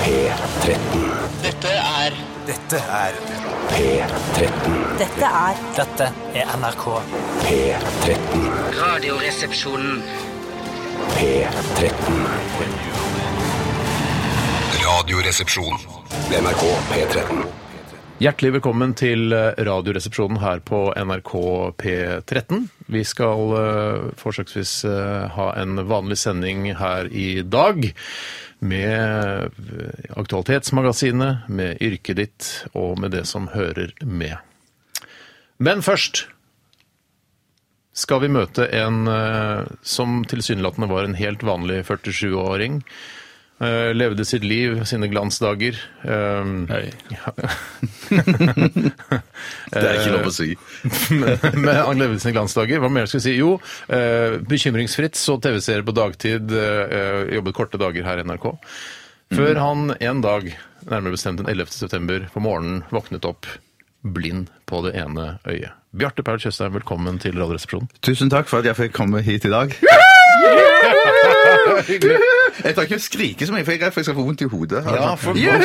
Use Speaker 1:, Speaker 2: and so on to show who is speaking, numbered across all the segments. Speaker 1: P13.
Speaker 2: Dette er
Speaker 3: Dette er
Speaker 1: P13.
Speaker 4: Dette er
Speaker 5: Dette er NRK.
Speaker 1: P13.
Speaker 2: Radioresepsjonen.
Speaker 1: P13.
Speaker 6: Radioresepsjon.
Speaker 1: NRK P13.
Speaker 7: Hjertelig velkommen til eh, Radioresepsjonen her på NRK P13. Vi skal eh, forsøksvis eh, ha en vanlig sending her i dag med eh, Aktualitetsmagasinet, med yrket ditt og med det som hører med. Men først skal vi møte en eh, som tilsynelatende var en helt vanlig 47-åring. eh, Levde sitt liv, sine glansdager. eh,
Speaker 6: Det er ikke lov å si.
Speaker 7: med Arne Levensen i glansdager. Hva mer skal jeg si? Jo, eh, bekymringsfritt så TV-serier på dagtid, eh, jobbet korte dager her i NRK. Før han en dag, nærmere bestemt den 11. september på morgenen, våknet opp blind på det ene øyet. Bjarte Paul Tjøstheim, velkommen til Radioresepsjonen.
Speaker 8: Tusen takk for at jeg fikk komme hit i dag. Jeg tar ikke å skrike så mye, for jeg er redd for jeg skal få vondt i hodet. Altså.
Speaker 7: Ja,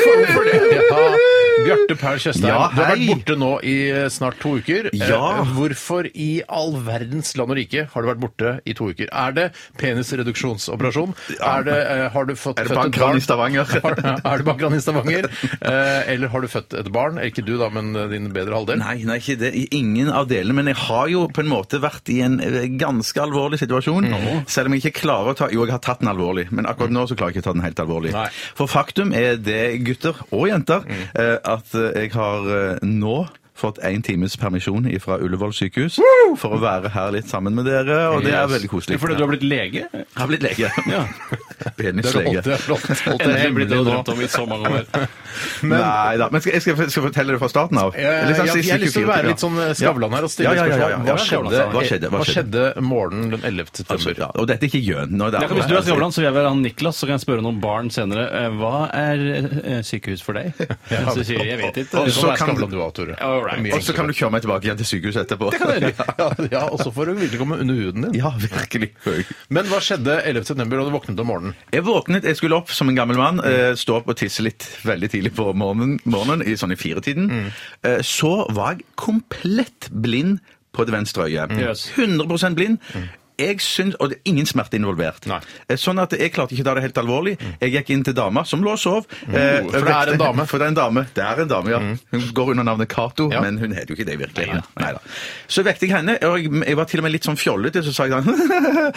Speaker 7: Bjarte Paul Tjøstheim,
Speaker 8: Ja,
Speaker 7: du har vært
Speaker 8: hei.
Speaker 7: borte nå i eh, snart to uker. Eh,
Speaker 8: Ja.
Speaker 7: Hvorfor i all verdens land og rike har du vært borte i to uker? Er det penisreduksjonsoperasjon? Er det, eh, har du fått
Speaker 8: Er det
Speaker 7: født et
Speaker 8: bankran
Speaker 7: barn?
Speaker 8: i Stavanger?
Speaker 7: Har- er det bankran i Stavanger? Eh, Eller har du født et barn? Ikke du da, men eh, din bedre halvdel.
Speaker 8: Nei, nei, ikke det. Ingen av delene. Men jeg har jo på en måte vært i en eh, ganske alvorlig situasjon. Selv om jeg ikke klarer å ta Jo, jeg har tatt den alvorlig, men akkurat nå så klarer jeg ikke å ta den helt alvorlig.
Speaker 7: Nei.
Speaker 8: For faktum er det, gutter og jenter, eh, at eh, jeg har eh, nå fått en times permisjon fra Ullevål sykehus for å være her litt sammen med dere, og det er veldig koselig.
Speaker 9: Fordi du har blitt lege? Det
Speaker 8: Jeg har blitt lege. Ja.
Speaker 7: Det er
Speaker 8: Penislege.
Speaker 7: flott, det er flott. Holdt det
Speaker 9: har blitt det
Speaker 7: hemmelig
Speaker 9: jeg
Speaker 7: nå.
Speaker 9: drømte om i så mange år.
Speaker 8: Nei da. Men skal jeg, skal, jeg- skal jeg fortelle det fra starten av?
Speaker 7: Jeg,
Speaker 8: Eller
Speaker 7: Eh, jeg,
Speaker 8: skal
Speaker 7: jeg,
Speaker 8: si
Speaker 7: har lyst til å
Speaker 8: sykebil-
Speaker 7: være litt sånn eh, Skavlan her og stille
Speaker 8: Ja, ja, ja, ja, ja.
Speaker 7: spørsmål.
Speaker 8: Hva
Speaker 7: Hva
Speaker 8: skjedde?
Speaker 7: skjedde-
Speaker 8: Hva skjedde? Hva
Speaker 7: Hva skjedde morgenen den 11.
Speaker 8: Altså,
Speaker 7: september?
Speaker 8: ja. Og dette er ikke Jøn. Nå er det
Speaker 9: Ja, Hvis du er Skavlan, så vil jeg være han Niklas, så kan jeg spørre noen barn senere. Eh, Hva er eh, sykehus for deg? Og så sier de, jeg vet ikke.
Speaker 8: Og
Speaker 7: Du
Speaker 8: så
Speaker 7: kan være
Speaker 8: kan-
Speaker 7: Skavlan du òg, Tore.
Speaker 9: All right.
Speaker 7: Mye
Speaker 8: Og så kan
Speaker 7: enklere.
Speaker 8: du kjøre meg tilbake igjen til sykehuset etterpå.
Speaker 7: ja, ja, og så får du virkelig komme under huden din.
Speaker 8: Ja, virkelig.
Speaker 7: Men hva skjedde 11. september da du våknet om morgenen?
Speaker 8: Jeg våknet, jeg skulle opp som en gammel mann,
Speaker 7: Mm.
Speaker 8: eh, stå opp og tisse litt veldig tidlig på morgenen, morgenen i sånn i
Speaker 7: Mm.
Speaker 8: firetiden. Eh, Så var jeg komplett blind på det venstre øyet.
Speaker 7: Mm.
Speaker 9: Yes.
Speaker 8: 100 blind. Jeg syns, og det er ingen smerte involvert.
Speaker 7: Nei. Mm.
Speaker 8: Eh, Sånn at jeg klarte ikke å ta det helt alvorlig. Jeg gikk inn til dama, som lå og sov. Eh,
Speaker 7: For det er en dame. Mm.
Speaker 8: For det er en dame. Det er en dame, ja. Hun går under navnet Cato,
Speaker 7: Ja.
Speaker 8: men hun heter jo ikke det virkelig. Neida. Så vekte jeg henne, og jeg, jeg var til og med litt sånn fjollete, så sa jeg sånn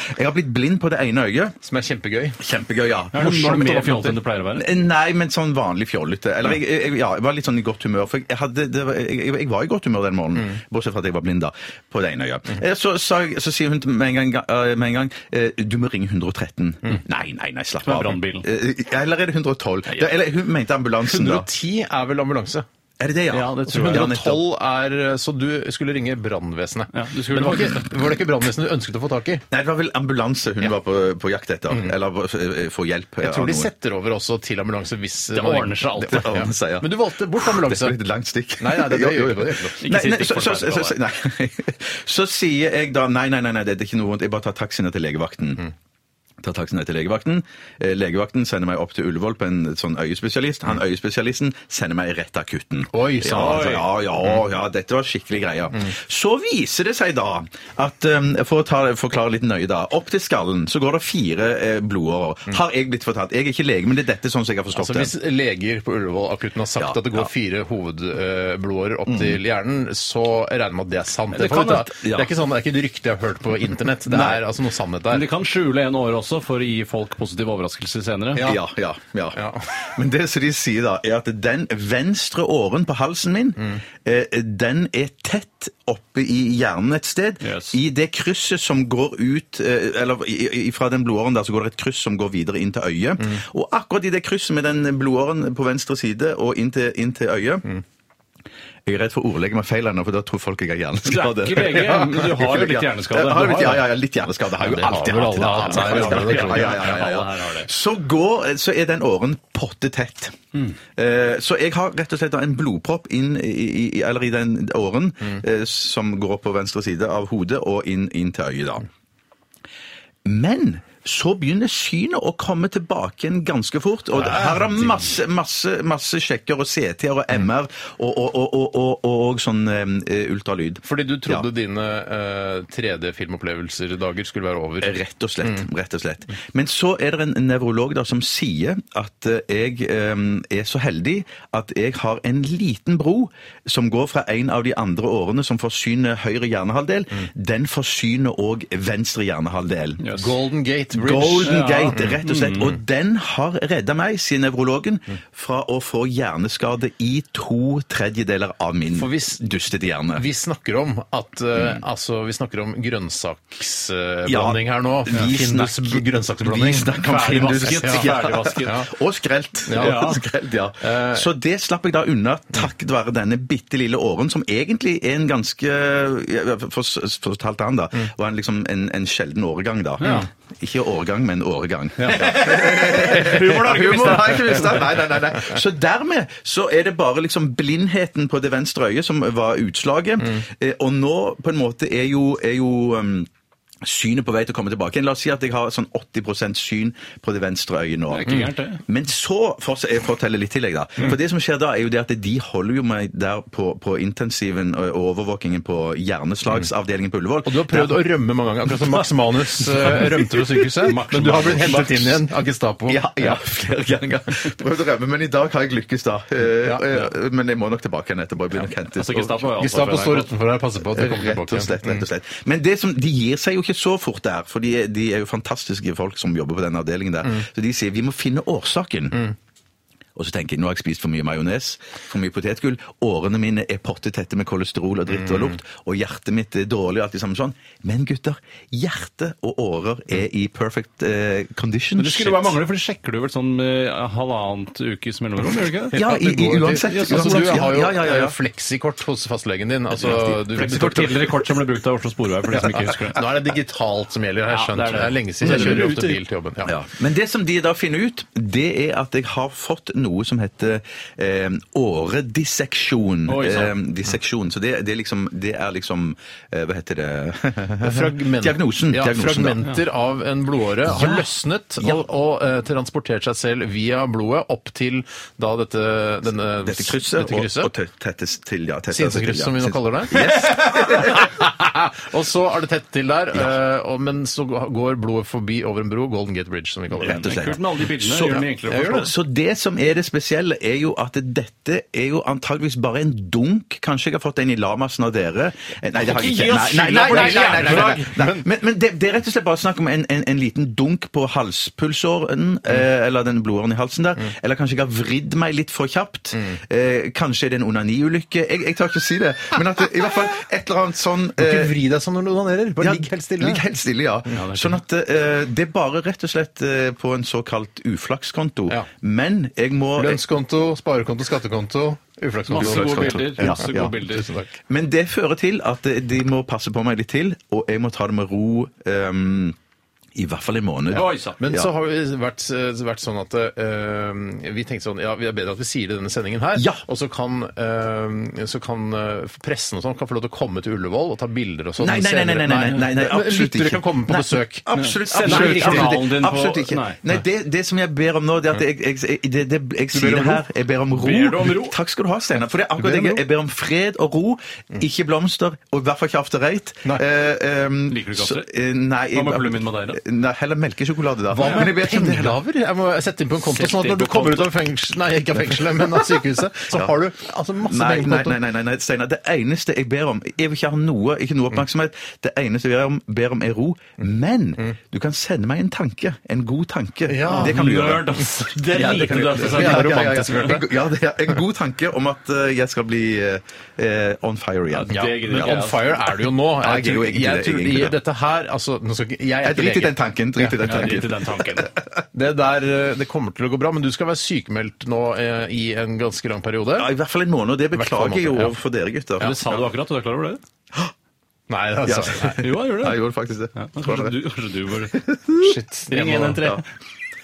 Speaker 8: Jeg har blitt blind på det ene øyet.
Speaker 7: Som er kjempegøy.
Speaker 8: Kjempegøy, ja.
Speaker 9: Er du
Speaker 8: Morsomt
Speaker 9: mer
Speaker 8: og flott.
Speaker 9: fjollete enn du pleier å være?
Speaker 8: Nei, men sånn vanlig fjollete. Eller jeg, jeg, ja, jeg var litt sånn i godt humør. For jeg, hadde, det var, jeg, jeg var i godt humør den morgenen, bortsett fra at jeg var blind, da. På det ene øyet. Eh, Så, sa jeg- så sier hun til meg en gang, eh, med en gang eh, Du må ringe 113. Nei, nei, nei, slapp
Speaker 9: Som er
Speaker 8: av.
Speaker 9: brannbilen.
Speaker 8: Eh, Eller er det 112? Ja, Eller hun mente ambulansen, da.
Speaker 7: 110 er vel ambulanse?
Speaker 8: Er det det, ja?
Speaker 9: Ja, det tror jeg.
Speaker 8: Ja, nettopp.
Speaker 7: 112 er eh, Så du skulle ringe brannvesenet.
Speaker 9: Ja, du skulle
Speaker 7: Men var, ikke, var det ikke brannvesenet du ønsket å få tak i?
Speaker 8: Nei, det var vel ambulanse hun var på, på jakt etter. Eller eh, få hjelp.
Speaker 7: Jeg tror de setter over også til ambulanse hvis
Speaker 9: Det
Speaker 7: man-
Speaker 9: ordner seg alltid.
Speaker 7: Det
Speaker 8: Det ordner seg, ja.
Speaker 7: Men du valgte bort ambulanse.
Speaker 8: Det er et langt stikk.
Speaker 7: Nei, nei, det- det
Speaker 8: Jo,
Speaker 7: gjør
Speaker 8: jo, jo.
Speaker 7: ikke det. Det
Speaker 9: gjør ikke
Speaker 8: Nei, nei,
Speaker 9: stikk
Speaker 8: så-
Speaker 9: for
Speaker 8: så-
Speaker 9: seg,
Speaker 8: så- så- nei. Så sier jeg da nei, nei, nei, nei, det er ikke noe vondt, jeg bare tar taxien ned til
Speaker 7: Mhm.
Speaker 8: legevakten. Tar taxien ned til legevakten. Eh, Legevakten sender meg opp til Ullevål på en sånn øyespesialist. Han øyespesialisten sender meg rett til akutten.
Speaker 7: Mhm. Oi, Mhm.
Speaker 8: ja,
Speaker 7: sa han.
Speaker 8: altså, ja, ja, ja, dette var skikkelig greia. Så viser det seg da at eh, For å ta, forklare litt nøye, da. Opp til skallen så går det fire eh, blodårer. Har jeg blitt fortalt. Jeg er ikke lege, men det er dette sånn som jeg har forstått
Speaker 7: Mhm. Altså,
Speaker 8: det.
Speaker 7: hvis leger på Ullevål akutten har sagt
Speaker 8: Ja,
Speaker 7: at det går
Speaker 8: ja. Mm.
Speaker 7: fire hovedblodårer opp til hjernen, så jeg regner jeg med at det er sant. Det,
Speaker 9: Det kan
Speaker 7: får vi ta.
Speaker 9: det. Ja.
Speaker 7: det er ikke sånn, det er ikke et rykte jeg har hørt på internett. Det
Speaker 9: Nei.
Speaker 7: er altså noe sannhet
Speaker 9: Men
Speaker 7: der.
Speaker 9: de kan skjule en åre også for å gi folk positive overraskelser senere.
Speaker 7: Ja.
Speaker 8: Ja, ja, ja.
Speaker 7: Ja.
Speaker 8: Men det som de sier da, er at den venstre åren på halsen min,
Speaker 9: Mm.
Speaker 8: eh, den er tett oppe i hjernen et sted.
Speaker 9: Yes.
Speaker 8: I det krysset som går ut, eh, eller i- i- fra den blodåren der, så går det et kryss som går videre inn til øyet.
Speaker 9: Mm.
Speaker 8: Og akkurat i det krysset med den blodåren på venstre side og inn til, inn til øyet,
Speaker 9: Mm.
Speaker 8: jeg er redd for å ordlegge meg feil her nå, for da tror folk jeg har hjerneskade.
Speaker 9: Du er ikke lege,
Speaker 8: Ja.
Speaker 9: men du har jo litt hjerneskade.
Speaker 8: Jeg Har
Speaker 9: Du
Speaker 8: litt,
Speaker 9: har
Speaker 8: ja,
Speaker 9: det.
Speaker 8: ja, ja, litt hjerneskade har jeg jo
Speaker 9: Ja, det
Speaker 8: alltid.
Speaker 9: har vel
Speaker 8: alltid,
Speaker 9: alle
Speaker 8: alltid,
Speaker 9: hatt.
Speaker 8: alltid, alltid.
Speaker 9: Ja, ja, ja, ja, ja.
Speaker 8: Ja, ja, ja,
Speaker 9: Alle her har
Speaker 8: ja.
Speaker 9: det.
Speaker 8: Så, går, så er den åren pottetett.
Speaker 9: Mm.
Speaker 8: Eh, Så jeg har rett og slett da en blodpropp inn i, i, i- eller i den åren
Speaker 9: Mm.
Speaker 8: eh, som går opp på venstre side av hodet og inn, inn til øyet. da. Men så begynner synet å komme tilbake igjen ganske fort. Og her er det masse, masse, masse sjekker og CT-er og MR og, og, og, og, og, og, og sånn eh, ultralyd.
Speaker 7: Fordi du trodde
Speaker 8: Ja.
Speaker 7: dine eh, 3D-filmopplevelser-dager skulle være over.
Speaker 8: Rett og slett.
Speaker 7: Mm.
Speaker 8: rett og slett. Men så er det en nevrolog da som sier at eh, jeg eh, er så heldig at jeg har en liten bro som går fra en av de andre årene som forsyner høyre hjernehalvdel.
Speaker 7: Mm.
Speaker 8: Den forsyner òg venstre hjernehalvdel.
Speaker 7: Golden Gate Bridge. Mm.
Speaker 8: Golden Gate, rett og slett. Og den har redda meg, sier nevrologen, fra å få hjerneskade i to tredjedeler av min
Speaker 7: For hvis-
Speaker 8: dustete hjerne.
Speaker 7: Vi snakker om at eh, altså, vi snakker om grønnsaksblanding
Speaker 8: Ja,
Speaker 7: her nå.
Speaker 8: vi
Speaker 7: Findus
Speaker 8: snakker-
Speaker 7: grønnsaksblanding.
Speaker 8: vi snakker om Findus.
Speaker 7: Ferdigvasket.
Speaker 8: Ja.
Speaker 7: Ferdigvasket.
Speaker 8: Ja. Og skrelt.
Speaker 7: Ja. Eh.
Speaker 8: Ja. skrelt ja. Så det slapp jeg da unna takket være denne bitte lille åren, som egentlig er en ganske ja, for- Fortalte han, da.
Speaker 7: Mm.
Speaker 8: Var en, liksom en, en sjelden åregang, da. Ikke årgang, men åregang. Humor har jeg ikke mistet. Nei, nei, nei, nei. Så dermed så er det bare liksom blindheten på det venstre øyet som var utslaget. Eh, Og nå på en måte er jo, er jo um, synet på vei til å komme tilbake igjen. La oss si at jeg har sånn 80 syn på det venstre øyet nå. Mm.
Speaker 9: Det er ikke gærent, det.
Speaker 8: Men så forts- jeg forteller litt til, jeg, da. For det som skjer da, er jo det at de holder jo meg der på, på intensiven og overvåkingen på hjerneslagsavdelingen på Ullevål.
Speaker 7: Og du har prøvd å rømme mange ganger, akkurat som Max Manus eh, rømte fra sykehuset. Men du har blitt hentet inn igjen av Gestapo.
Speaker 8: ja, ja, flere ganger. Prøvd å rømme, men i dag har jeg lykkes, da. Eh, eh, Men jeg må nok tilbake igjen etterpå. Jeg blir nok hentet.
Speaker 9: Altså, Gestapo er jo alt
Speaker 7: Gestapo
Speaker 9: for
Speaker 7: står
Speaker 9: NRK.
Speaker 7: utenfor her og passer på at det kommer
Speaker 8: Rett
Speaker 7: tilbake.
Speaker 8: og slett,
Speaker 9: Mm.
Speaker 8: rett og slett. Men det som, de gir seg jo ikke så fort der, for de, er- de er jo fantastiske folk som jobber på den avdelingen der.
Speaker 9: Mm.
Speaker 8: Så de sier vi må finne årsaken. Og så tenker jeg nå har jeg spist for mye majones, for mye potetgull, årene mine er pottetette med kolesterol og
Speaker 9: Mm.
Speaker 8: dritt og lukt, og hjertet mitt er dårlig og alt det samme sånn. Men gutter, hjerte og årer er i perfect eh, condition.
Speaker 9: Men det skulle bare mangle, for det sjekker du vel sånn eh, halvannet ukes mellomrom? gjør du ikke det?
Speaker 8: Ja, i, i, uansett.
Speaker 7: Ja, altså,
Speaker 8: uansett.
Speaker 7: du har jo
Speaker 8: ja, ja, ja, ja.
Speaker 7: fleksikort hos fastlegen din. Altså, du,
Speaker 9: Det står tidligere kort som ble brukt av Oslo Sporvei, for de som ikke husker det.
Speaker 7: Nå er det digitalt som gjelder. Jeg har
Speaker 9: Ja,
Speaker 7: skjønt
Speaker 9: det er
Speaker 7: det.
Speaker 9: det.
Speaker 7: er lenge siden jeg
Speaker 9: Men det
Speaker 7: kjører
Speaker 9: er
Speaker 7: jo ofte
Speaker 9: ute.
Speaker 7: bil til jobben. Ja.
Speaker 8: Ja. Men det som de da finner ut, det er at jeg har fått noe som heter eh, åredisseksjon.
Speaker 9: Oi,
Speaker 7: sånn.
Speaker 8: eh,
Speaker 9: sant.
Speaker 8: disseksjon. Så det, det, er liksom, det er liksom eh, Hva heter det
Speaker 7: Fragment-
Speaker 8: Eh, Diagnosen.
Speaker 7: Ja,
Speaker 8: diagnosen da.
Speaker 7: fragmenter av en blodåre har løsnet
Speaker 8: Ja.
Speaker 7: og, og eh, transportert seg selv via blodet opp til da dette, denne,
Speaker 8: Dette krysset,
Speaker 7: dette krysset.
Speaker 8: og, og tett- tettes til, ja. tettes altså til,
Speaker 7: Sinsekryss,
Speaker 8: ja.
Speaker 7: som vi nå
Speaker 8: Sinse-
Speaker 7: kaller det. og så er det tett til der, eh, og, men så går blodet forbi over en bro, Golden Gate Bridge, som vi kaller
Speaker 8: Rett og
Speaker 7: det.
Speaker 8: slett.
Speaker 9: Kult med alle de bildene.
Speaker 8: Så-
Speaker 9: gjør det mye enklere å forstå.
Speaker 8: Så det som er det spesielle, er jo at dette er jo antageligvis bare en dunk. Kanskje jeg har fått en i lamasen av dere. Eh, Nei, det har jeg
Speaker 9: Ikke gi
Speaker 8: ikke.
Speaker 9: oss
Speaker 8: Nei, nei,
Speaker 9: skylda
Speaker 8: nei,
Speaker 9: for
Speaker 8: nei,
Speaker 9: det,
Speaker 8: nei, nei, nei, nei,
Speaker 9: jævla
Speaker 8: nei. Men, men det, det er rett og slett bare snakk om en, en, en liten dunk på
Speaker 9: Mm.
Speaker 8: halspulsåren, eh, eller den blodåren i halsen der. Eller kanskje jeg har vridd meg litt for kjapt.
Speaker 9: Mm.
Speaker 8: Eh, kanskje er det en onaniulykke. Jeg, jeg tar ikke å si det, men at det, i hvert fall et eller annet sånn eh,
Speaker 7: Ikke vri deg sånn når du onanerer. Bare
Speaker 8: ja,
Speaker 7: ligg helt stille.
Speaker 8: Ligg helt stille, ja.
Speaker 9: det er
Speaker 8: sånn at eh, det er bare rett og slett eh, på en såkalt uflakskonto.
Speaker 7: Ja.
Speaker 8: Men jeg må
Speaker 7: Lønnskonto, sparekonto, skattekonto, uflakskonto.
Speaker 9: Masse gode
Speaker 7: uflakskonto.
Speaker 9: bilder.
Speaker 8: Ja,
Speaker 9: Masse
Speaker 8: ja.
Speaker 9: gode bilder.
Speaker 7: Tusen takk.
Speaker 8: Men det fører til at eh, de må passe på meg litt til, og jeg må ta det med ro ehm, i hvert fall en måned.
Speaker 9: Oi sann.
Speaker 7: Men
Speaker 8: Ja.
Speaker 7: så har det vært, vært sånn at eh, vi tenkte sånn Ja, det er bedre at vi sier det i denne sendingen her.
Speaker 8: Ja.
Speaker 7: Og så kan, eh, så kan eh, pressen og sånn kan få lov til å komme til Ullevål og ta bilder og sånn.
Speaker 8: Nei, nei, nei, nei, nei, nei, nei, nei, nei, absolutt
Speaker 7: Lyttere
Speaker 8: ikke.
Speaker 7: kan komme på
Speaker 8: Nei,
Speaker 7: besøk.
Speaker 8: Absolutt,
Speaker 9: Send
Speaker 8: absolutt,
Speaker 9: meg ikke kanalen
Speaker 8: absolutt,
Speaker 9: din på-
Speaker 8: absolutt ikke.
Speaker 9: Nei.
Speaker 8: Nei, det, det som jeg ber om nå, det er at jeg, jeg, jeg, det, det, jeg sier det
Speaker 7: om ro?
Speaker 8: her, jeg ber om ro.
Speaker 9: Ber du om ro?
Speaker 8: Takk skal du ha, Steinar. For det er
Speaker 7: Du
Speaker 8: akkurat
Speaker 7: ber om
Speaker 8: det
Speaker 7: ro?
Speaker 8: jeg, jeg ber om fred og ro, ikke blomster, og i hvert fall ikke after eight.
Speaker 7: Nei.
Speaker 8: Eh, ehm,
Speaker 9: Liker du ikke
Speaker 8: så-
Speaker 9: after eight?
Speaker 8: eh, Nei. jeg-
Speaker 9: Hva med Blue Min Madeira?
Speaker 8: Nei, heller melkesjokolade, da.
Speaker 7: Hva
Speaker 8: Men jeg
Speaker 7: med
Speaker 8: vet ikke om det-
Speaker 7: pengegaver? Jeg må sette inn på en konto,
Speaker 9: Sett
Speaker 7: sånn at
Speaker 9: inn
Speaker 7: når du
Speaker 9: på
Speaker 7: kommer ut
Speaker 9: konto.
Speaker 7: av fengsel, nei, ikke av fengselet, men av sykehuset, så har du altså masse
Speaker 8: Nei,
Speaker 7: penger på
Speaker 8: nei, nei,
Speaker 7: konto.
Speaker 8: nei, nei, nei, Steinar. Det eneste jeg ber om Jeg vil ikke ha noe, ikke
Speaker 7: Mm.
Speaker 8: noe oppmerksomhet. Det eneste jeg ber om, ber om er ro. Men du kan sende meg en tanke. En god tanke.
Speaker 7: Mm. Ja,
Speaker 8: det kan du gjøre.
Speaker 9: Nerd, ass. Det
Speaker 8: Ja, det
Speaker 9: liker
Speaker 8: kan
Speaker 9: du,
Speaker 8: du
Speaker 9: ass.
Speaker 8: gjøre.
Speaker 9: Det er
Speaker 8: Ja,
Speaker 9: litt
Speaker 8: ja, ja,
Speaker 9: romantisk.
Speaker 8: ja.
Speaker 9: Bjarte.
Speaker 8: En go- Ja, det er en god tanke om at eh, jeg skal bli eh, eh, on fire igjen.
Speaker 9: Ja, det gidder
Speaker 7: Men
Speaker 9: ikke jeg,
Speaker 7: on
Speaker 9: altså.
Speaker 7: fire er du jo nå.
Speaker 8: Nei, jeg er jo
Speaker 7: tror-
Speaker 8: egentlig det,
Speaker 7: tror
Speaker 8: egentlig
Speaker 7: i
Speaker 8: det.
Speaker 7: dette her altså, nå skal ikke, jeg er
Speaker 8: Jeg
Speaker 7: ikke
Speaker 8: driter i
Speaker 7: lege.
Speaker 8: den tanken. Drit i den
Speaker 9: Ja, drit i
Speaker 8: tanken.
Speaker 9: den tanken.
Speaker 7: Det der, eh, det kommer til å gå bra, men du skal være sykemeldt nå eh, i en ganske lang periode.
Speaker 8: Ja, I hvert fall en måned, og det
Speaker 7: hvert fall en
Speaker 8: beklager jeg jo
Speaker 7: måned, ja.
Speaker 8: overfor dere, gutter.
Speaker 9: Det sa du akkurat, og du er klar over det?
Speaker 7: Nei, altså.
Speaker 9: Jo, jeg gjorde
Speaker 8: Ja, jeg
Speaker 9: det.
Speaker 8: gjorde faktisk det.
Speaker 9: Ja, men kanskje du, kanskje du burde
Speaker 7: Shit.
Speaker 9: Ring 113.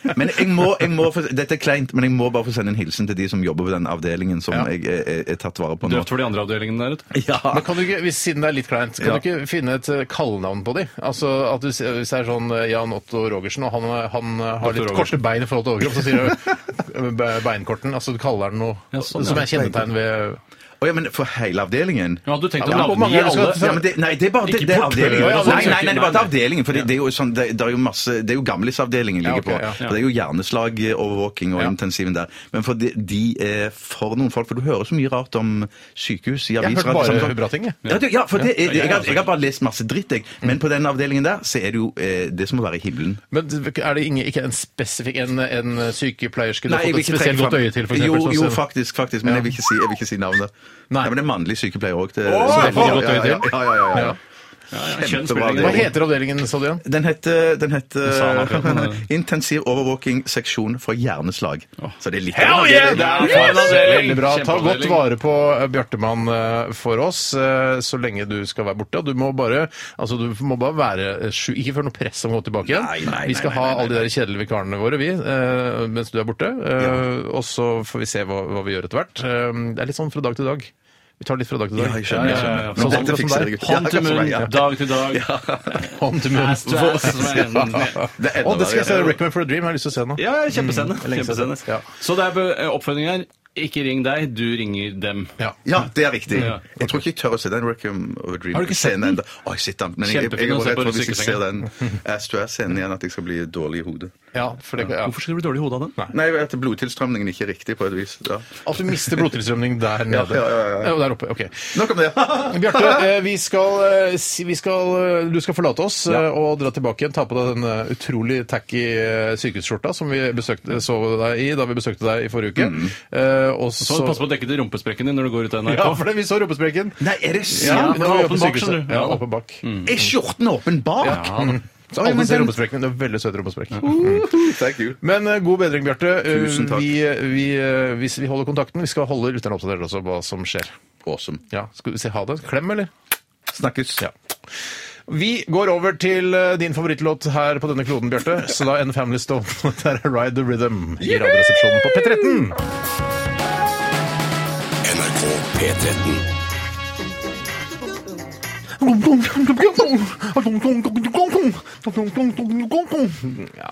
Speaker 8: Ja. Men jeg må, jeg må få, dette er kleint, men jeg må bare få sende en hilsen til de som jobber på den avdelingen som
Speaker 7: Ja.
Speaker 8: jeg er, er, er tatt vare på nå.
Speaker 9: Døpt for de andre avdelingene der ute.
Speaker 8: Ja.
Speaker 7: Men kan du ikke, hvis, Siden det er litt kleint, kan
Speaker 8: Ja.
Speaker 7: du ikke finne et eh, kallenavn på de? Altså, at du, s- Hvis det er sånn eh, Jan Otto Rogersen, og han, eh, han eh, har
Speaker 9: Otto
Speaker 7: litt
Speaker 9: Rogersen.
Speaker 7: korte bein i forhold til overkropp, så sier du be- beinkorten. Altså du kaller den noe
Speaker 9: Ja, sånn,
Speaker 7: som
Speaker 9: ja.
Speaker 7: er kjennetegn ved
Speaker 8: Å ja, men for hele avdelingen?
Speaker 9: Ja, du tenkte
Speaker 7: Ja,
Speaker 9: å
Speaker 7: hvor mange
Speaker 9: navngi
Speaker 7: er det som
Speaker 9: alle.
Speaker 7: skal-
Speaker 8: Ja, men det, nei, det er bare det,
Speaker 9: Ikke
Speaker 8: det er
Speaker 9: portfølje,
Speaker 8: avdelingen.
Speaker 7: ja,
Speaker 8: Nei,
Speaker 7: sånn
Speaker 8: nei, nei, det er bare
Speaker 9: søker-
Speaker 8: til avdelingen. For det, det er jo sånn, det, det er jo masse Det er jo gamlisavdelingen
Speaker 7: Ja,
Speaker 8: ligger
Speaker 7: ok, ja.
Speaker 8: på. For det er jo hjerneslagovervåking og
Speaker 7: Ja.
Speaker 8: intensiven der. Men for de, de er for noen folk. For du hører så mye rart om sykehus i
Speaker 7: har hørt
Speaker 8: aviser.
Speaker 7: bare
Speaker 8: sånn-
Speaker 7: bra ting, jeg.
Speaker 8: Ja, du, ja, for det, jeg, jeg, har, jeg har bare lest masse dritt, jeg.
Speaker 7: Mm.
Speaker 8: Men på den avdelingen der så er det jo eh, det som å være i himmelen.
Speaker 7: Men er det ingen, ikke en spesifikk en, en sykepleierske du
Speaker 8: Nei,
Speaker 7: har
Speaker 8: jeg vil
Speaker 7: fått et
Speaker 8: ikke
Speaker 7: spesielt
Speaker 8: trekke
Speaker 7: godt
Speaker 8: fram-
Speaker 7: øye til, for eksempel?
Speaker 8: Jo,
Speaker 7: sånn
Speaker 8: jo
Speaker 7: som-
Speaker 8: faktisk, faktisk, men jeg vil ikke si, jeg vil ikke si navnet.
Speaker 7: Nei.
Speaker 8: Nei. men det er mannlig sykepleier òg.
Speaker 7: Åh,
Speaker 9: får godt øye til.
Speaker 8: ja, ja, ja, ja, ja. Kjempebra
Speaker 9: kjønn spiller ingen
Speaker 7: Hva
Speaker 9: rolle.
Speaker 8: avdeling.
Speaker 7: heter avdelingen, sa du igjen?
Speaker 8: Den heter, den
Speaker 9: sa han akkurat nå,
Speaker 8: heter
Speaker 9: det.
Speaker 8: Intensiv overvåking seksjon for hjerneslag. Så det er litt
Speaker 9: Hell yeah! Det er altså. for en avdeling!
Speaker 7: Veldig bra. Ta godt
Speaker 9: Kjempeavdeling.
Speaker 7: vare på eh, Bjartemann eh, for oss eh, så lenge du skal være borte. Og Du må bare, altså, du må bare være eh, sju Ikke føl noe press om å gå tilbake igjen.
Speaker 8: Nei, nei,
Speaker 7: vi skal
Speaker 8: nei,
Speaker 7: ha
Speaker 8: nei, nei,
Speaker 7: alle de der kjedelige vikarene våre, vi, eh, mens du er borte. Eh, Og så får vi se hva, hva vi gjør etter hvert. Eh, det er litt sånn fra dag til dag. Vi tar litt fra dag til dag.
Speaker 8: Ja, jeg skjønner, jeg
Speaker 7: Ja, ja, ja.
Speaker 8: skjønner.
Speaker 7: Sånn
Speaker 8: Men
Speaker 7: som-
Speaker 8: dette
Speaker 7: sånn
Speaker 8: fikser
Speaker 7: der.
Speaker 8: jeg, gutt.
Speaker 9: Hånd til
Speaker 8: Ja, sånn
Speaker 9: munn,
Speaker 8: ja.
Speaker 9: dag til dag.
Speaker 7: Hånd til munn.
Speaker 9: Ass to ass.
Speaker 8: Det er enda
Speaker 7: Å, det skal jeg se.
Speaker 8: verre.
Speaker 7: Recommend for a dream. Jeg har lyst til å se nå.
Speaker 9: Ja, ja, kjempescene.
Speaker 8: Mm.
Speaker 7: lenge siden.
Speaker 9: kjempescene.
Speaker 7: Ja.
Speaker 9: Så det er eh, oppfølgingen her. Ikke ring deg, du ringer dem.
Speaker 7: Ja.
Speaker 8: Ja, det er riktig.
Speaker 9: Ja.
Speaker 8: Jeg tror ikke jeg tør å se den Recum over Dream.
Speaker 9: Har du ikke sett den?
Speaker 8: ennå. Å, jeg sitter den. Men jeg, jeg, jeg,
Speaker 9: Kjempefin å
Speaker 8: er
Speaker 9: se
Speaker 8: redd
Speaker 9: på
Speaker 8: for hvis jeg ser den
Speaker 9: sykesengen.
Speaker 8: ass to ass-scenen igjen, at jeg skal bli dårlig i hodet.
Speaker 7: Ja, for det, ja.
Speaker 9: Hvorfor skal du bli dårlig i hodet av den?
Speaker 8: Nei, at blodtilstrømningen ikke er riktig på et vis. Ja.
Speaker 7: At du mister blodtilstrømning der nede.
Speaker 8: ja, ja, ja.
Speaker 7: Og der oppe. ok.
Speaker 8: Nok om det.
Speaker 7: Bjarte, eh, vi skal, eh, si- vi skal, eh, du skal forlate oss eh, og dra tilbake igjen. Ta på deg den eh, utrolig tacky eh, sykehusskjorta som vi besøkte, så deg i da vi besøkte deg i forrige
Speaker 8: Mm.
Speaker 7: uke. Eh, og så,
Speaker 9: Så pass på å dekke til rumpesprekken din når du går ut av NRK.
Speaker 7: Ja, for det, vi så rumpesprekken.
Speaker 8: Nei, er det
Speaker 7: Ja,
Speaker 8: sant?
Speaker 9: men-
Speaker 7: da var vi
Speaker 9: åpen
Speaker 7: på
Speaker 9: bak,
Speaker 7: sykehuset.
Speaker 9: skjønner du.
Speaker 7: Ja,
Speaker 9: Ja.
Speaker 7: åpen bak.
Speaker 8: Er skjorten åpen bak?
Speaker 7: Så
Speaker 8: Oi,
Speaker 7: alle
Speaker 8: men
Speaker 7: ser
Speaker 8: den-
Speaker 7: rumpesprekken. Det er veldig søt rumpesprekk.
Speaker 8: Thank you.
Speaker 7: Men eh, god bedring, Bjarte. Eh,
Speaker 8: Tusen takk.
Speaker 7: Vi, vi, eh, vi, vi holder kontakten. Vi skal holde lytterne oppdatert også på hva som skjer.
Speaker 8: Awesome.
Speaker 7: Ja, Skal vi si ha det? Klem, eller?
Speaker 8: Snakkes.
Speaker 7: Ja. Vi går over til eh, din favorittlåt her på denne kloden, Bjarte. Så da en Family Stone. Der er Ride the Rhythm i Radioresepsjonen på P13.
Speaker 1: NRK P13.
Speaker 7: Ja.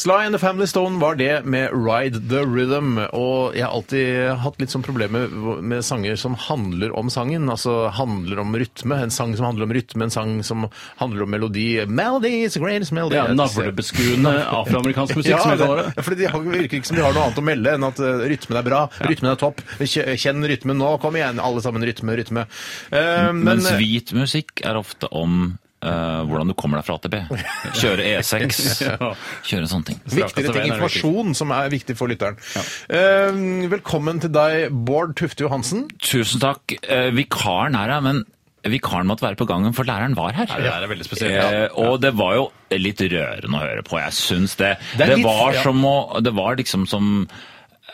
Speaker 7: Sly and the Family Stone var det med Ride the Rhythm. Og jeg har alltid hatt litt sånn problemer med sanger som handler om sangen. Altså handler om rytme. En sang som handler om rytme, en sang som handler om melodi. Melody is the greatest melody.
Speaker 9: Ja, Navlebeskuende afroamerikansk musikk,
Speaker 7: Ja,
Speaker 9: som vi
Speaker 7: det,
Speaker 9: kaller det.
Speaker 7: fordi de har, virker ikke som de har noe annet å melde enn at eh, rytmen er bra, rytmen er topp. Kje- Kjenn rytmen nå, kom igjen, alle sammen. Rytme, rytme. Eh, men,
Speaker 3: Mens hvit musikk er ofte om eh, hvordan du kommer deg fra AtB. Kjøre E6, kjøre sånne ting.
Speaker 7: Viktigere ting.
Speaker 9: veien er
Speaker 7: Informasjon som er viktig for lytteren. Eh, velkommen til deg, Bård Tufte Johansen.
Speaker 3: Tusen takk. Eh, vikaren er her, men vikaren måtte være på gangen, for læreren var her.
Speaker 9: det der er veldig spesielt,
Speaker 3: Eh, og det var jo litt rørende å høre på, jeg syns det.
Speaker 7: Det
Speaker 3: Det,
Speaker 7: er litt-
Speaker 3: var
Speaker 7: ja.
Speaker 3: som å Det var liksom som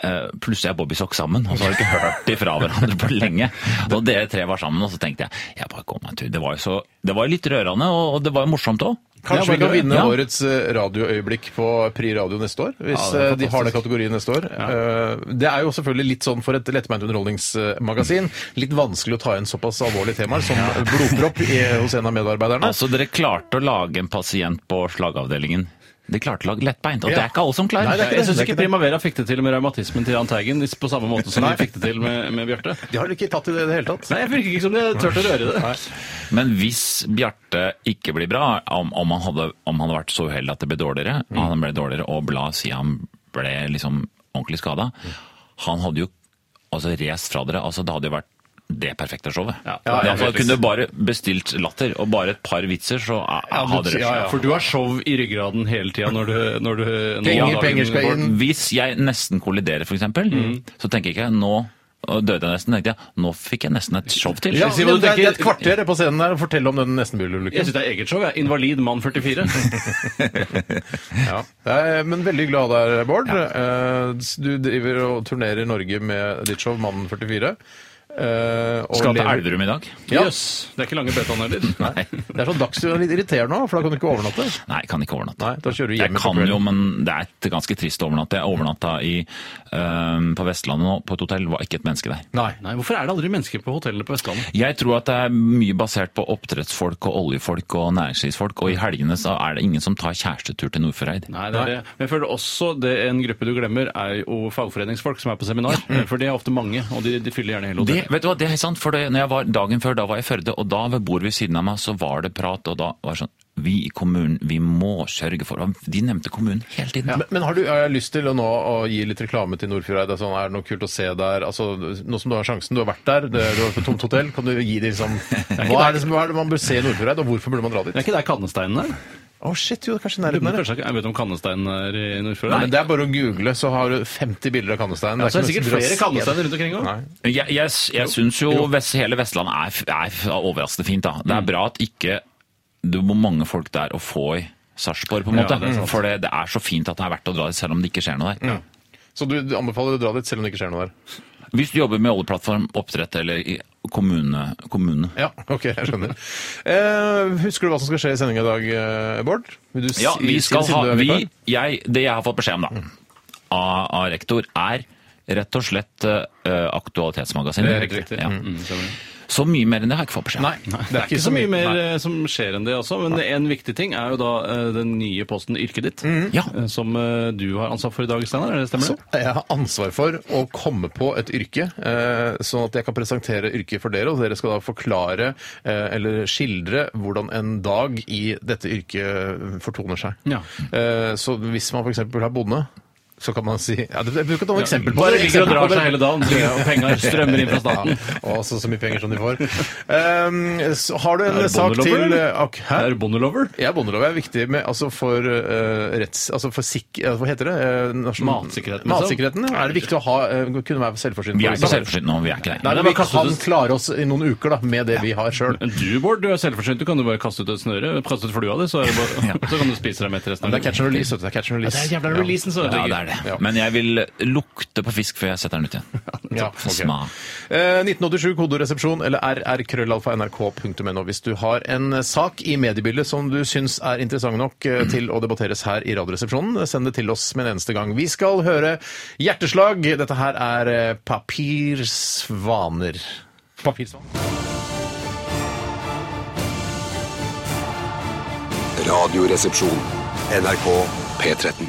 Speaker 3: eh, Plutselig er Bobbysokk sammen, og så har vi ikke hørt de fra hverandre på lenge. Og dere tre var sammen, og så tenkte jeg jeg bare kom meg en tur. Det var jo så, det var jo litt rørende, og, og det var jo morsomt òg.
Speaker 7: Kanskje vi kan vinne
Speaker 3: Ja.
Speaker 7: årets eh, radioøyeblikk på Pri Radio neste år, hvis eh, de har den kategorien neste år. Eh, Det er jo selvfølgelig litt sånn for et lettbeint underholdningsmagasin. Litt vanskelig å ta inn såpass alvorlige temaer som blodpropp i, hos en av medarbeiderne.
Speaker 3: Altså, dere klarte å lage en pasient på slagavdelingen. De klarte å lage lettbeint, og det
Speaker 7: Ja.
Speaker 3: er ikke alle som klarer.
Speaker 7: Nei, det er ikke det.
Speaker 9: Jeg syns
Speaker 7: ikke
Speaker 9: ikke Primavera fikk det til med revmatismen til Jahn Teigen på samme måte som de fikk det til med, med Bjarte.
Speaker 7: De har ikke tatt i det i det hele tatt.
Speaker 9: Nei, jeg virker ikke som de turte å røre det.
Speaker 3: Men hvis Bjarte ikke blir bra, om, om, han hadde, om han hadde vært så uheldig at det ble dårligere,
Speaker 7: Mm.
Speaker 3: han ble dårligere, og la oss si han ble liksom ordentlig skada,
Speaker 7: Mm.
Speaker 3: han hadde jo altså rest fra dere. altså Det hadde jo vært det perfekte showet.
Speaker 9: Ja.
Speaker 3: det,
Speaker 9: Ja,
Speaker 3: altså,
Speaker 9: helt
Speaker 3: kunne du bare bestilt latter og bare et par vitser, så a- a- hadde dere
Speaker 9: For du har show i ryggraden hele tida når du, når du når
Speaker 7: Penger,
Speaker 9: dagen
Speaker 7: penger skal
Speaker 9: går.
Speaker 7: inn.
Speaker 3: Hvis jeg nesten kolliderer, f.eks., eksempel,
Speaker 7: Mm.
Speaker 3: så tenker jeg ikke nå og døde jeg nesten, tenkte jeg. Nå fikk jeg nesten et show til.
Speaker 9: Ja,
Speaker 7: Si hva du tenker. Det er et kvarter på scenen der og fortell om den nestenbilulykken.
Speaker 9: Jeg syns det er eget show. Jeg. Invalid mann 44.
Speaker 7: Ja. Eh, Men veldig glad der, Bård. Eh, Du driver og turnerer i Norge med ditt show Mannen 44. eh, og
Speaker 3: Skal til
Speaker 7: lever-
Speaker 3: Elverum i dag?
Speaker 7: Ja.
Speaker 9: Jøss. Det er ikke lange betaen heller.
Speaker 3: Nei.
Speaker 7: Det er sånn Dagsrevyen er litt irriterende òg, for da kan du ikke overnatte.
Speaker 3: Nei, jeg kan ikke overnatte.
Speaker 7: Nei, da kjører du hjem
Speaker 3: jeg
Speaker 7: på
Speaker 3: kan
Speaker 7: kvelden.
Speaker 3: jo, men det er et ganske trist å overnatte. Jeg overnatta i, eh, på Vestlandet nå, på et hotell. Var ikke et menneske der.
Speaker 7: Nei.
Speaker 9: Nei, Hvorfor er det aldri mennesker på hotellene på Vestlandet?
Speaker 3: Jeg tror at det er mye basert på oppdrettsfolk og oljefolk og næringslivsfolk, og i helgene så er det ingen som tar kjærestetur til Nordfjordeid.
Speaker 9: Nei, det er det. Men jeg føler også det en gruppe du glemmer, er jo fagforeningsfolk som er på seminar. For de er ofte mange, og de, de fyller gjerne hele
Speaker 3: Det,
Speaker 9: hotellet.
Speaker 3: vet du hva, det er helt sant, for det, når jeg var, Dagen før da var jeg i Førde, og da ved bordet ved siden av meg så var det prat. og da var det sånn, Vi i kommunen vi må sørge for og De nevnte kommunen hele tiden.
Speaker 7: Men, men har du har jeg lyst til å nå å gi litt reklame til Nordfjordeid? Det er Sånn, er det noe kult å se der? Altså, nå som du har sjansen, du har vært der, det, du har vært på et tomt hotell, kan du gi det liksom Hva er det, som, hva er det man bør se i Nordfjordeid, og hvorfor burde man dra dit?
Speaker 9: Det er ikke der kannesteinen er?
Speaker 7: Å shit, jo, det er kanskje
Speaker 9: Du
Speaker 7: nærheten
Speaker 9: må
Speaker 7: der. ja.
Speaker 9: kanskje ikke- Jeg vet om kannesteinen er i
Speaker 7: Nei,
Speaker 9: Nordfjord?
Speaker 7: men det er bare å google, så har du 50 bilder av Kannestein.
Speaker 9: Så er det
Speaker 7: ikke
Speaker 9: sikkert
Speaker 7: noe
Speaker 9: flere
Speaker 7: stress.
Speaker 9: kannesteiner rundt omkring òg.
Speaker 7: Nei.
Speaker 3: Jeg, jeg, jeg syns jo Mm. Vest, hele Vestlandet er, f- er f- overraskende fint. da. Det er bra at ikke du må mange folk der å få i Sarpsborg, på en måte. for det, det er så fint at det er verdt å dra dit, selv om det ikke skjer noe der.
Speaker 7: Så du, du anbefaler å dra dit selv om det ikke skjer noe der?
Speaker 3: Hvis du jobber med oljeplattform, oppdrett eller i kommune, kommune.
Speaker 7: Ja, ok, jeg skjønner. Eh, husker du hva som skal skje i sendinga i dag, eh, Bård? Vil du
Speaker 3: Ja,
Speaker 7: si-
Speaker 3: vi
Speaker 7: si
Speaker 3: skal
Speaker 7: det siden
Speaker 3: ha
Speaker 7: du er vikar?
Speaker 3: vi, jeg, Det jeg har fått beskjed om, da, av, av rektor, er rett og slett uh, Aktualitetsmagasinet.
Speaker 7: Det er helt riktig.
Speaker 3: Ja. Så mye mer enn det har jeg ikke fått beskjed om.
Speaker 7: Nei, det er,
Speaker 9: Det er ikke så mye mer eh, som skjer enn det også, men en viktig ting er jo da eh, den nye posten Yrket ditt,
Speaker 7: Mhm.
Speaker 3: Ja.
Speaker 9: eh, som eh, du har ansvar for i dag, Steinar. er det Stemmer det?
Speaker 7: Jeg har ansvar for å komme på et yrke, eh, sånn at jeg kan presentere yrket for dere, og dere skal da forklare eh, eller skildre hvordan en dag i dette yrket fortoner seg.
Speaker 9: Ja.
Speaker 7: Eh, Så hvis man f.eks. er bonde, så kan man si ja, det- Jeg bruker å ta noe eksempel på
Speaker 9: Bare
Speaker 7: det.
Speaker 9: ligger og
Speaker 7: Eksempel på
Speaker 9: drar seg
Speaker 7: det.
Speaker 9: hele dagen, så penger strømmer inn fra staten.
Speaker 7: Ja, og så, så mye penger som de får. Um, så har du en
Speaker 9: Er du
Speaker 7: sak
Speaker 9: bondelover,
Speaker 7: til eh,
Speaker 9: eller?
Speaker 7: ok, Hæ?
Speaker 9: Er du bondelover?
Speaker 7: Ja, bondelov er viktig med, altså for eh, retts... Altså for sik... eh, Hva heter det? Eh, nasjonal-
Speaker 9: Matsikkerheten, liksom.
Speaker 7: Matsikkerheten, ja. Er det viktig å ha, eh, kunne være selvforsynt?
Speaker 3: Vi er ikke selvforsynte nå, vi er ikke det.
Speaker 7: Nei,
Speaker 9: det
Speaker 7: men
Speaker 9: er
Speaker 7: vi
Speaker 9: bare kastet
Speaker 7: kan
Speaker 9: ut-
Speaker 7: klare oss i noen uker da, med det vi har sjøl.
Speaker 9: Men Du, Bård, du er selvforsynt. Du kan jo bare kaste ut et snøre, kaste ut flua di, så, er det bare, så kan du spise deg mett resten
Speaker 7: Det
Speaker 9: av
Speaker 7: er catch and release. vet du, Det er catch and release. Ja.
Speaker 9: så
Speaker 3: Ja, det er det.
Speaker 7: Ja.
Speaker 3: Men jeg vil lukte på fisk før jeg setter den ut igjen.
Speaker 7: Ja, ok.
Speaker 3: Smak.
Speaker 7: Eh, 1987 kodoresepsjon eller rrkrøllalfa.nrk.no hvis du har en eh, sak i mediebildet som du syns er interessant nok eh, til å debatteres her i Radioresepsjonen. eh, Send det til oss med en eneste gang. Vi skal høre Hjerteslag. Dette her er eh, Papirsvaner. Papirsvaner.
Speaker 1: Radioresepsjon. NRK P13.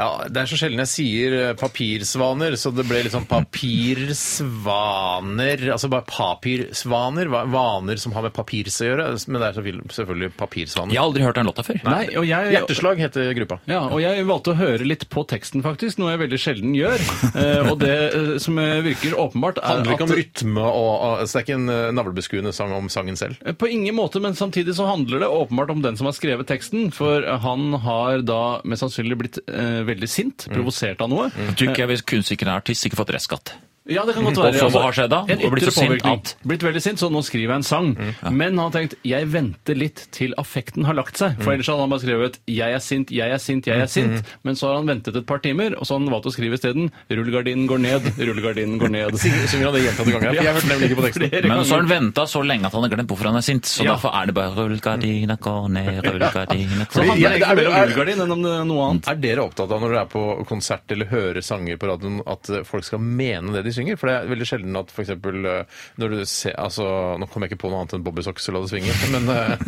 Speaker 7: Ja, Det er så sjelden jeg sier eh, papirsvaner, så det ble litt sånn papirsvaner. Altså bare papirsvaner. hva- Vaner som har med papirs å gjøre. Men det er selvfølgelig- selvfølgelig papirsvaner.
Speaker 3: Jeg har aldri hørt den låta før.
Speaker 9: Nei, og jeg...
Speaker 7: Hjerteslag heter gruppa.
Speaker 9: Ja, og jeg valgte å høre litt på teksten, faktisk, noe jeg veldig sjelden gjør. Eh, og det eh, som eh, virker åpenbart,
Speaker 7: Det
Speaker 9: er
Speaker 7: handler ikke om
Speaker 9: at
Speaker 7: rytme og, og så Det er ikke en eh, navlebeskuende sang om sangen selv.
Speaker 9: Eh, På ingen måte, men samtidig så handler det åpenbart om den som har skrevet teksten. For han har da mest sannsynlig blitt eh, veldig sint,
Speaker 7: Mm.
Speaker 9: provosert av noe.
Speaker 3: Tykker jeg hvis kunstneren er artist, ikke fått restskatt.
Speaker 9: Ja, det kan godt
Speaker 3: Og
Speaker 9: være.
Speaker 3: så hva har skjedd da?
Speaker 9: En
Speaker 3: Og blitt
Speaker 9: ytre
Speaker 3: så sint
Speaker 9: påvirkning.
Speaker 3: at-
Speaker 9: Blitt veldig sint, så nå skriver jeg en sang.
Speaker 7: Mm.
Speaker 9: Men han har tenkt jeg venter litt til affekten har lagt seg.
Speaker 7: Mm.
Speaker 9: For ellers hadde han bare skrevet 'jeg er sint, jeg er sint, jeg er sint'. Men så har han ventet et par timer, og så har han valgt å skrive isteden 'rullegardinen går ned, rullegardinen går ned'.
Speaker 7: Synger han det gjentatte ganger? Jeg har hørt nemlig ikke på teksten.
Speaker 9: Flere
Speaker 3: Men så har
Speaker 9: ganger.
Speaker 3: han venta så lenge at han har glemt hvorfor han er sint. Så
Speaker 9: Ja.
Speaker 3: derfor er det bare rullegardina går ned, rullegardina
Speaker 9: Så
Speaker 3: går
Speaker 9: handler det
Speaker 3: ned.
Speaker 7: Jeg-
Speaker 9: egentlig mer om
Speaker 7: er-
Speaker 9: rullegardin enn om det- noe annet.
Speaker 7: Er dere opptatt av når dere er på konsert eller hører sanger på radioen, at eh, folk skal mene det de synger? For det er veldig sjelden at f.eks. når du ser altså, Nå kom jeg ikke på noe annet enn Bobbysocks og La det svinge, men, eh,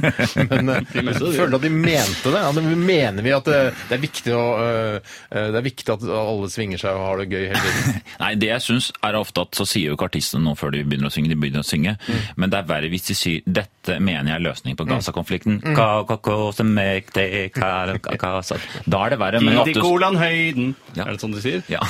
Speaker 7: men eh, jeg føler at de mente det. Ja, men mener vi at eh, det er viktig, å, eh, eh, det er viktig at alle svinger seg og har det gøy hele tiden?
Speaker 3: Nei, det jeg syns er ofte at så sier jo ikke artistene noe før de begynner å synge, de begynner å synge.
Speaker 7: Mm.
Speaker 3: Men det er verre hvis de sier 'dette mener jeg er løsningen på Gaza-konflikten'.
Speaker 7: Mm.
Speaker 3: Ka- ka- ka- som ek- det ka- ka- ka- sa- Da er det verre. Men
Speaker 9: Giddi
Speaker 3: ofte
Speaker 9: Kolan Høyden.
Speaker 3: Ja.
Speaker 9: Er det sånn de sier?
Speaker 3: ja.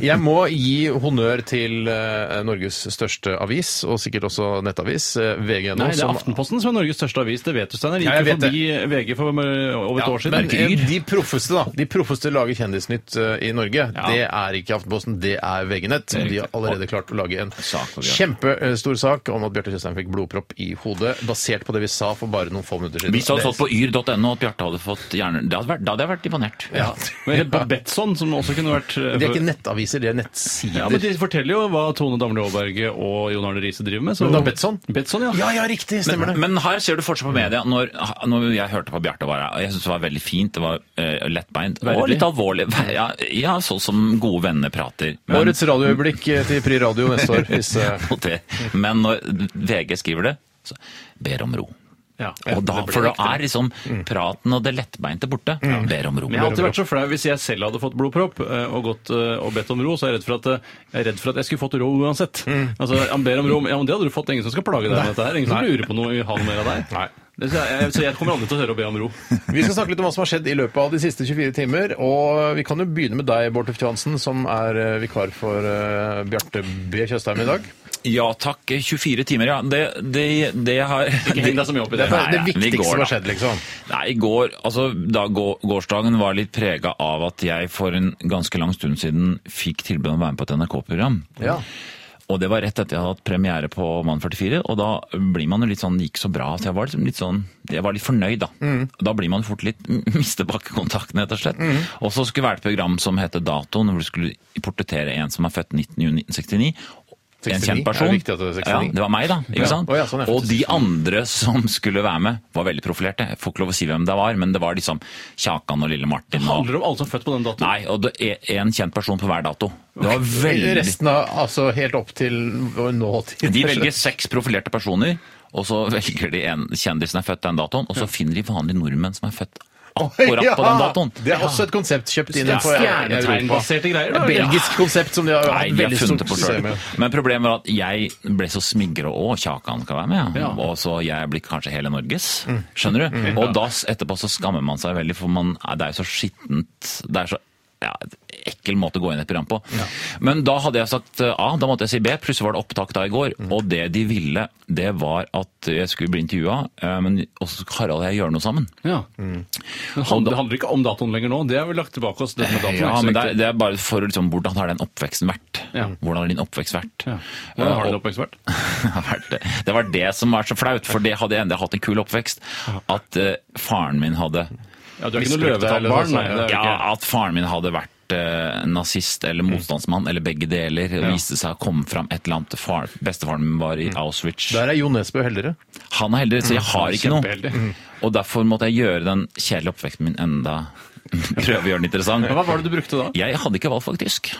Speaker 7: Jeg må gi honnør til eh, Norges største avis, og sikkert også nettavis, eh, VG nå.
Speaker 9: Nei, det er
Speaker 7: som-
Speaker 9: Aftenposten som er Norges største avis, det vet du, Steinar. Gikk
Speaker 7: Ja, jeg
Speaker 9: jo
Speaker 7: vet
Speaker 9: forbi VG for eh, over et år siden.
Speaker 7: men eh, de proffeste da, de proffeste lager Kjendisnytt eh, i Norge. Det er ikke Aftenposten, det er VG-nett.
Speaker 3: Det er
Speaker 7: De har
Speaker 3: riktig.
Speaker 7: allerede klart å lage en
Speaker 3: Sak for Bjarte.
Speaker 7: kjempestor sak om at Bjarte Tjøstheim fikk blodpropp i hodet, basert på det vi sa for bare noen få minutter siden.
Speaker 3: Hvis det hadde stått på yr.no at Bjarte hadde fått hjerne... Da hadde vært- da hadde jeg vært imponert.
Speaker 7: Ja.
Speaker 9: Men Babetson, som også kunne vært eh,
Speaker 7: Men de er ikke nettaviser, de er nettsider.
Speaker 9: ja, men De forteller forteller jo hva Tone Damli Aaberge og Jon Arne Riise driver med. Så...
Speaker 7: Men da Betsson?
Speaker 9: Betsson, ja.
Speaker 7: Ja, ja, riktig. Stemmer det.
Speaker 3: Men her ser du forskjell på media. Når, når jeg hørte på Bjarte, var jeg, jeg synes det var veldig fint. Det var eh, lettbeint og
Speaker 7: Verdig.
Speaker 3: litt alvorlig. Ver- Ja, ja, sånn som gode venner prater. Men,
Speaker 7: Årets radioøyeblikk eh, til Pri Radio neste år. Hvis, eh,
Speaker 3: og det, men når VG skriver det, så ber om ro.
Speaker 9: Ja.
Speaker 3: Og
Speaker 9: Det
Speaker 3: da,
Speaker 9: Mm. ble
Speaker 3: for da
Speaker 9: riktig.
Speaker 3: er liksom praten og det lettbeinte borte. Ber om ro.
Speaker 9: Men jeg har alltid vært så flau hvis jeg selv hadde fått blodpropp eh, og gått eh, og bedt om ro, så er jeg redd for at, eh, jeg, er redd for at jeg skulle fått ro uansett. Altså, Han ber om ro, men ja, men det hadde du fått. Ingen som skal plage deg med dette her. Ingen som lurer på noe, vil ha noe mer av deg.
Speaker 7: Nei.
Speaker 9: Det- Så jeg, så jeg kommer aldri til å høre å be om ro.
Speaker 7: vi skal snakke litt om hva som har skjedd i løpet av de siste 24 timer. Og vi kan jo begynne med deg, Bård Tufte Johansen, som er eh, vikar for eh, Bjarte B. Tjøstheim i dag.
Speaker 3: Ja takk, 24 timer, ja. Det, det, det har
Speaker 9: Ikke heng deg så mye opp i det.
Speaker 7: Det er
Speaker 3: Nei,
Speaker 7: det
Speaker 3: ja, vi
Speaker 7: viktigste
Speaker 3: går
Speaker 7: som
Speaker 3: da.
Speaker 7: har skjedd, liksom.
Speaker 3: Nei, i går, altså da gå- gårsdagen var litt prega av at jeg for en ganske lang stund siden fikk tilbud om å være med på et NRK-program.
Speaker 7: Ja.
Speaker 3: Og det var rett etter jeg hadde hatt premiere på Mann 44, og da blir man jo litt sånn, det gikk så bra, så jeg var liksom litt sånn, jeg var litt fornøyd da.
Speaker 7: Mm.
Speaker 3: Da blir man fort litt, mister bakkekontakten rett og slett.
Speaker 7: Mm.
Speaker 3: Og så skulle det være et program som heter Datoen, hvor du skulle portrettere en som er født 19. juni 1969, en
Speaker 7: 69?
Speaker 3: kjent person.
Speaker 7: Er det viktig at det er 69?
Speaker 3: Ja, det var meg da, ikke
Speaker 7: Ja.
Speaker 3: sant?
Speaker 7: Å ja, sånn, ja.
Speaker 3: og de andre som skulle være med var veldig profilerte. Jeg får ikke lov å si hvem det var, men det var liksom Kjakan og Lille Martin.
Speaker 9: Det
Speaker 3: og-
Speaker 9: handler om alle som er født på den datoen.
Speaker 3: Nei, og det er en kjent person på hver dato. Det var veldig...
Speaker 7: Resten av altså helt opp til vår nåtid.
Speaker 3: De velger seks profilerte personer, og så velger de en kjendis som er født den datoen, og så finner de vanlige nordmenn som er født akkurat på den datoen.
Speaker 7: Det er også et konsept kjøpt inn
Speaker 9: Ja,
Speaker 7: på Europa.
Speaker 9: Stjernetegnbaserte greier.
Speaker 7: Et
Speaker 9: Da.
Speaker 7: belgisk konsept som de har
Speaker 3: Nei,
Speaker 7: hatt
Speaker 3: de har
Speaker 7: veldig
Speaker 3: funnet
Speaker 7: stort
Speaker 3: det på
Speaker 7: suksess
Speaker 3: selv.
Speaker 7: med.
Speaker 3: Men problemet var at jeg ble så smigra òg. Kjakan skal være med.
Speaker 9: Ja.
Speaker 3: Og så jeg blir kanskje hele Norges. Skjønner du? Og da s- etterpå så skammer man seg veldig, for man, det er jo så skittent. Det er så ja, et ekkel måte å gå inn i et program på. Men da hadde jeg sagt eh, A, da måtte jeg si B. Plutselig var det opptak da i går. Og det de ville, det var at jeg skulle bli intervjua, eh, men også Harald og jeg gjør noe sammen.
Speaker 9: Ja.
Speaker 3: Mm.
Speaker 9: Men han- Det handler ikke om datoen lenger nå. Det har vi lagt tilbake oss. Dette med datoen,
Speaker 3: Ja,
Speaker 9: ikke så
Speaker 3: men det er,
Speaker 9: viktig.
Speaker 3: det er bare for å liksom, Hvordan har den oppveksten vært?
Speaker 9: Ja.
Speaker 3: Hvordan har din oppvekst vært?
Speaker 9: ja. Hvordan har
Speaker 3: Eh,
Speaker 9: du
Speaker 3: og-
Speaker 9: det oppvekst vært?
Speaker 3: har vært det. det var det som var så flaut, for det hadde jeg endelig hatt en kul oppvekst. At eh, faren min hadde
Speaker 9: Ja, du er ikke noe
Speaker 7: Misbrukt deg, eller noe
Speaker 9: løvetannbarn,
Speaker 7: sånt,
Speaker 9: nei. Det er jo
Speaker 3: Ja,
Speaker 9: ikke. Mm.
Speaker 3: at faren min hadde vært eh, nazist eller motstandsmann, eller begge deler. og Viste seg å komme fram et eller annet. Far, bestefaren min var
Speaker 9: Mm.
Speaker 3: i Auschwitz.
Speaker 7: Der er Jo Nesbø heldigere.
Speaker 3: Han er heldig, så jeg har ikke
Speaker 9: Kjempeheldig. Mm.
Speaker 3: noe. Og derfor måtte jeg gjøre den kjedelige oppveksten min enda Prøve å gjøre den interessant.
Speaker 9: Men Hva var det du brukte da?
Speaker 3: Jeg hadde ikke valgt faktisk,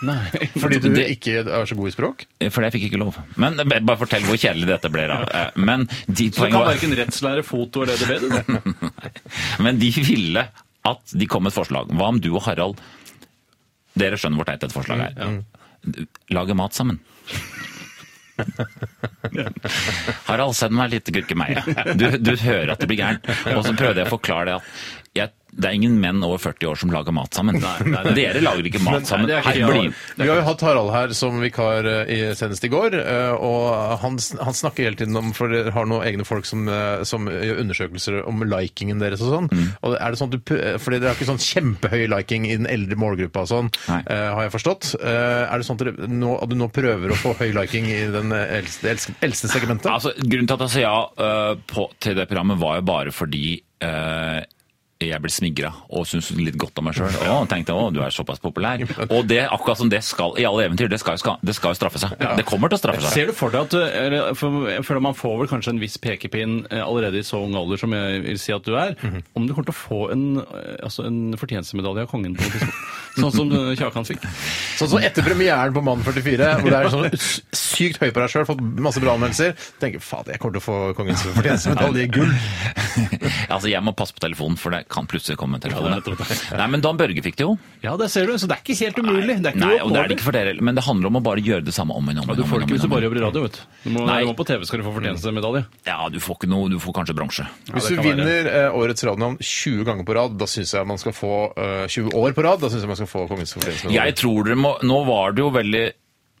Speaker 7: Fordi du
Speaker 3: Det-
Speaker 7: ikke er så god i språk?
Speaker 3: fordi jeg fikk ikke lov. Men eh, bare fortell hvor kjedelig dette ble. da. Eh, Men de
Speaker 9: Så du kan
Speaker 3: poengene var-
Speaker 9: verken rettslære, foto eller DDB? du.
Speaker 3: Men de ville at de kom med et forslag. Hva om du og Harald Dere skjønner hvor teit dette forslaget er.
Speaker 9: Mm,
Speaker 3: Lager mat sammen. Harald, send meg litt gurkemeie. Du, du hører at det blir gærent. Og så prøvde jeg å forklare det at jeg, det er ingen menn over 40 år som lager mat sammen. Dere lager ikke mat sammen.
Speaker 9: det er ikke
Speaker 3: Her blir-
Speaker 9: jeg.
Speaker 7: Vi har jo hatt Harald her som vikar eh, i, senest i går, eh, og han, sn- han snakker hele tiden om For dere har noen egne folk som, eh, som gjør undersøkelser om likingen deres og sånn.
Speaker 9: Mm.
Speaker 7: Og er det sånn at du, pu- eh, fordi dere har ikke sånn kjempehøy liking i den eldre målgruppa og sånn,
Speaker 3: Nei.
Speaker 7: eh, har jeg forstått. Eh, Er det sånn at, dere, nå, at du nå prøver å få høy liking i den eh, eldste, eldste, eldste segmentet?
Speaker 3: Altså, grunnen til at jeg sa ja eh, på, til det programmet var jo bare fordi eh, jeg ble smigra og syntes litt godt om meg sjøl. Og tenkte å, du er såpass populær. Og det akkurat som det skal i alle eventyr, det skal jo, ska- det skal jo straffe seg. Det kommer til å straffe seg.
Speaker 9: Ser du for deg at du, eller, for, Jeg føler man får vel kanskje en viss pekepinn eh, allerede i så ung alder som jeg vil si at du er,
Speaker 3: Mhm.
Speaker 9: om du kommer til å få en, eh, altså en fortjenestemedalje av kongen på noe tidspunkt. Sånn som eh, Kjakan fikk.
Speaker 7: Sånn som etter premieren på Mann 44, hvor det er sånn s- sykt høy på deg sjøl, fått masse bra anmeldelser. Tenker fader, jeg kommer til å få kongens fortjenestemedalje i gull.
Speaker 3: Altså, Jeg må passe på telefonen, for det kan plutselig komme en telefon.
Speaker 9: Ja, det er nettopp
Speaker 3: Nei, men Dan Børge fikk det jo.
Speaker 9: Ja, det ser du. Så det er ikke helt umulig. Det er ikke
Speaker 3: Nei, og det er
Speaker 9: uoppnåelig.
Speaker 3: det ikke for dere heller. Men det handler om å bare gjøre det samme om igjen. om
Speaker 9: Ja,
Speaker 3: igjen,
Speaker 9: du
Speaker 3: om
Speaker 9: får det
Speaker 3: igjen,
Speaker 9: ikke hvis
Speaker 3: om
Speaker 9: du bare
Speaker 3: igjen.
Speaker 9: jobber i radio, vet du. Du må,
Speaker 3: Nei.
Speaker 9: du må på TV skal du få fortjenestemedalje.
Speaker 3: Ja, du får ikke noe, du får kanskje bronse.
Speaker 7: Hvis du vinner eh, årets radionavn 20 ganger på rad, da syns jeg man skal få eh, 20 år på rad, da syns jeg man skal få Kongens
Speaker 3: Jeg
Speaker 7: fortjenstmedalje.
Speaker 3: tror dere må Nå var det jo veldig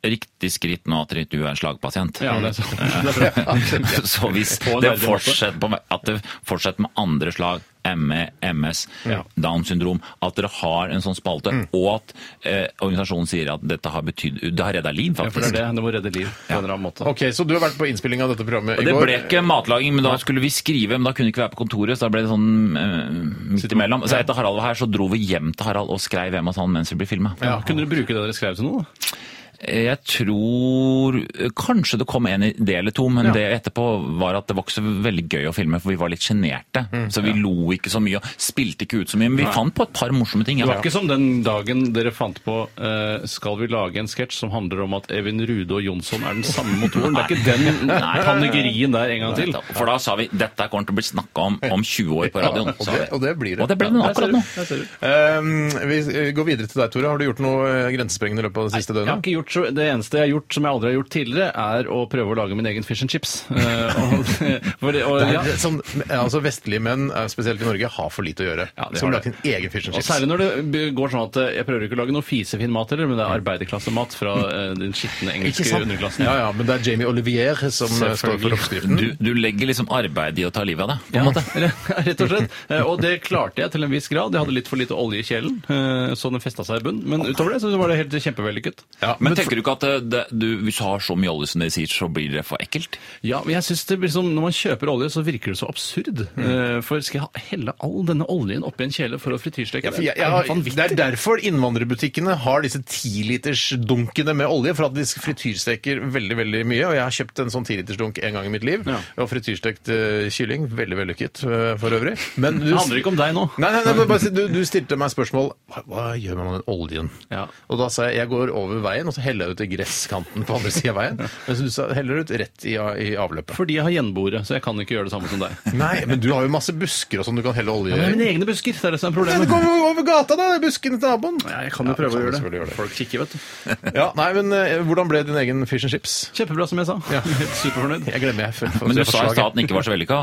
Speaker 3: riktig skritt nå at du er en slagpasient.
Speaker 9: Mm. Ja, det er sant. Det er sant.
Speaker 3: Så hvis
Speaker 9: På en
Speaker 3: det
Speaker 9: verdig måte.
Speaker 3: fortsetter, på, at det fortsetter med andre slag, E, ME, MS,
Speaker 9: Ja. Mm.
Speaker 3: Down syndrom, at dere har en sånn spalte, og at eh, organisasjonen sier at dette har betydd Det har redda liv,
Speaker 9: Ja, for det
Speaker 3: faktisk.
Speaker 9: er det. Du må redde liv på en eller annen måte.
Speaker 7: Ok, Så du har vært på innspilling av dette programmet i
Speaker 3: Og det
Speaker 7: går.
Speaker 3: ble ikke matlaging, men da skulle vi skrive, men da kunne vi ikke være på kontoret, så da ble det sånn eh, midt imellom. Så etter Harald var her, så dro vi hjem til Harald og skrev hjemme hos han mens vi ble filma.
Speaker 9: Ja, kunne dere bruke det dere skrev til noe? da?
Speaker 3: Jeg tror eh, Kanskje det kom en idé eller to, men det etterpå var at det var ikke så veldig gøy å filme, for vi var litt sjenerte.
Speaker 7: Mm.
Speaker 3: så vi lo ikke så mye og spilte ikke ut så mye. Men vi fant på et par morsomme ting.
Speaker 9: Det
Speaker 3: ja.
Speaker 9: var ikke som den dagen dere fant på eh, Skal vi lage en sketsj som handler om at Evin Rude og Jonsson er den samme motoren. Det er ikke den panegyrien der en gang til.
Speaker 3: For da sa vi dette kommer til å bli snakka om om 20 år på radioen.
Speaker 7: og,
Speaker 3: sa
Speaker 7: det,
Speaker 3: vi.
Speaker 7: og det blir det.
Speaker 3: Og det ble det
Speaker 7: Ja, der ser
Speaker 3: akkurat
Speaker 7: du.
Speaker 3: nå.
Speaker 7: Der ser du. Eh, vi eh, går videre til deg, Tore. Har du gjort noe eh, grensesprengende i løpet av det siste
Speaker 9: Jeg har
Speaker 7: døgnet?
Speaker 9: ikke gjort så, det eneste jeg har gjort som jeg aldri har gjort tidligere, er å prøve å lage min egen fish and chips. Eh, og, for det- og,
Speaker 7: Det er,
Speaker 9: ja.
Speaker 7: sånn, altså Vestlige menn, eh, spesielt i Norge, har for lite å gjøre.
Speaker 9: Ja, de
Speaker 7: som
Speaker 9: har
Speaker 7: lagt
Speaker 9: det.
Speaker 7: inn egen fish and
Speaker 9: Og
Speaker 7: chips.
Speaker 9: særlig når det b- går sånn at eh, jeg prøver ikke å lage noe fisefin mat heller, men det er arbeiderklassemat fra eh, den skitne engelske underklassen.
Speaker 7: Ja, ja, men det er Jamie Olivier som eh, står for oppskriften.
Speaker 3: Du, du legger liksom arbeid i å ta livet av deg, på en
Speaker 9: Ja,
Speaker 3: måte.
Speaker 9: rett og slett. Eh, Og det klarte jeg til en viss grad. Jeg hadde litt for lite olje i kjelen, eh, så den festa seg i bunnen. Men utover det så var det helt kjempevellykket.
Speaker 7: Ja,
Speaker 3: Men tenker du ikke at eh, det, du, hvis du har så mye olje som de sier, så blir det for ekkelt?
Speaker 9: Ja, men jeg synes det blir som, Når man kjøper olje, så virker det så absurd.
Speaker 7: Mm.
Speaker 9: Eh, For skal jeg ha- helle all denne oljen oppi en kjele for å frityrsteke?
Speaker 7: Ja, for jeg,
Speaker 9: Det er
Speaker 7: jeg,
Speaker 9: jo
Speaker 7: har-
Speaker 9: vanvittig.
Speaker 7: det er derfor innvandrerbutikkene har disse tilitersdunkene med olje, for at de frityrsteker veldig veldig mye. Og jeg har kjøpt en sånn tilitersdunk en gang i mitt liv,
Speaker 9: Ja.
Speaker 7: og frityrstekt eh, kylling. Veldig vellykket eh, for øvrig. Men du,
Speaker 9: Det handler ikke om deg nå.
Speaker 7: Nei, nei, nei, bare, si- du, du stilte meg spørsmål hva, hva gjør man med den oljen?
Speaker 9: Ja.
Speaker 7: Og da sa jeg jeg går over veien, og så heller jeg ut i gresskanten på andre siden av veien. Mens du sa heller ut rett i, i avløpet.
Speaker 9: Fordi jeg har gjenboere, så jeg kan ikke gjøre det samme som deg.
Speaker 7: Nei, men du har jo masse busker og sånn du kan helle olje
Speaker 9: Det er
Speaker 7: i.
Speaker 9: mine egne busker. Det er det som er
Speaker 7: Ja, men
Speaker 9: problemet.
Speaker 7: Kom over gata, da! Buskene til naboen.
Speaker 9: Ja, jeg kan jo
Speaker 7: Ja,
Speaker 9: prøve
Speaker 7: kan
Speaker 9: å gjøre
Speaker 7: selvfølgelig
Speaker 9: det.
Speaker 7: gjøre det.
Speaker 9: Folk kikker, vet du.
Speaker 7: Ja, nei, men eh, Hvordan ble din egen fish and chips?
Speaker 9: Kjempebra, som jeg sa. Helt superfornøyd.
Speaker 7: Jeg glemmer jeg. For, for,
Speaker 3: Men du
Speaker 7: for
Speaker 3: sa i
Speaker 7: slaget.
Speaker 3: stad at den ikke var så vellykka.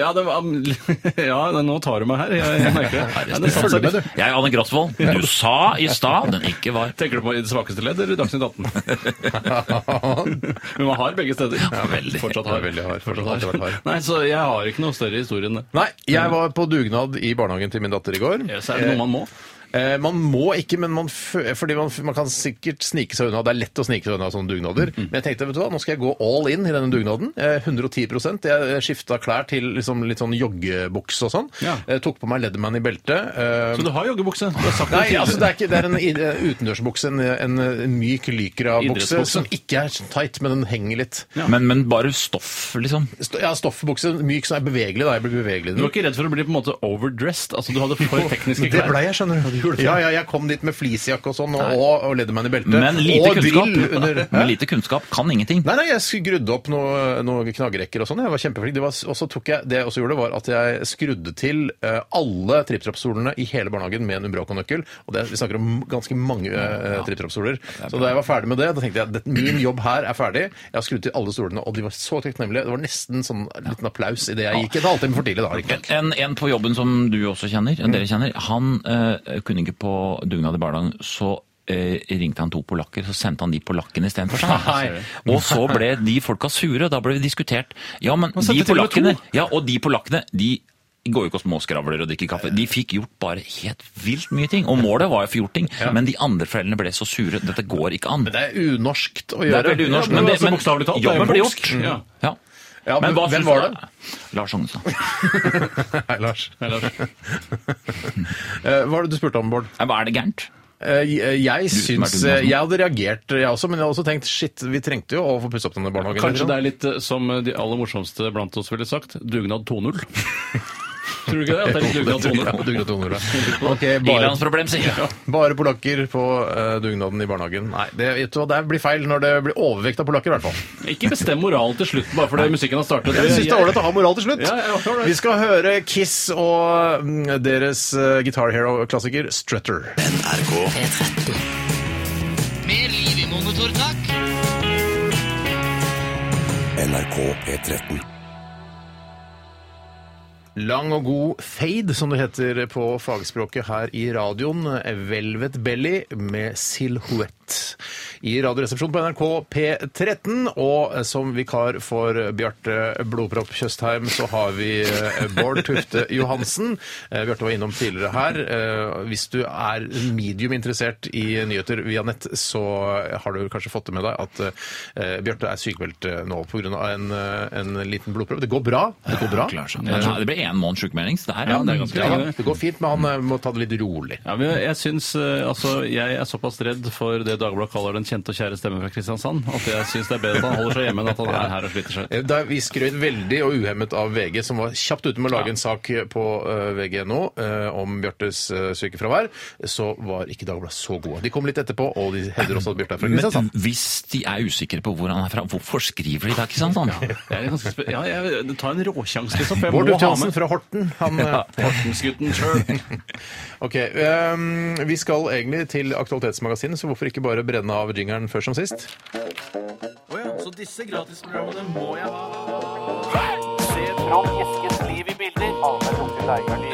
Speaker 9: Ja, det var, ja, nå tar du meg her. Jeg, jeg merker det. Ja, det satt seg litt.
Speaker 3: Jeg, Anne Grosvold, du sa i stad den ikke var
Speaker 9: Tenker du på i det svakeste ledd eller i Dagsnytt 18? Men man har begge steder.
Speaker 3: veldig.
Speaker 9: Fortsatt har.
Speaker 7: Ja, veldig hard. Fortsatt
Speaker 9: Fortsatt
Speaker 7: alltid vært hard.
Speaker 9: Nei, så jeg har ikke noe større historie enn det.
Speaker 7: Nei, jeg var på dugnad i barnehagen til min datter i går.
Speaker 9: Så er det noe man må.
Speaker 7: Eh, man må ikke, men man, fø- fordi man, f- man kan sikkert snike seg unna. Det er lett å snike seg unna sånne dugnader. Men jeg tenkte vet du hva, nå skal jeg gå all in i denne dugnaden. Eh, 110 Jeg skifta klær til liksom, litt sånn joggebukse og sånn.
Speaker 9: Ja.
Speaker 7: Eh, tok på meg Leatherman i beltet. Eh,
Speaker 9: Så du har joggebukse? Du har sagt det
Speaker 7: Nei,
Speaker 9: tidligere.
Speaker 7: altså det er, ikke, det er en i- eh, utendørsbukse, en, en eh, myk lykra-bukse
Speaker 9: Idrettsbukse.
Speaker 7: som ikke er så tight, men den henger litt.
Speaker 3: Men, men bare stoff, liksom.
Speaker 7: Sto- Ja, stoffbukse, myk som er bevegelig. da, jeg blir bevegelig. i
Speaker 9: Du
Speaker 7: den.
Speaker 9: var ikke redd for å bli på en måte overdressed? Altså du hadde for tekniske
Speaker 7: Det
Speaker 9: klær?
Speaker 7: blei jeg, skjønner du. Ja, ja, jeg kom dit med fleecejakke og sånn, og, og Leatherman i beltet.
Speaker 3: Men lite
Speaker 7: og drill under.
Speaker 3: kunnskap.
Speaker 7: Hæ?
Speaker 3: Men lite kunnskap kan ingenting.
Speaker 7: Nei, nei, jeg skrudde opp noen noe knaggerekker og sånn. Jeg var kjempeflink. Det var- Og så tok jeg, det jeg også gjorde, var at jeg skrudde til eh, alle tripp-trapp-stolene i hele barnehagen med en Umbraco-nøkkel. Og det, vi snakker om ganske mange uh, tripp-trapp-stoler. Så da jeg var ferdig med det, da tenkte jeg at min jobb her er ferdig. Jeg har skrudd til alle stolene, og de var så takknemlige. Det var nesten sånn en liten applaus idet jeg gikk. En halvtime for tidlig, da. Ikke?
Speaker 3: En, en på jobben som du også kjenner,
Speaker 7: Mm.
Speaker 3: dere kjenner, han eh, kunne ikke på dugnad i barnehagen, så eh, ringte han to polakker, så sendte han de polakkene istedenfor seg.
Speaker 9: Nei.
Speaker 3: Og så ble de folka sure, og da ble det diskutert. Ja, men de
Speaker 9: sendte til og med
Speaker 3: polakkene, ja, og de polakkene, de går jo ikke og småskravler og drikker kaffe. De fikk gjort bare helt vilt mye ting, og målet var jo å få gjort ting, men de andre foreldrene ble så sure, dette går ikke an.
Speaker 7: Men det er unorskt å
Speaker 3: Det er
Speaker 7: gjøre.
Speaker 3: veldig unorsk, men, det,
Speaker 9: altså,
Speaker 3: men
Speaker 9: bokstavelig talt, det er
Speaker 3: jobben ble
Speaker 9: norsk.
Speaker 3: gjort.
Speaker 7: Mm.
Speaker 9: Ja.
Speaker 3: Ja.
Speaker 7: Ja, men hvem
Speaker 3: syns
Speaker 7: var
Speaker 3: du- Lars Ognestad.
Speaker 7: Hei, Lars.
Speaker 9: Nei, Lars.
Speaker 7: Eh, hva var det du spurte om, Bård?
Speaker 3: Nei, hva Er det gærent?
Speaker 7: Eh, jeg jeg
Speaker 3: som er
Speaker 7: syns
Speaker 3: til
Speaker 7: eh,
Speaker 3: den
Speaker 7: Jeg hadde reagert, jeg også, men jeg hadde også tenkt shit, vi trengte jo å få pusset opp denne barnehagen. liksom.
Speaker 9: Kanskje det er litt eh, som de aller morsomste blant oss ville sagt, dugnad 2.0. Tror du ikke det? At det er litt dugnad 2.0?
Speaker 7: Dugnad 200. Ok, bare,
Speaker 3: I-landsproblem, sier jeg.
Speaker 7: bare polakker på eh, dugnaden i barnehagen. Nei, det, vet du hva, det blir feil når det blir overvekt av polakker, i hvert fall.
Speaker 9: Ikke bestem moralen til slutt bare fordi musikken har startet.
Speaker 7: Jeg syns det er ålreit å ha moral til slutt.
Speaker 9: Ja, ja, all right.
Speaker 7: Vi skal høre Kiss og mm, deres eh, Guitar Hero-klassiker Strutter.
Speaker 2: Mer liv i monitor, takk!
Speaker 1: NRK P13.
Speaker 7: Lang og god fade, som det heter på fagspråket her i radioen. Velvet Belly med Silhouette. I Radioresepsjonen på NRK P13. Og som vikar for Bjarte Blodpropp Tjøstheim, så har vi eh, Bård Tufte Johansen. Eh, Bjarte var innom tidligere her. Eh, Hvis du er medium interessert i nyheter via nett, så har du kanskje fått det med deg at eh, Bjarte er sykemeldt eh, nå pga. En, eh, en liten blodprøve. Det går bra. Det går bra.
Speaker 3: Ja, nei, det ble én måned sjukmelding, så det her
Speaker 7: Ja, det, er
Speaker 3: ganske
Speaker 7: ja, det går fint, men han eh, må ta det litt rolig.
Speaker 9: Ja, men jeg synes, eh, altså, jeg er såpass redd for det Dagbladet kaller den kjente og kjære stemme fra Kristiansand at jeg syns det er bedre at han holder seg hjemme enn at han er her og sliter seg ut.
Speaker 7: Da Vi skrøt veldig og uhemmet av VG, som var kjapt ute med å lage en sak på eh, VG.no eh, om Bjartes eh, sykefravær. Så var ikke Dagbladet så gode. De kom litt etterpå, og de hevder også at Bjarte er fra
Speaker 3: Men
Speaker 7: Kristiansand.
Speaker 3: hvis de er usikre på hvor han er fra, hvorfor skriver de da sånn? Kristiansand?
Speaker 9: Jeg er ganske spe- ja, jeg tar en råsjanse, liksom. For jeg
Speaker 7: Bård
Speaker 9: må ha
Speaker 7: Johansen
Speaker 9: med
Speaker 7: fra Horten. Han, eh,
Speaker 9: Hortensgutten sjøl.
Speaker 7: ok, eh, Vi skal egentlig til Aktualitetsmagasinet, så hvorfor ikke bare brenne av jingeren før som sist?
Speaker 9: Så disse gratisprogrammene må jeg ha.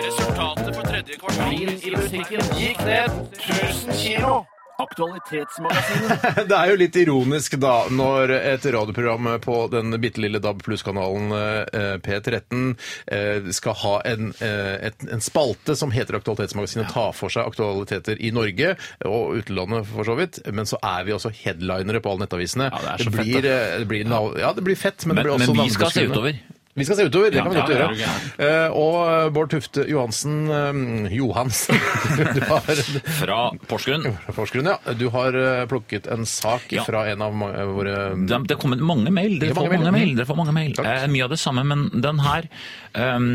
Speaker 9: Resultatet på tredje kvartal i musikken gikk ned 1000 kilo. Aktualitetsmagasinet.
Speaker 7: Det er jo litt ironisk da, når et radioprogram på den bitte lille DAB pluss-kanalen eh, P13 eh, skal ha en, eh, et, en spalte som heter Aktualitetsmagasinet, ta for seg aktualiteter i Norge og utlandet for så vidt, men så er vi også headlinere på alle nettavisene.
Speaker 9: Ja, det er så fett,
Speaker 7: blir,
Speaker 9: da.
Speaker 7: eh, det blir nav ja, det blir fett, men, det
Speaker 3: Men,
Speaker 7: blir også
Speaker 3: men vi skal se
Speaker 7: navnebeskrivende.
Speaker 3: utover.
Speaker 7: Vi skal se utover, det
Speaker 3: Ja,
Speaker 7: kan vi godt
Speaker 3: ja, ja,
Speaker 7: gjøre. Eh, og eh, Bård Tufte Johansen eh, Johansen, du har
Speaker 3: Fra Porsgrunn.
Speaker 7: Forskeren, ja. Du har eh, plukket en sak
Speaker 3: Ja.
Speaker 7: fra en av ma- eh, våre
Speaker 3: Det det har kommet mange mail. Dere
Speaker 7: Ehm, Det er mange
Speaker 3: får mange
Speaker 7: mail.
Speaker 3: mail. Dere får mange mail.
Speaker 7: Takk.
Speaker 3: Eh, mye av det samme, men den her. ehm,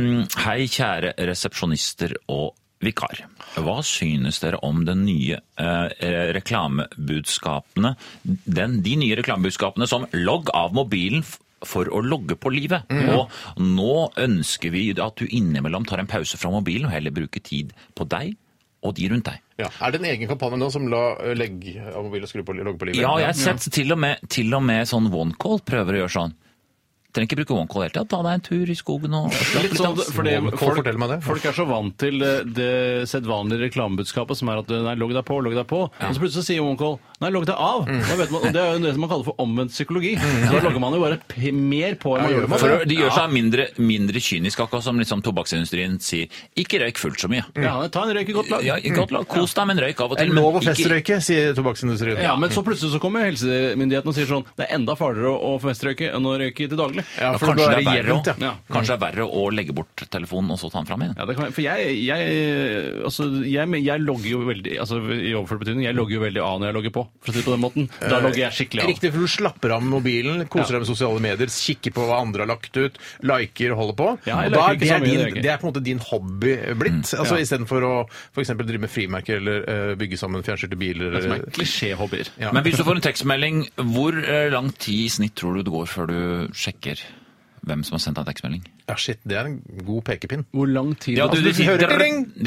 Speaker 3: hei, kjære resepsjonister og vikar. Hva synes dere om den nye eh, eh, reklamebudskapene, den, de nye reklamebudskapene som logg av mobilen f- for å logge på livet.
Speaker 7: Mhm.
Speaker 3: Og nå ønsker vi at du innimellom tar en pause fra mobilen og heller bruker tid på deg og de rundt deg.
Speaker 7: ja. Er det en egen kampanje nå som la eh, legg av mobil og skru på logge på livet?
Speaker 3: Ja, jeg har sett til og med, til og med sånn OneCall prøver å gjøre sånn. Trenger ikke bruke OneCall hele tida. Ta deg en tur i skogen og slapp
Speaker 9: Litt
Speaker 3: litt
Speaker 9: sånn,
Speaker 3: av.
Speaker 9: fordi
Speaker 7: Kål
Speaker 9: folk,
Speaker 7: forteller meg det.
Speaker 9: folk er så vant til det, det sedvanlige reklamebudskapet som er at eh, nei, logg deg på, logg deg på. Og så plutselig sier OneCall nei, logg deg av.
Speaker 7: Mm.
Speaker 9: Da vet man, og det er jo det som man kaller for omvendt psykologi. Så da logger man jo bare p mer på enn man
Speaker 7: gjør
Speaker 9: gjorde
Speaker 7: man
Speaker 3: For
Speaker 9: før.
Speaker 3: å- de gjør seg mindre, mindre kynisk, akkurat som liksom tobakksindustrien sier. Ikke røyk fullt så mye.
Speaker 9: Ja, ta en røyk i godt lag.
Speaker 3: Ja, godt lag. Kos deg med en røyk av og
Speaker 7: Det
Speaker 3: til.
Speaker 7: er
Speaker 3: men
Speaker 7: lov å
Speaker 3: ikke-
Speaker 7: festrøyke, sier tobakksindustrien.
Speaker 9: Ja, men så plutselig så kommer helsemyndighetene og sier sånn Det er enda farligere å å festrøyke enn å røyke til daglig.
Speaker 7: Ja,
Speaker 3: Ja,
Speaker 7: for
Speaker 3: kanskje, det er
Speaker 7: bare
Speaker 3: verre,
Speaker 7: jevnt,
Speaker 3: å-
Speaker 7: ja.
Speaker 9: ja.
Speaker 3: kanskje det er verre å legge bort telefonen og så ta den fram igjen.
Speaker 9: Ja, det kan, være- for jeg, jeg, altså, jeg, men jeg logger jo veldig altså, i overført betydning, jeg logger jo veldig av når jeg logger på, for å si det på den måten. Da logger jeg skikkelig av.
Speaker 7: Riktig, for du slapper av med mobilen, koser deg med sosiale medier, kikker på hva andre har lagt ut, liker og holder på.
Speaker 9: Ja, jeg
Speaker 7: og da
Speaker 9: liker
Speaker 7: er
Speaker 9: ikke
Speaker 7: det,
Speaker 9: så
Speaker 7: er
Speaker 9: mye,
Speaker 7: din,
Speaker 9: det er gøy.
Speaker 7: det er på en måte din hobby blitt. Altså
Speaker 9: Ja.
Speaker 7: Istedenfor å for eksempel drive med frimerker eller eh, bygge sammen fjernstyrte biler.
Speaker 9: Som er
Speaker 7: eller-
Speaker 9: klisjéhobbyer.
Speaker 7: Ja.
Speaker 3: Men hvis du får en tekstmelding, hvor eh, lang tid i snitt tror du det går før du sjekker hvem som har sendt deg tekstmelding?
Speaker 7: Ja, shit, det er en god pekepinn.
Speaker 9: Hvor lang tid
Speaker 3: Ja, du,
Speaker 9: altså,
Speaker 3: de,
Speaker 7: hvis du hører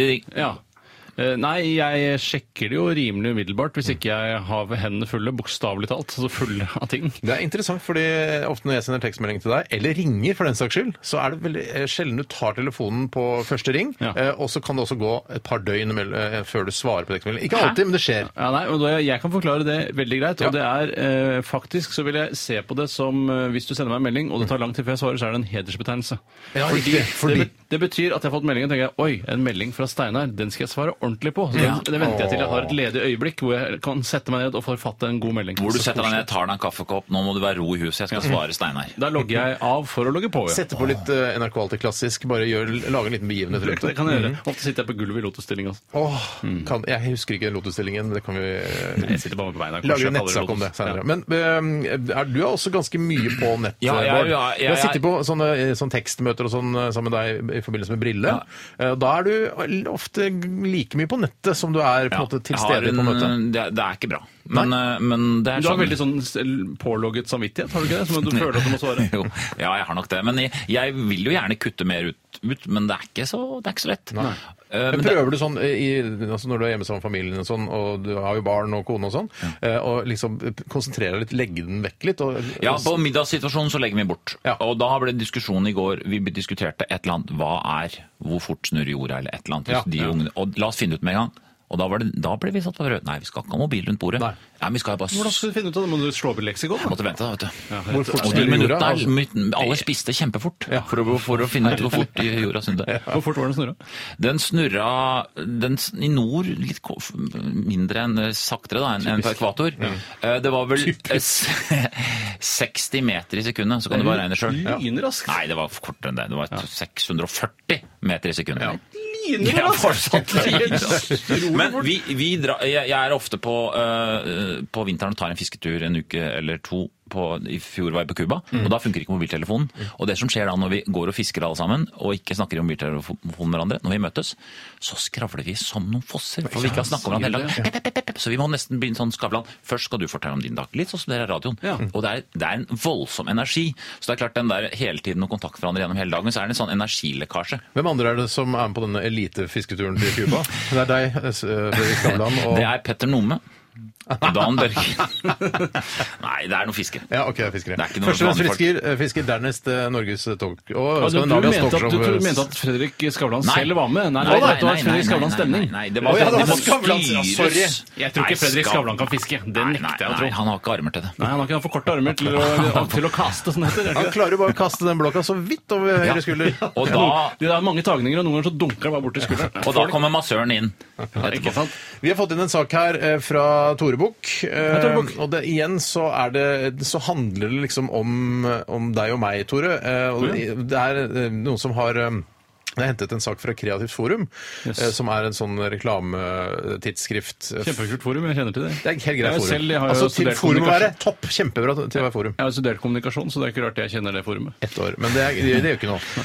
Speaker 7: ding!
Speaker 9: ja. Eh, Nei, jeg sjekker det jo rimelig umiddelbart hvis ikke jeg har hendene fulle, bokstavelig talt, så fulle av ting.
Speaker 7: Det er interessant, fordi ofte når jeg sender tekstmelding til deg, eller ringer for den saks skyld, så er det veldig eh, sjelden du tar telefonen på første ring,
Speaker 9: Ja.
Speaker 7: eh, og så kan det også gå et par døgn mell- eh, før du svarer på tekstmeldingen. Ikke alltid, men det skjer.
Speaker 9: Ja, nei, og da, Jeg kan forklare det veldig greit. og det
Speaker 7: Ja.
Speaker 9: er eh, Faktisk så vil jeg se på det som eh, Hvis du sender meg en melding, og det tar lang tid før jeg svarer, så er det en hedersbetegnelse.
Speaker 7: Ja, riktig, fordi-
Speaker 9: Det, be- det betyr at jeg har fått meldingen og tenker jeg, oi, en melding fra Steinar, den skal jeg svare ordentlig på. Så
Speaker 3: Ja.
Speaker 9: det, det venter jeg til jeg har et ledig øyeblikk hvor jeg kan sette meg ned og forfatte en god melding.
Speaker 3: Hvor du
Speaker 9: Så
Speaker 3: setter deg
Speaker 9: koselig.
Speaker 3: ned, tar deg en kaffekopp, nå må du være ro i huset, jeg skal svare Steinar.
Speaker 9: Da logger jeg av for å logge på. Ja.
Speaker 7: Sette på litt eh, NRK Alltid Klassisk, bare gjør, lage en liten begivenhet rundt
Speaker 9: Det
Speaker 7: det.
Speaker 9: kan jeg gjøre. Ofte sitter jeg på gulvet i lotusstilling. Altså.
Speaker 7: Åh, kan, jeg husker ikke den lotusstillingen, men det kan vi eh,
Speaker 9: Jeg sitter bare på beina. kanskje
Speaker 7: Lager
Speaker 9: jeg
Speaker 7: en
Speaker 9: kaller det
Speaker 7: nettsak om det
Speaker 9: lotus.
Speaker 7: senere.
Speaker 9: Ja.
Speaker 7: Men eh, er, du er også ganske mye på nett, eh,
Speaker 3: Ja, ja,
Speaker 7: Bård.
Speaker 3: ja, ja,
Speaker 7: Du har
Speaker 3: ja.
Speaker 7: sittet på sånne, sånn tekstmøter og sånn eh, sammen med deg i forbindelse med Brille. Eh, Da er du ofte like mye på nettet som du er på en
Speaker 3: Ja,
Speaker 7: måte til
Speaker 3: jeg har
Speaker 7: stede på
Speaker 3: en-
Speaker 7: møtet.
Speaker 3: Det, er- det er ikke bra. Men, eh, men det er
Speaker 9: Du har
Speaker 3: sånn-
Speaker 9: veldig sånn s- pålogget samvittighet, har du ikke det? Som du føler at du må svare.
Speaker 3: jo, ja, jeg har nok det. Men jeg, jeg vil jo gjerne kutte mer ut, ut men det er ikke så, det er ikke så lett. Eh,
Speaker 7: Men
Speaker 3: men det,
Speaker 7: prøver du sånn eh, i, altså når du er hjemme sammen med familien og sånn, og du har jo barn og kone og sånn, eh, og liksom konsentrere deg litt, legge den vekk litt? Og,
Speaker 3: ja, på middagssituasjonen så legger vi bort.
Speaker 7: Ja.
Speaker 3: Og da ble diskusjonen i går, vi diskuterte et eller annet, hva er, hvor fort snurrer jorda, eller et eller annet.
Speaker 7: Ja.
Speaker 3: De ungene- og la oss finne ut med en gang. Og da, var det, da ble vi satt på prøve. Nei, vi skal ikke ha mobil rundt bordet.
Speaker 7: Nei.
Speaker 3: Nei, men vi skal jo bare...
Speaker 9: Hvordan
Speaker 3: s-
Speaker 9: skal du finne ut av det? Må du slå opp i leksikon? da?
Speaker 3: Måtte vente da, vet du.
Speaker 7: Hvor fort
Speaker 3: Og de
Speaker 7: snurrer jorda?
Speaker 3: minuttene, er-
Speaker 7: Altså,
Speaker 3: minutten- alle spiste kjempefort for, å, for å finne ut hvor fort jorda snurrer.
Speaker 9: Hvor fort var den snurra?
Speaker 3: Den snurra den, s- i nord litt ko- f- mindre enn eh, saktere da, enn enn på ekvator. Eh, Det var vel eh, s- 60 meter i sekundet, så kan du bare regne sjøl.
Speaker 9: Lynraskt.
Speaker 3: Nei, det var kortere enn det. Det var 640 meter i sekundet.
Speaker 9: Jeg
Speaker 8: piner!
Speaker 7: altså?
Speaker 9: er
Speaker 8: Jonas!
Speaker 9: fortsatt livredd.
Speaker 3: Men vi, vi dra, jeg, jeg er ofte på, eh, på vinteren og tar en fisketur en uke eller to. På, I fjor var jeg på Cuba, og da funker ikke mobiltelefonen. Og det som skjer da når vi går og fisker alle sammen, og ikke snakker i mobiltelefonen med hverandre, når vi møtes, så skravler vi som noen fosser. For vi ikke har snakket om hverandre hele dagen. Pep, pep, pep, pep. Så vi må nesten begynne sånn Skavlan. Først skal du fortelle om din dag. Litt sånn som dere har radioen.
Speaker 9: Ja.
Speaker 3: Og det er, det er en voldsom energi. Så det er klart den der hele tiden å kontakte hverandre gjennom hele dagen, så er det en sånn energilekkasje.
Speaker 7: Hvem andre er det som er med på denne elitefisketuren til Cuba? Det er deg, eh, Fredrik Skavlan. Og...
Speaker 3: Det er Petter Nome. Dan Børge. Nei, det er noe fiske.
Speaker 7: Ja, ok, jeg er fiskere.
Speaker 3: Det er ikke noe
Speaker 7: Først og fremst
Speaker 3: vanlige folk.
Speaker 7: fisker, eh, fisker dernest eh, Norges talk... Og
Speaker 9: Altså, du,
Speaker 7: Skandinavias eh,
Speaker 9: mente at, du,
Speaker 7: talkshow.
Speaker 9: du mente at Fredrik Skavlan selv var med? Nei,
Speaker 3: Nei, nei,
Speaker 9: det var
Speaker 3: nei,
Speaker 9: Fredrik
Speaker 3: nei,
Speaker 9: Skavlans
Speaker 3: nei,
Speaker 9: stemning.
Speaker 3: Nei, nei, det var,
Speaker 7: Å, ja, det var
Speaker 3: det må
Speaker 7: Skavlan, ja,
Speaker 3: styres.
Speaker 7: sorry.
Speaker 9: Jeg tror ikke
Speaker 3: Nei,
Speaker 9: Fredrik
Speaker 3: Skav-
Speaker 9: Skavlan kan fiske. Det
Speaker 3: Nei,
Speaker 9: nekter jeg å
Speaker 3: nei, nei,
Speaker 9: tro.
Speaker 3: Han har ikke armer til det.
Speaker 9: Nei, han har ikke han for korte armer til å, til å kaste, som det heter.
Speaker 7: Han klarer jo bare å kaste den blokka så vidt over høyre
Speaker 3: Ja.
Speaker 7: skulder.
Speaker 3: Og da,
Speaker 9: Det er mange tagninger, og noen ganger så dunker han bare borti skulderen.
Speaker 3: og da kommer massøren inn. etterpå.
Speaker 9: Ikke sant?
Speaker 7: Vi har fått inn en sak her eh, fra Tore Bukk. eh,
Speaker 9: Hei, Tore Bukk.
Speaker 7: Og det, igjen så, er det, så handler det liksom om, om deg og meg, Tore. Eh, Og det det er eh, noen som har eh, jeg har hentet en sak fra Kreativt Forum,
Speaker 9: Yes.
Speaker 7: eh, som er en sånn reklametidsskrift.
Speaker 9: Kjempekult forum, jeg kjenner til det.
Speaker 7: Det er et helt
Speaker 9: Jeg
Speaker 7: greit
Speaker 9: har
Speaker 7: forum.
Speaker 9: selv- jeg har jo
Speaker 7: altså, til
Speaker 9: studert
Speaker 7: forum å være
Speaker 9: kommunikasjon.
Speaker 7: topp. Kjempebra til å være forum.
Speaker 9: Jeg har jo studert kommunikasjon, så det er ikke rart jeg kjenner det forumet.
Speaker 7: Ett år. Men det, er, det, det gjør ikke noe.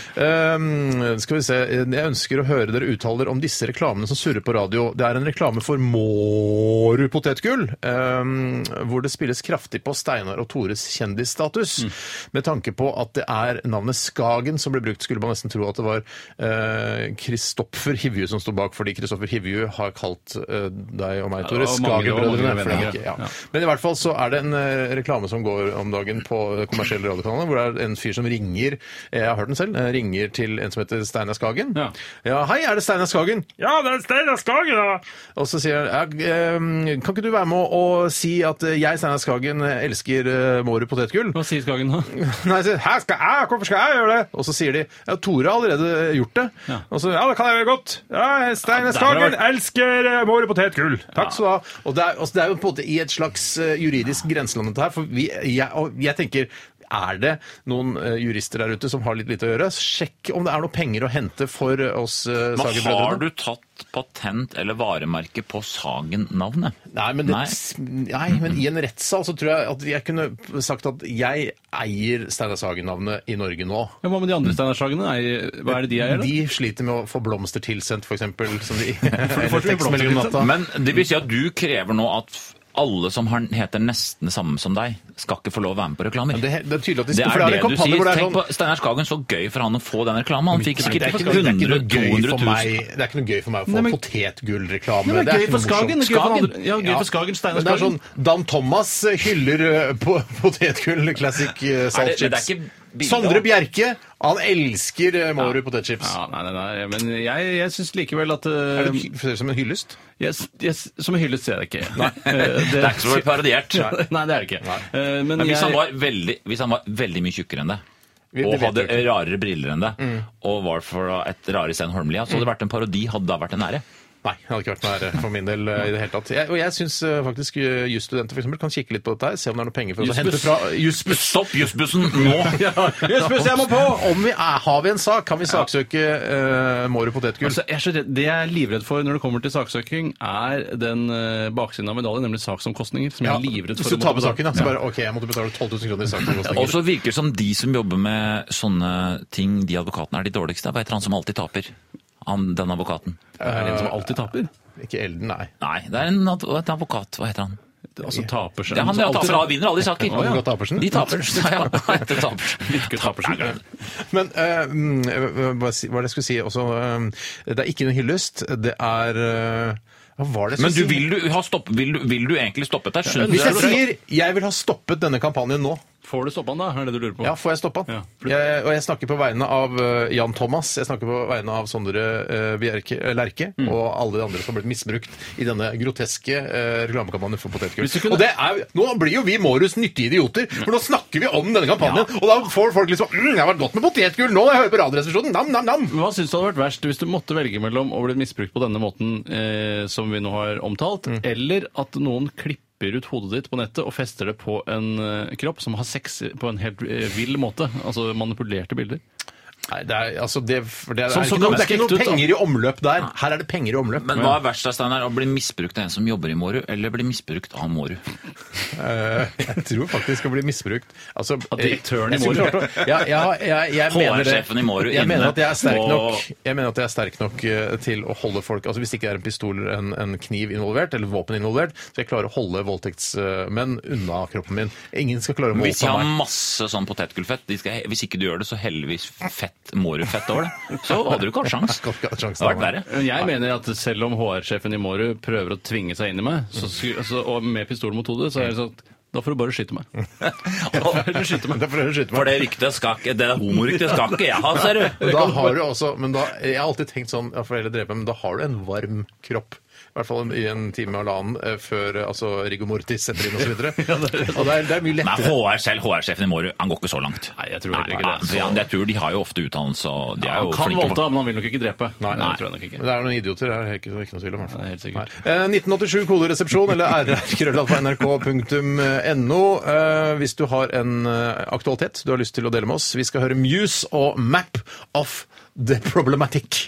Speaker 7: Ehm, skal vi se. Jeg ønsker å høre dere uttaler om disse reklamene som surrer på radio. Det er en reklame for Mårud potetgull, ehm, hvor det spilles kraftig på Steinar og Tores kjendisstatus. Med tanke på at det er navnet Skagen som ble brukt, skulle man nesten tro at det var eh, Kristoffer Hivju som sto bak, fordi Kristoffer Hivju har kalt eh, deg og meg, Tore,
Speaker 9: det var mange- det var mange
Speaker 7: Skagen-brødrene. for det er
Speaker 9: venner.
Speaker 7: ikke- Ja.
Speaker 9: Ja.
Speaker 7: Men i hvert fall så er det en eh, reklame som går om dagen på kommersielle radiokanaler, hvor det er en fyr som ringer, eh, jeg har hørt den selv, eh, ringer til en som heter Steinar Skagen.
Speaker 9: Ja.
Speaker 7: hei, er det Steinar Skagen? Ja, det er Steinar Skagen, da! Og så sier han, ja, eh, kan ikke du være med å si at eh, jeg, Steinar Skagen, eh, elsker eh, Mårud potetgull?
Speaker 9: Hva sier Skagen da?
Speaker 7: Nei, sier, Hæ, skal jeg? Hvorfor skal jeg gjøre det? Og så sier de ja, Tore har allerede eh, gjort det.
Speaker 9: Ja.
Speaker 7: Og så ja, det kan jeg gjøre godt. Ja, Steinar Skagen elsker eh, Måre potetgull. Takk skal du ha. Og det er, altså, det er jo på en måte i et slags eh, juridisk grenseland dette her, for vi, jeg, og jeg tenker er det noen eh, jurister der ute som har litt lite å gjøre? Sjekk om det er noe penger å hente for eh, oss uh,
Speaker 3: Men har
Speaker 7: Sagen-brødrene.
Speaker 3: du tatt patent eller varemerke på Sagen-navnet?
Speaker 7: Nei, men, det, nei, men i en rettssal så tror jeg at jeg kunne sagt at jeg eier Steinar Sagen-navnet i Norge nå.
Speaker 9: Ja, hva med de andre Steinar Sagene? Nei, Hva er det de eier, da?
Speaker 7: De sliter med å få blomster tilsendt, for eksempel. Som de,
Speaker 9: du får ikke
Speaker 7: Eller tekstmelding om
Speaker 9: blomster tilsendt.
Speaker 7: natta.
Speaker 3: Men det vil si at du krever nå at alle som har, heter nesten det samme som deg, skal ikke få lov å være med på reklamer.
Speaker 7: Men det, det er tydelig at de
Speaker 3: Det
Speaker 7: for det
Speaker 3: er det,
Speaker 7: er en
Speaker 3: du sier.
Speaker 7: kampanje hvor det er sånn
Speaker 3: Tenk på Steinar Skagen, så gøy for han å få den reklamen. Han fikk
Speaker 7: Nei, det,
Speaker 3: sikkert
Speaker 7: er ikke, det, er ikke noe
Speaker 3: 100
Speaker 7: gøy
Speaker 3: 200
Speaker 7: for meg,
Speaker 3: 000.
Speaker 7: det er ikke noe gøy for meg å få
Speaker 9: Nei, men-
Speaker 7: potetgullreklame.
Speaker 9: Nei, men
Speaker 7: Det er
Speaker 9: gøy
Speaker 7: ikke
Speaker 9: for
Speaker 7: noe
Speaker 9: Skagen,
Speaker 7: morsomt.
Speaker 9: gøy for andre- ja, gøy for Skagen, Steinar
Speaker 7: Men det er
Speaker 9: Skagen.
Speaker 7: sånn Dan Thomas hyller eh, po- potetgull classic eh,
Speaker 3: Er
Speaker 7: salt
Speaker 3: det- men det er
Speaker 7: chips.
Speaker 3: ikke billig, da.
Speaker 7: Sondre Bjerke, han elsker eh, Mårud potetchips.
Speaker 9: Ja, nei, nei, nei, men jeg, jeg syns likevel at eh,
Speaker 7: Er det hy- ser det ut som en hyllest?
Speaker 9: jeg, s- jeg, s- Som hyllest ser jeg det ikke. Eh,
Speaker 3: Det er ikke så parodiert.
Speaker 9: Nei, det er det ikke. Eh, Men,
Speaker 3: Men hvis han,
Speaker 9: jeg,
Speaker 3: var veldig, hvis han var veldig mye tjukkere enn det,
Speaker 7: Vi- det
Speaker 3: og
Speaker 7: vet
Speaker 3: hadde
Speaker 7: vi ikke. Mm.
Speaker 3: rarere briller enn det, og var fra et rare Stein Holmlia, så hadde det vært en parodi, hadde det vært en ære.
Speaker 7: Nei, det hadde ikke vært noe ære for min del eh, i det hele tatt. Jeg, og jeg syns faktisk eh, jusstudenter for eksempel kan kikke litt på dette her, se om det er noe penger for å hente
Speaker 9: Jussbuss.
Speaker 7: fra Jussbuss.
Speaker 3: Stopp jussbussen nå!
Speaker 7: Jussbuss, jeg må på! Om vi er, har vi en sak, kan vi saksøke uh, Mårud potetgull.
Speaker 9: Altså, jeg er så redd, det jeg er livredd for når det kommer til saksøking, er den eh, baksiden av medaljen, nemlig saksomkostninger. Som jeg er livredd for.
Speaker 7: Hvis du
Speaker 9: å måtte
Speaker 7: taper
Speaker 9: betale. Altså,
Speaker 7: saken, da, så bare OK, jeg måtte betale 12 000 kroner i
Speaker 3: Og
Speaker 7: saksomkostninger.
Speaker 3: så virker det som de som jobber med sånne ting, de advokatene er de dårligste. Hva heter han som alltid taper? Han, den advokaten.
Speaker 9: Er det en som alltid taper?
Speaker 7: Ikke Elden, nei.
Speaker 3: Nei, det er en, ad- en advokat. Hva heter han?
Speaker 9: Altså taper seg
Speaker 3: Ja, han
Speaker 9: som alltid-
Speaker 3: taper, han vinner alle de saker.
Speaker 7: Å, ja. Advokat Tapersen?
Speaker 3: De taper. Ja, ja. Han heter Tapersen.
Speaker 9: Virker tapersen.
Speaker 7: Men eh, mm, hva hva er det jeg skulle si også eh, Det er ikke noen hyllest. Det er eh, Hva var det jeg
Speaker 3: Men du,
Speaker 7: skulle si?
Speaker 3: vil, du ha stopp, vil, du, vil du egentlig stoppet der? Skjønner
Speaker 7: Hvis jeg
Speaker 3: du?
Speaker 7: sier 'jeg vil ha stoppet denne kampanjen nå',
Speaker 9: Får du stoppa han da? Er det det du lurer på?
Speaker 7: ja, får jeg stoppa den? Jeg, og jeg snakker på vegne av eh, Jan Thomas, jeg snakker på vegne av Sondre eh, Bjerke, eh, Lerche og alle de andre som har blitt misbrukt i denne groteske eh, reklamekampanjen for potetgull.
Speaker 9: Hvis du kunne-
Speaker 7: Og det er, nå blir jo vi Mårus nyttige idioter, for nå snakker vi om denne kampanjen, og da får folk liksom mm, 'Jeg har vært godt med potetgull nå, jeg hører på Radioresepsjonen', nam, nam, nam.
Speaker 9: Men Hva syns du hadde vært verst hvis du måtte velge mellom å bli misbrukt på denne måten eh, som vi nå har omtalt,
Speaker 7: Mm.
Speaker 9: eller at noen klipper ut hodet ditt på nettet og fester det på en eh, kropp som har sex på en helt eh, vill måte? Altså manipulerte bilder.
Speaker 7: Nei, det er, altså, det, for det er, det
Speaker 9: Som
Speaker 7: er
Speaker 9: så
Speaker 7: ikke noe,
Speaker 9: ganske
Speaker 7: det er ikke noe
Speaker 9: ekte ut, da.
Speaker 7: penger i omløp der. Her er det penger i omløp.
Speaker 3: Men hva er verst av Steinar? Å bli misbrukt av en som jobber i Mårud, eller bli misbrukt av Mårud?
Speaker 7: Eh, jeg tror faktisk det blir misbrukt. Altså,
Speaker 9: At direktøren i
Speaker 7: jeg skulle
Speaker 9: Mårud-
Speaker 7: klart å- Ja, ja, jeg, jeg mener det.
Speaker 3: HR-sjefen i Mårud
Speaker 7: Jeg mener
Speaker 3: inne
Speaker 7: at jeg er sterk
Speaker 3: på-
Speaker 7: nok, jeg mener at jeg er sterk nok eh, til å holde folk Altså Hvis det ikke er en pistol eller en, en kniv involvert, eller våpen involvert, så jeg klarer å holde voldtektsmenn unna kroppen min. Ingen skal klare å
Speaker 3: Hvis de
Speaker 7: voldta
Speaker 3: har
Speaker 7: meg.
Speaker 3: masse sånn potetgullfett de skal, he- Hvis ikke du gjør det, så heldigvis fett Mårud-fett over det. Så hadde du ikke hatt sjans.
Speaker 7: Skal ikke ha sjans,
Speaker 3: Det hadde vært verre.
Speaker 9: Men Jeg mener at selv om HR-sjefen i Mårud prøver å tvinge seg inn i meg, så, sky- altså, og med pistol mot hodet, så er det sånn at da får du bare skyte meg.
Speaker 3: Og-
Speaker 9: Eller skyte meg.
Speaker 7: Da prøver du å skyte meg.
Speaker 3: For det ryktet skal ikke Det homoryktet skal ikke jeg ha, ser du.
Speaker 7: Men da har du også, men da, jeg har alltid tenkt sånn, jeg får heller drepe, men da har du en varm kropp. I hvert fall en- i en time og halvannen eh, før eh, altså, rigor mortis setter inn osv. Og, så videre. og det, er, det er mye
Speaker 3: Nei,
Speaker 7: lettere.
Speaker 3: HR selv, HR-sjefen i Mårud, han går ikke så langt.
Speaker 9: Nei, jeg tror heller ikke
Speaker 3: Nei,
Speaker 9: det.
Speaker 3: for jeg- Jeg tror de har jo ofte utdannelse, og de er jo
Speaker 9: Han kan
Speaker 3: flinke folk.
Speaker 9: voldta, men han vil nok ikke drepe.
Speaker 7: Nei,
Speaker 9: det tror jeg nok ikke.
Speaker 7: Men det er noen idioter, det er helt ikke, ikke noe tvil om. i hvert fall.
Speaker 9: Nei, helt sikkert.
Speaker 7: Nei. Eh, 1987 koderesepsjon eller rr.nrk.no eh, hvis du har en eh, aktualitet du har lyst til å dele med oss. Vi skal høre Muse og Map of the Problematic.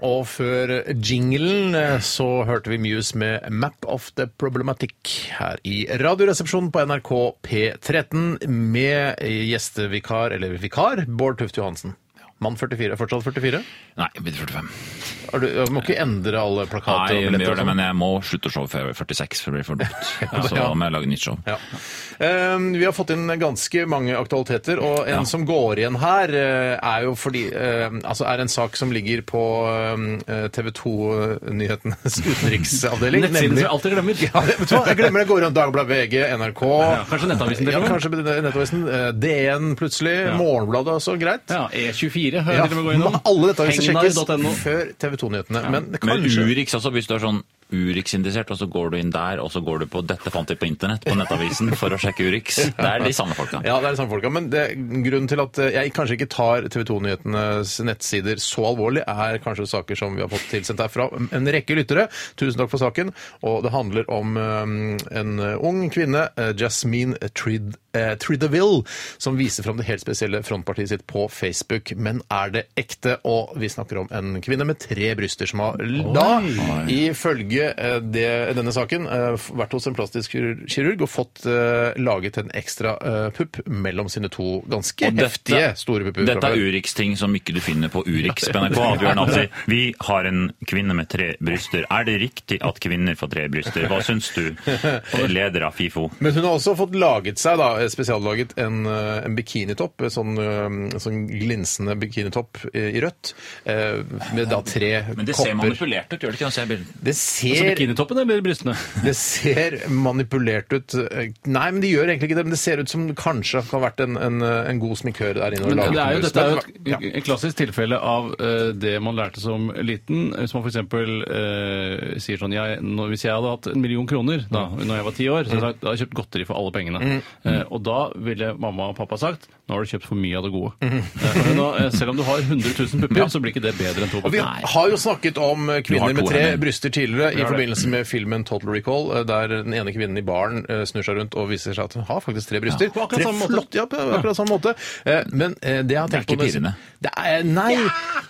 Speaker 7: Og før jinglen eh, så hørte vi Muse med Map of the Problematic her i Radioresepsjonen på NRK P13 med gjestevikar, eller vikar, Bård Tufte Johansen. Mann 44. Fortsatt 44?
Speaker 3: Nei, jeg blir 45.
Speaker 7: Er du, du må ikke endre alle plakater
Speaker 3: Nei,
Speaker 7: og
Speaker 3: jeg
Speaker 7: billetter.
Speaker 3: gjør
Speaker 7: og
Speaker 3: det,
Speaker 7: sånn.
Speaker 3: men jeg må slutte å show før jeg er 46, for det blir for dumt.
Speaker 7: det-
Speaker 3: Så
Speaker 7: ja.
Speaker 3: må jeg lage nytt show.
Speaker 7: Ja. Ehm, Vi har fått inn ganske mange aktualiteter, og en som går igjen her, eh, er jo fordi eh, Altså er en sak som ligger på eh, TV 2-nyhetenes utenriksavdeling.
Speaker 9: Nettsiden som
Speaker 7: nemlig-
Speaker 9: jeg alltid glemmer.
Speaker 7: Ja, det- vet du hva? Jeg glemmer det. Går rundt Dagbladet, VG, NRK
Speaker 9: kanskje Nettavisen sånn? til
Speaker 7: Ja,
Speaker 9: og med.
Speaker 7: kanskje Nettavisen. eh, DN plutselig. Morgenbladet også, greit.
Speaker 9: Ja, E24 hører
Speaker 7: Ja,
Speaker 9: til og med gå innom.
Speaker 7: alle dette vil
Speaker 9: Hegnar.no.
Speaker 7: sjekkes før TV 2-nyhetene. Men
Speaker 3: Men
Speaker 7: kanskje
Speaker 3: Urix også, hvis du er sånn Urix-indisert, og så går du inn der, og så går du på 'dette fant vi på internett' på Nettavisen for å sjekke Urix. Det er de samme folka.
Speaker 7: Ja, det er de samme folka. Men det, grunnen til at eh, jeg kanskje ikke tar TV 2-nyhetenes nettsider så alvorlig, er kanskje saker som vi har fått tilsendt her fra en rekke lyttere. Tusen takk for saken. Og det handler om eh, en ung kvinne, eh, Jasmine Trid, eh, Tridaville, som viser fram det helt spesielle frontpartiet sitt på Facebook. Men er det ekte? Og vi snakker om en kvinne med tre bryster som har da, ifølge eh, det, denne saken, eh, f- vært hos en plastisk kirur- kirurg og fått eh, laget en ekstra eh, pupp mellom sine to ganske
Speaker 3: Og dette-
Speaker 7: heftige store pupper.
Speaker 3: Dette
Speaker 7: fra
Speaker 3: er
Speaker 7: før.
Speaker 3: Urix-ting som ikke du finner på Urix på NRK. At Bjørn Dahl sier, Vi har en kvinne med tre bryster. Er det riktig at kvinner får tre bryster? Hva syns du, leder av FIFO?
Speaker 7: Men hun har også fått laget seg, da, spesiallaget, en, eh, en bikinitopp. En sånn, eh, sånn glinsende bikinitopp eh, i rødt. eh, Med da tre kopper.
Speaker 3: manipulert ut, gjør det ikke? Jeg bildet.
Speaker 7: Det
Speaker 9: Så
Speaker 7: ser
Speaker 9: bikinitoppen eller brystene?
Speaker 7: Det ser manipulert ut. Nei, men de gjør egentlig ikke det. Men det ser ut som det kanskje kan ha vært en, en, en god sminkør der inne. og
Speaker 9: Men
Speaker 7: laget
Speaker 9: det er jo,
Speaker 7: den.
Speaker 9: dette er jo
Speaker 7: Ja.
Speaker 9: et, et klassisk tilfelle av eh, det man lærte som liten. Hvis man f.eks. Uh, sier sånn jeg, nå, Hvis jeg hadde hatt en million kroner da når jeg var ti år, så hadde jeg sagt, da hadde jeg kjøpt godteri for alle pengene. Eh, og da ville mamma og pappa sagt nå har du kjøpt for mye av det gode. Eh, for nå, eh, selv om du har 100 000 pupper, så blir ikke det bedre enn to
Speaker 7: Og vi
Speaker 9: pupper.
Speaker 7: har jo snakket om
Speaker 3: har
Speaker 7: kvinner
Speaker 3: to
Speaker 7: med tre
Speaker 3: hender.
Speaker 7: bryster tidligere i
Speaker 9: har det.
Speaker 7: forbindelse med filmen Total Recall, eh, der den ene kvinnen i baren eh, snur seg rundt og viser seg at hun har faktisk tre bryster.
Speaker 9: på akkurat
Speaker 7: tre
Speaker 9: samme måte.
Speaker 7: flott, ja, på akkurat samme måte. Eh, Men eh, det jeg har tenkt
Speaker 3: ikke
Speaker 7: på når jeg-
Speaker 3: pirrende.
Speaker 7: Det er, nei,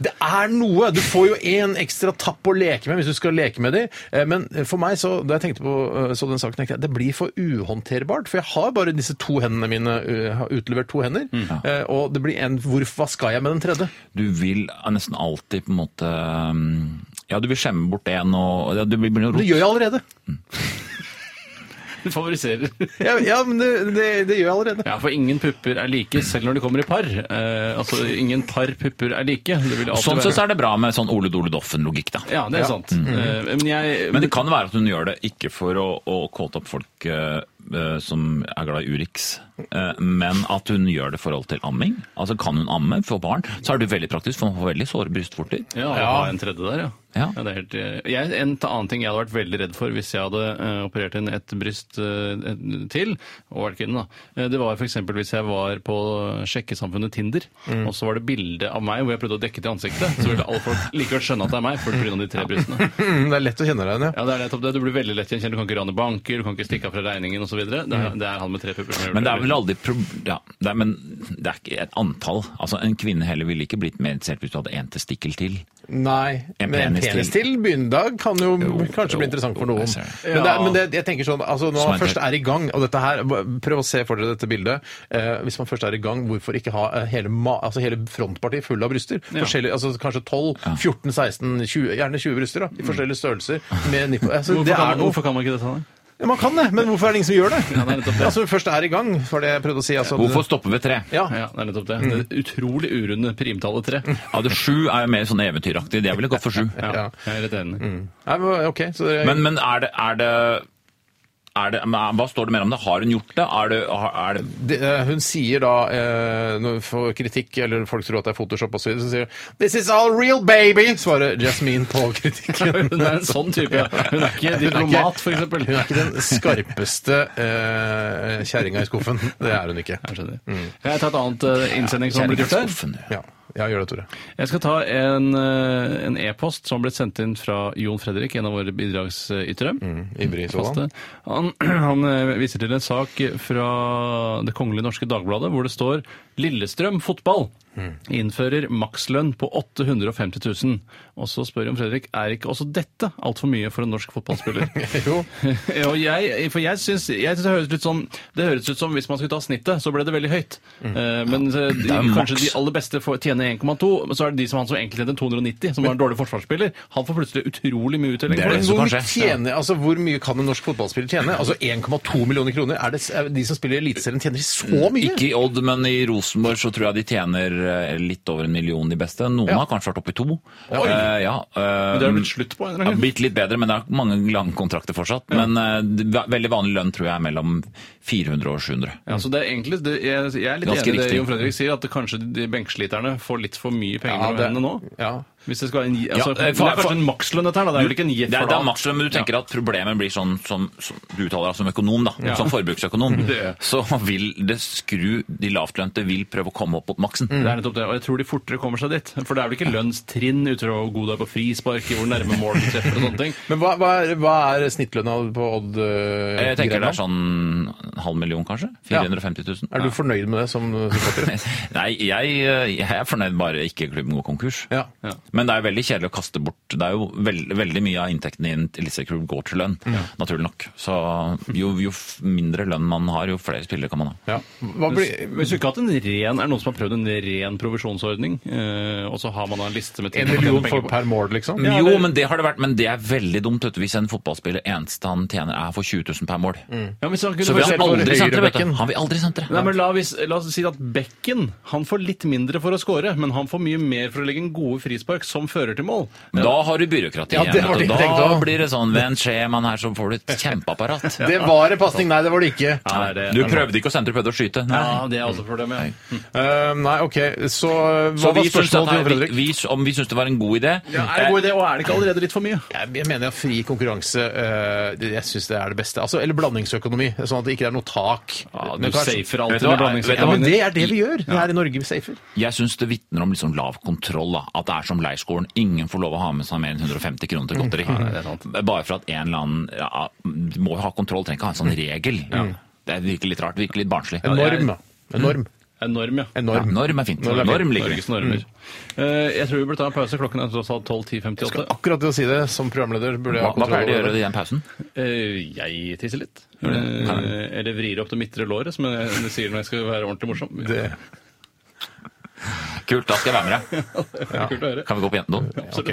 Speaker 7: det er noe. Du får jo en ekstra tapp å leke med hvis du skal leke med de. Eh, Men for meg, så, da jeg tenkte på eh, så den saken, tenkte jeg det blir for uhåndterbart. For jeg har bare disse to hendene mine, eh, har utlevert to hender.
Speaker 3: Mm.
Speaker 7: Eh, Og det blir en hvor, Hva skal jeg med den tredje?
Speaker 3: Du vil nesten alltid på en måte um, Ja, du vil skjemme bort en og ja, Du blir noe
Speaker 7: Det gjør jeg allerede.
Speaker 9: Du favoriserer.
Speaker 7: Ja, ja men det, det, det gjør jeg allerede.
Speaker 9: Ja, for ingen pupper er like, selv når de kommer i par. Eh, altså, ingen par pupper er like. Det vil alltid
Speaker 3: Sånn
Speaker 9: være
Speaker 3: sett så er det bra med sånn Ole Dole Doffen-logikk, da.
Speaker 9: Ja, det er sant. Eh, men jeg
Speaker 3: Men det kan være at hun gjør det ikke for å, å kåte opp folk eh, eh, som er glad i Urix, eh, men at hun gjør det i forhold til amming. Altså Kan hun amme for barn, så er det veldig praktisk, for man får veldig såre brystvorter.
Speaker 9: Ja, å ha en tredje der, ja.
Speaker 3: Ja.
Speaker 9: det er helt, eh, jeg, en ta- annen ting jeg hadde vært veldig redd for hvis jeg hadde eh, operert inn et bryst eh, et- til, og vært kvinne, da. Eh, det var f.eks. hvis jeg var på sjekkesamfunnet Tinder,
Speaker 3: Mm.
Speaker 9: og så var det bilde av meg hvor jeg prøvde å dekke til ansiktet. Så ville alle folk likevel skjønne at det er meg, for pga. de tre brystene.
Speaker 7: Mm, det er lett å kjenne deg igjen, ja.
Speaker 9: Ja, det er nettopp det. Du blir veldig lett gjenkjent. Du kan ikke rane banker, du kan ikke stikke av fra regningen osv. Det, er- det er han med tre pupper som gjør
Speaker 3: Mm. Men det er vel aldri prob- ja, det er, Men det er ikke et antall. Altså En kvinne heller ville ikke blitt medisert hvis du hadde én testikkel til.
Speaker 7: Nei,
Speaker 3: En
Speaker 7: men en
Speaker 3: penis
Speaker 7: penis
Speaker 3: til.
Speaker 7: til begynner kan jo, kanskje
Speaker 3: jo,
Speaker 7: bli interessant for
Speaker 3: jo,
Speaker 7: noen.
Speaker 3: jeg ser det.
Speaker 7: Men, det, er- men det, jeg tenker sånn, altså når
Speaker 3: Som
Speaker 7: man
Speaker 3: en
Speaker 7: først
Speaker 3: del-
Speaker 7: er i gang, og dette her, b- prøv å se for dere dette bildet, eh, hvis man først er i gang, hvorfor ikke ha eh, hele, ma, altså hele frontpartiet full av bryster? Forskjellige, altså kanskje 12, 14, 16, 20, gjerne 20 bryster da, i forskjellige størrelser. Med nipp- altså,
Speaker 9: Hvorfor,
Speaker 7: det
Speaker 9: kan
Speaker 7: er
Speaker 9: man,
Speaker 7: noe
Speaker 9: hvorfor kan man ikke dette? da?
Speaker 7: Ja, man kan det, men hvorfor er det ingen som gjør det?
Speaker 9: det er nettopp det.
Speaker 7: Altså, først er i gang, var det jeg prøvde å si. Altså, at-
Speaker 3: Hvorfor stoppe ved tre?
Speaker 7: Ja,
Speaker 9: Ja, det er nettopp
Speaker 3: Mm.
Speaker 9: det. det utrolig urunde primtallet tre.
Speaker 3: Ja, det Sju er jo mer sånn eventyraktig. Jeg ville gått for sju.
Speaker 9: Ja,
Speaker 7: Ja.
Speaker 9: jeg er litt enig.
Speaker 7: Nei, men, ok. Så det,
Speaker 3: Men, men er det, er det er det, men hva står det mer om det? Har hun gjort det? Er det, er det
Speaker 7: det, eh, hun sier da, eh, når hun får kritikk, eller folk tror at det er Photoshop og så videre, så sier hun, this is all real baby, svarer Jasmine på kritikken.
Speaker 9: Hun er en sånn type, ja. Hun er ikke diplomat, for eksempel.
Speaker 7: Hun er ikke den skarpeste eh, kjerringa i skuffen. Det er hun ikke.
Speaker 9: Jeg skjønner. Kan jeg ta et annet eh, innsending som har blitt gjort her?
Speaker 3: Kjerringaskuffen, ja.
Speaker 7: Ja, ja gjør det, Tore.
Speaker 9: Jeg skal ta en eh, en e-post som ble sendt inn fra Jon Fredrik, en av våre bidragsytere.
Speaker 7: Ivrig sådan.
Speaker 9: faste. Han, han eh, viser til en sak fra Det kongelige norske dagbladet hvor det står Lillestrøm fotball innfører makslønn på 850 000. Og så spør Jon Fredrik er ikke også dette altfor mye for en norsk fotballspiller.
Speaker 7: Jo.
Speaker 9: og jeg, for jeg syns, jeg synes det høres ut som Det høres ut som hvis man skulle ta snittet, så ble det veldig høyt.
Speaker 3: Mm.
Speaker 9: Eh, Men eh, de, kanskje de aller beste får tjene 1,2, men så er det de som han som egentlig tjener 290, som var en dårlig forsvarsspiller. Han får plutselig utrolig mye uttelling.
Speaker 3: Det er
Speaker 9: for
Speaker 3: det som
Speaker 7: Hvor, mye
Speaker 3: kanskje.
Speaker 7: tjener, altså, hvor mye kan en norsk fotballspiller tjene? Altså 1,2 millioner kroner? Er det, s- er de som spiller i Eliteserien, tjener de så mye?
Speaker 3: Ikke i Odd, men i Rosenborg så tror jeg de tjener eh, litt over en million i beste. Noen har kanskje vært oppe i to. Eh, ja, eh,
Speaker 9: Det har blitt slutt på en eller
Speaker 3: Det har
Speaker 9: annen grunn.
Speaker 3: blitt litt bedre, men det er mange lange kontrakter fortsatt. Men eh, det- veldig vanlig lønn tror jeg er mellom 400 og 700.
Speaker 9: Ja, så Altså, det er egentlig, det, jeg, jeg er litt
Speaker 3: Ganske
Speaker 9: enig i det
Speaker 3: riktig.
Speaker 9: Jon Fredrik sier, at det kanskje de benkesliterne får litt for mye penger
Speaker 7: Ja,
Speaker 9: mellom
Speaker 7: det-
Speaker 9: hendene nå.
Speaker 7: ja.
Speaker 9: Hvis det skal være en, altså,
Speaker 3: Ja, eh, for- Mm.
Speaker 9: det er kanskje en makslønn dette her, da. Det er vel ikke en
Speaker 3: Det
Speaker 9: gitt
Speaker 3: er,
Speaker 9: for
Speaker 3: det er
Speaker 9: alt.
Speaker 3: makslønn, men du tenker at problemet blir sånn som, som du uttaler deg som økonom, da, som forbruksøkonom. Så vil det skru de lavtlønte vil prøve å komme opp mot maksen.
Speaker 9: Det er nettopp det, og jeg tror de fortere kommer seg dit. For det er vel ikke lønnstrinn ut fra hvor god du er på frispark, hvor nærme mål du treffer og sånne ting.
Speaker 7: Men hva, hva, er, hva er snittlønna på Odd? eh,
Speaker 3: Jeg tenker
Speaker 7: Grenland?
Speaker 3: det er sånn en halv million, kanskje? 450 000.
Speaker 7: Er du fornøyd med det som supporter?
Speaker 3: Nei, jeg, eh, jeg er fornøyd bare ikke klubben går konkurs.
Speaker 7: Ja.
Speaker 9: Ja.
Speaker 3: Men det er veldig kjedelig å kaste bort. Det er jo veld, veldig mye av inntektene inn til Liseklubb går til lønn, naturlig nok. Så jo, jo f- mindre lønn man har, jo flere spillere kan man ha.
Speaker 7: ja. Hva blir
Speaker 9: Hvis du ikke har hatt en ren, er det noen som har prøvd en ren provisjonsordning, eh, og så har man da en liste med ting
Speaker 7: en
Speaker 9: man tjener
Speaker 7: million
Speaker 9: penger
Speaker 7: for
Speaker 9: på?
Speaker 7: per mål, liksom?
Speaker 3: jo, men det har det vært, men det er veldig dumt vet du, hvis en fotballspiller eneste han tjener er for 20 000 per mål.
Speaker 7: Mm.
Speaker 9: Ja, men hvis han kunne
Speaker 3: Så
Speaker 9: bare
Speaker 3: vil han
Speaker 7: for
Speaker 3: aldri sentre, vet du.
Speaker 7: høyrebekken.
Speaker 3: Han vil aldri sentre.
Speaker 9: Nei, men la, oss- la oss si at Bekken han får litt mindre for å score, men han får mye mer for å legge en gode frispark som fører til mål.
Speaker 3: Da har du byråkrati
Speaker 7: Ja,
Speaker 3: igjen.
Speaker 7: det var
Speaker 3: vet du.
Speaker 7: det jeg tenkte
Speaker 3: Da
Speaker 7: også.
Speaker 3: blir det sånn ved en skjeman her, så får du et kjempeapparat.
Speaker 7: Det var en pasning, nei, det var det ikke.
Speaker 9: Ja, det er-
Speaker 3: Du prøvde ikke å sentre, du prøvde å skyte. Nei.
Speaker 9: Ja, det er også problemet. Ja.
Speaker 7: Eh, nei, OK. Så eh, hva
Speaker 3: Så
Speaker 7: var
Speaker 3: vi syns, at
Speaker 7: spørsmålet til
Speaker 3: her,
Speaker 7: Jon Fredrik?
Speaker 3: vi, vi, om vi syns det var en god idé
Speaker 9: Er det en god idé, og er det ikke allerede litt for mye?
Speaker 7: Jeg jeg mener at fri konkurranse eh, det- jeg syns det er det beste. Altså, eller blandingsøkonomi, sånn at det ikke er noe tak. Men kanskje-
Speaker 3: Vet du hva? Vet du
Speaker 7: Ja, men
Speaker 9: det,
Speaker 7: det er det vi gjør. Det er i Norge vi safer.
Speaker 3: Jeg syns det vitner om liksom lav kontroll. Da. At det er som leirskolen. Ingen får lov å ha med seg mer enn 150 kroner til godteri.
Speaker 7: Mm.
Speaker 3: Bare for at en eller annen ja, Du må jo ha kontroll, trenger ikke ha en sånn regel. Det virker litt rart. Virker litt barnslig.
Speaker 7: En
Speaker 3: Ja,
Speaker 7: norm. da. En norm.
Speaker 9: Enorm, ja.
Speaker 7: En
Speaker 3: Ja,
Speaker 7: norm.
Speaker 3: norm er fint.
Speaker 7: Norm er
Speaker 3: Norm,
Speaker 7: fint.
Speaker 3: ligger det.
Speaker 9: Norges normer. Eh, jeg tror vi burde ta en pause. Klokken er tross alt 12.10.58.
Speaker 7: Akkurat det å si det som programleder burde jeg ha
Speaker 3: Hva, hva
Speaker 7: kontroll
Speaker 3: pleier de å
Speaker 7: over.
Speaker 3: gjøre i den pausen?
Speaker 9: Eh, jeg tisser litt. Eh, eller vrir opp det midtre låret, som jeg sier når jeg skal være ordentlig morsom.
Speaker 7: Det-
Speaker 3: Kult, da skal jeg være med deg.
Speaker 9: Kult å høre.
Speaker 3: Kan vi gå på jentedoen?
Speaker 7: Ok.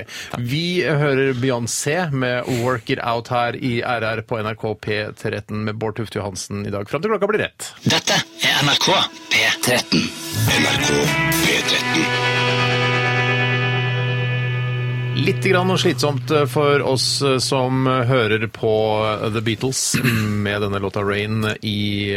Speaker 7: Vi hører Beyoncé med 'Work It Out' her i RR på NRK P13 med Bård Tufte Johansen i dag. Fram til klokka blir ett.
Speaker 2: Dette er NRK P13.
Speaker 1: NRK P13.
Speaker 7: litt grann slitsomt for oss som hører på The Beatles med denne låta 'Rain' i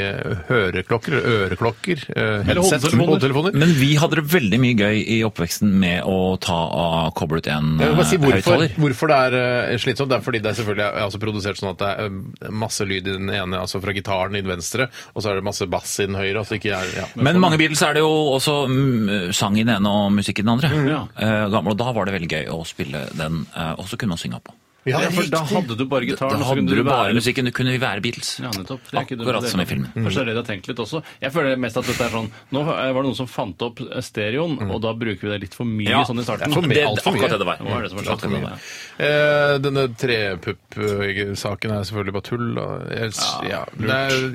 Speaker 7: høreklokker, øreklokker, eh, headset,
Speaker 9: hodetelefoner.
Speaker 7: hodetelefoner.
Speaker 3: Men vi hadde det veldig mye gøy i oppveksten med å ta og koble ut en
Speaker 7: Jeg vil bare si
Speaker 3: eh,
Speaker 7: hvorfor,
Speaker 3: høyttaler.
Speaker 7: hvorfor det er eh, slitsomt. Det er fordi det er selvfølgelig er altså produsert sånn at det er eh, masse lyd i den ene, altså fra gitaren i den venstre, og så er det masse bass i den høyre. Altså ikke er, ja.
Speaker 3: Men mange Beatles er det jo også mm, sang i den ene og musikk i den andre.
Speaker 9: Mm, ja.
Speaker 3: Eh, gammel, og da var det veldig gøy å spille den, eh, og så kunne man synge oppå.
Speaker 7: Ja,
Speaker 9: Ja, for da hadde du bare
Speaker 3: Da
Speaker 9: gitaren, og så
Speaker 3: hadde
Speaker 9: kunne
Speaker 3: du
Speaker 9: du
Speaker 3: bare
Speaker 9: være
Speaker 3: musikken, du kunne vi være Beatles.
Speaker 9: Ja, nettopp. Det er ikke dumt,
Speaker 3: Akkurat
Speaker 9: det.
Speaker 3: som i filmen.
Speaker 9: Kanskje det er det de har tenkt litt også. Jeg føler mest at dette er sånn Nå var det noen som fant opp eh, stereoen, og da bruker vi det litt for mye
Speaker 3: Mm. Ja,
Speaker 9: sånn i starten.
Speaker 7: det er for mye,
Speaker 9: Det-
Speaker 7: alt for mye.
Speaker 3: akkurat det det var.
Speaker 9: Det var det som var
Speaker 7: Alt for
Speaker 9: saken,
Speaker 7: mye.
Speaker 9: det.
Speaker 7: Eh, denne trepupp-saken er selvfølgelig bare tull. og Jeg,
Speaker 3: Ah,
Speaker 7: ja, det, er,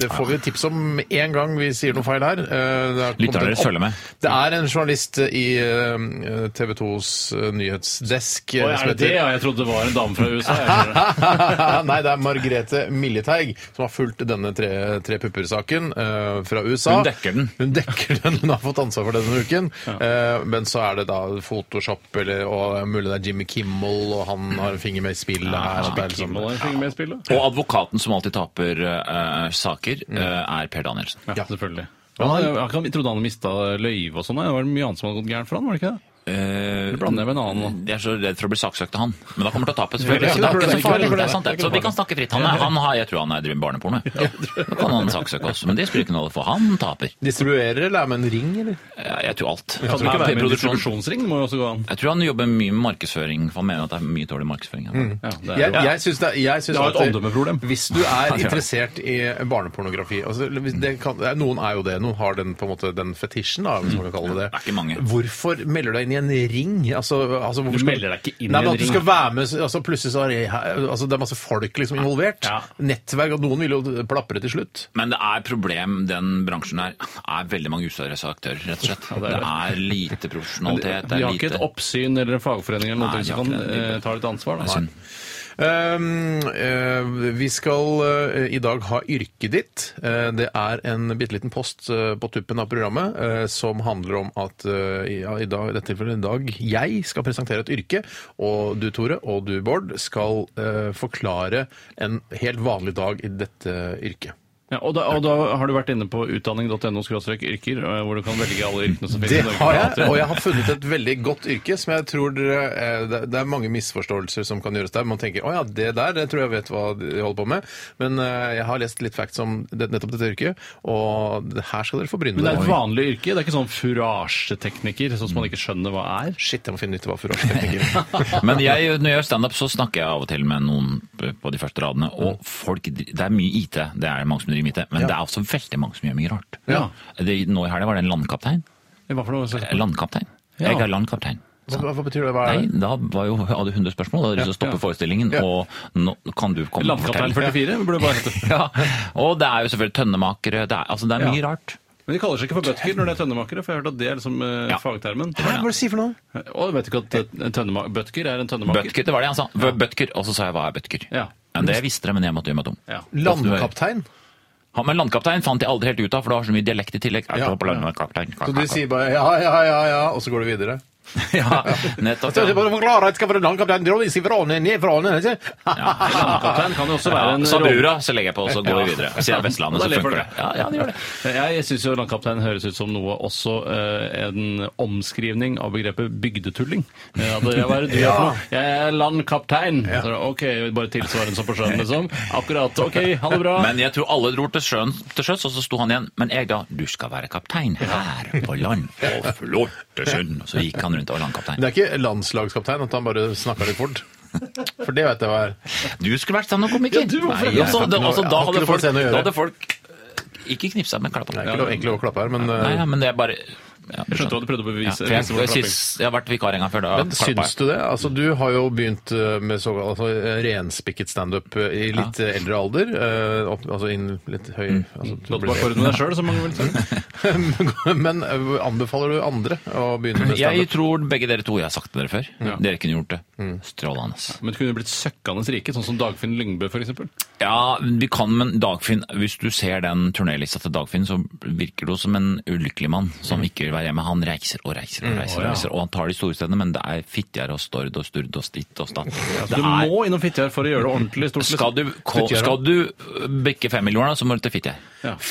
Speaker 7: det får vi tips om med en gang vi sier noe feil her. Eh, det er kommet
Speaker 3: Lytterne
Speaker 7: en opp-
Speaker 3: følger med.
Speaker 7: Det er en journalist i eh, TV 2s nyhetsdesk eh,
Speaker 9: Å,
Speaker 7: som
Speaker 9: er det det?
Speaker 7: heter-
Speaker 9: Ja, jeg trodde det var en dame fra USA. jeg skjønner det.
Speaker 7: Nei, det er Margrethe Milleteig som har fulgt denne tre, tre pupper-saken eh, fra USA.
Speaker 3: Hun dekker den.
Speaker 7: Hun dekker den, hun har fått ansvar for det denne uken. Eh, men så er det da Photoshop, eller, og mulig det er Jimmy Kimmel, og han har en finger med i spillet her. at det er liksom-
Speaker 9: Kimmel har en finger med i spillet.
Speaker 3: Og advokaten som alltid taper eh, saker,
Speaker 7: Mm.
Speaker 3: eh, er Per Danielsen.
Speaker 9: Ja, selvfølgelig. Han, han, han trodde han mista løyve og sånn. Det var mye annet som hadde gått gærent for han, var det ikke det?
Speaker 3: Eh,
Speaker 9: Du blander jeg med en annen nå.
Speaker 3: Jeg er så redd for å bli saksøkt av han. Men da kommer han til å tape,
Speaker 7: Ja,
Speaker 3: selvfølgelig.
Speaker 7: det
Speaker 3: Så det
Speaker 7: burde
Speaker 3: er ikke
Speaker 7: det
Speaker 3: så
Speaker 7: ikke
Speaker 3: farlig.
Speaker 7: være.
Speaker 3: Det er sant, det. Så vi kan snakke fritt. Han er, han har, jeg tror han er driver med barneporno. jeg. Da kan han saksøke oss, men det spiller ikke noe rolle, for han taper.
Speaker 7: Distribuerer, eller er med en ring, eller?
Speaker 3: Eh, Jeg tror alt.
Speaker 9: Kan du
Speaker 3: Han
Speaker 9: ikke
Speaker 3: er
Speaker 9: være med i en
Speaker 3: produksjon.
Speaker 9: distribusjonsring? Må jo også gå an.
Speaker 3: Jeg tror han jobber mye med markedsføring, for han mener at det er mye dårlig markedsføring. her.
Speaker 9: Ja, det er
Speaker 7: Jeg,
Speaker 9: jo-
Speaker 7: jeg syns det, er- jeg syns
Speaker 9: Det er
Speaker 7: at
Speaker 9: et omdømmeproblem.
Speaker 7: Hvis du er interessert i barnepornografi altså, hvis det kan, det er- Noen er jo det. Noen har den, på en måte, den fetisjen, da, hvis man kan
Speaker 9: Mm.
Speaker 7: kalle det det.
Speaker 3: Det er ikke mange.
Speaker 7: Hvorfor melder du deg inn i en ring? Altså, altså, hvorfor
Speaker 9: Du
Speaker 7: skal-
Speaker 9: melder deg ikke inn i
Speaker 7: Nei, men
Speaker 9: en
Speaker 7: at du
Speaker 9: ring.
Speaker 7: skal være med, altså, plutselig så er jeg, her- altså, det er masse folk liksom, involvert.
Speaker 9: Ja.
Speaker 7: Nettverk, og noen vil jo plapre til slutt.
Speaker 3: Men det er problem, den bransjen her er veldig mange useriøse aktører, rett og slett. Det er lite
Speaker 9: De
Speaker 3: profesjonalitet. Det
Speaker 9: har
Speaker 3: er
Speaker 9: ikke et
Speaker 3: lite
Speaker 9: oppsyn eller en fagforening eller
Speaker 3: Nei,
Speaker 9: noe som
Speaker 3: de
Speaker 9: kan
Speaker 3: har ikke det.
Speaker 9: eh, ta litt ansvar. Da.
Speaker 3: Det er synd.
Speaker 7: Um, eh, vi skal eh, i dag ha yrket ditt. Eh, det er en bitte liten post eh, på tuppen av programmet eh, som handler om at eh, i- ja, i, dag, i dette tilfellet i dag jeg skal presentere et yrke, og du Tore og du Bård skal eh, forklare en helt vanlig dag i dette yrket.
Speaker 9: Ja, og, da, og da har du vært inne på utdanning.no yrker, eh, hvor du kan velge alle yrkene som finnes
Speaker 7: Det
Speaker 9: i Norge.
Speaker 7: har jeg, og jeg har funnet et veldig godt yrke som jeg tror dere eh, Det det er mange misforståelser som kan gjøres der. Man tenker å ja, det der det tror jeg vet hva de holder på med. Men eh, jeg har lest litt facts om det, nettopp dette yrket, og det her skal dere få bryne
Speaker 9: Men det er
Speaker 7: dere
Speaker 9: et vanlig yrke, det er ikke sånn furasjetekniker, sånn som man ikke skjønner hva er.
Speaker 7: Shit, jeg må finne ut hva furasjeteknikker
Speaker 3: Men jeg, når jeg gjør standup, så snakker jeg av og til med noen på de første radene. Og
Speaker 9: Mm.
Speaker 3: folk, det er mye IT, det er mange som driver med IT, men det er også veldig mange som gjør mye rart.
Speaker 9: Ja.
Speaker 3: Det, nå i helga var det en landkaptein.
Speaker 9: Hva for noe? sånn
Speaker 3: Eh, Landkaptein.
Speaker 9: Ja.
Speaker 3: Jeg er landkaptein.
Speaker 7: hva, hva betyr det? Hva er
Speaker 3: Nei,
Speaker 7: det?
Speaker 3: da var jo, hadde hun 100 spørsmål. Da hadde jeg lyst til å stoppe
Speaker 9: Ja.
Speaker 3: forestillingen.
Speaker 7: Ja.
Speaker 3: Og nå kan du komme og
Speaker 9: Landkaptein
Speaker 3: fortelle.
Speaker 9: 44 burde det bare hete.
Speaker 3: Ja. Og det er jo selvfølgelig tønnemakere. Det er, altså, det er mye
Speaker 9: Ja.
Speaker 3: rart.
Speaker 9: Men de kaller seg ikke for bøtker når det er tønnemakere, for jeg har hørt at det er liksom eh,
Speaker 3: Ja.
Speaker 9: fagtermen.
Speaker 7: Hæ, Hva er det du sier for noe?
Speaker 9: Og vet du ikke at eh, en tønnema- bøtker er en tønnemaker?
Speaker 3: Bøtker, det var det han sa. V- Bøtker. Og så sa jeg hva er bøtker.
Speaker 9: Ja.
Speaker 3: Men det visste dere, men jeg måtte gjøre meg dum.
Speaker 9: Ja.
Speaker 7: Landkaptein?
Speaker 3: Han, men landkaptein fant jeg aldri helt ut av, for det var så mye dialekt i tillegg.
Speaker 7: Ja.
Speaker 3: Ja. Landkaptein.
Speaker 7: Så du sier bare ja, ja, ja, ja, og så går du videre?
Speaker 3: Ja, nettopp.
Speaker 7: Så jeg
Speaker 3: Ja.
Speaker 7: bare forklarer at det skal være landkaptein, dra disse vranene ned fra den, ikke?
Speaker 9: Landkaptein kan jo også være
Speaker 3: Ja,
Speaker 9: en
Speaker 3: sa
Speaker 9: rolle-
Speaker 3: brura, så legger jeg på, og så går vi videre. Sier jeg Vestlandet,
Speaker 9: Da
Speaker 3: så
Speaker 9: lever
Speaker 3: funker det.
Speaker 9: det.
Speaker 3: Ja, ja, det gjør det.
Speaker 9: Jeg syns jo landkaptein høres ut som noe også eh, en omskrivning av begrepet bygdetulling. Eh, Ja, det, hva er det du er for noe? Jeg er landkaptein. Så, ok, bare tilsvarende som på sjøen, liksom. Akkurat. Ok, ha det bra.
Speaker 3: Men jeg tror alle dro til sjøen til sjøs, og så sto han igjen. Men jeg da, du skal være kaptein her på land. Å, Flåttesund. Så gikk han rundt og var landkaptein.
Speaker 7: Det er ikke landslagskaptein, at han bare snakker litt fort. For det vet jeg hva er.
Speaker 3: Du skulle vært standup-komiker.
Speaker 7: Ja, du, hvorfor
Speaker 3: Nei,
Speaker 7: det?
Speaker 3: altså, det- altså,
Speaker 7: Jeg
Speaker 3: da
Speaker 7: har ikke
Speaker 3: hadde
Speaker 7: noe for
Speaker 3: folk,
Speaker 7: scenen å gjøre.
Speaker 3: da hadde folk eh, ikke knipsa, men klappa.
Speaker 7: Det er ikke lov, egentlig lov å klappe her, men,
Speaker 3: Nei, ja,
Speaker 7: eh,
Speaker 3: men det er bare ja,
Speaker 9: Jeg skjønte hva du prøvde å
Speaker 3: Ja,
Speaker 9: bevise.
Speaker 3: for jeg,
Speaker 9: liksom, med
Speaker 3: jeg,
Speaker 9: klapping.
Speaker 3: syns- jeg har vært vikar en gang før. Da,
Speaker 7: men
Speaker 3: klappa jeg.
Speaker 7: syns du det? Altså, du har jo begynt eh, med såkalt altså, eh, renspikket standup eh, i litt eh, eldre alder. eh, opp, altså innen litt høy
Speaker 9: Mm.
Speaker 7: altså, du
Speaker 9: Låt
Speaker 7: blir-
Speaker 9: bare for deg selv, som mange vil si.
Speaker 7: Men eh, anbefaler du andre å begynne med
Speaker 3: Jeg
Speaker 7: standup?
Speaker 3: tror begge dere to, jeg har sagt det dere før, dere kunne gjort det. Strålende. ass.
Speaker 9: Men det kunne blitt søkkende rike, sånn som Dagfinn Lyngbø, f.eks.
Speaker 3: Ja, vi kan, men
Speaker 7: Mm.
Speaker 3: Dagfinn, hvis du ser den turnélista til Dagfinn, så virker du som en ulykkelig mann som ikke vil her hjemme, han reiser og reiser og reiser. og reiser, og han tar de store stedene, men det er Fitjar og Stord og Sturt og Stitt og Statt. Det
Speaker 9: Du
Speaker 3: er,
Speaker 9: må innom Fitjar for å gjøre det ordentlig stort. liksom.
Speaker 3: skal, du, ko-
Speaker 7: Fitjar, ja.
Speaker 3: skal du øh, bikke femmillionerne, så må du til Fitjar.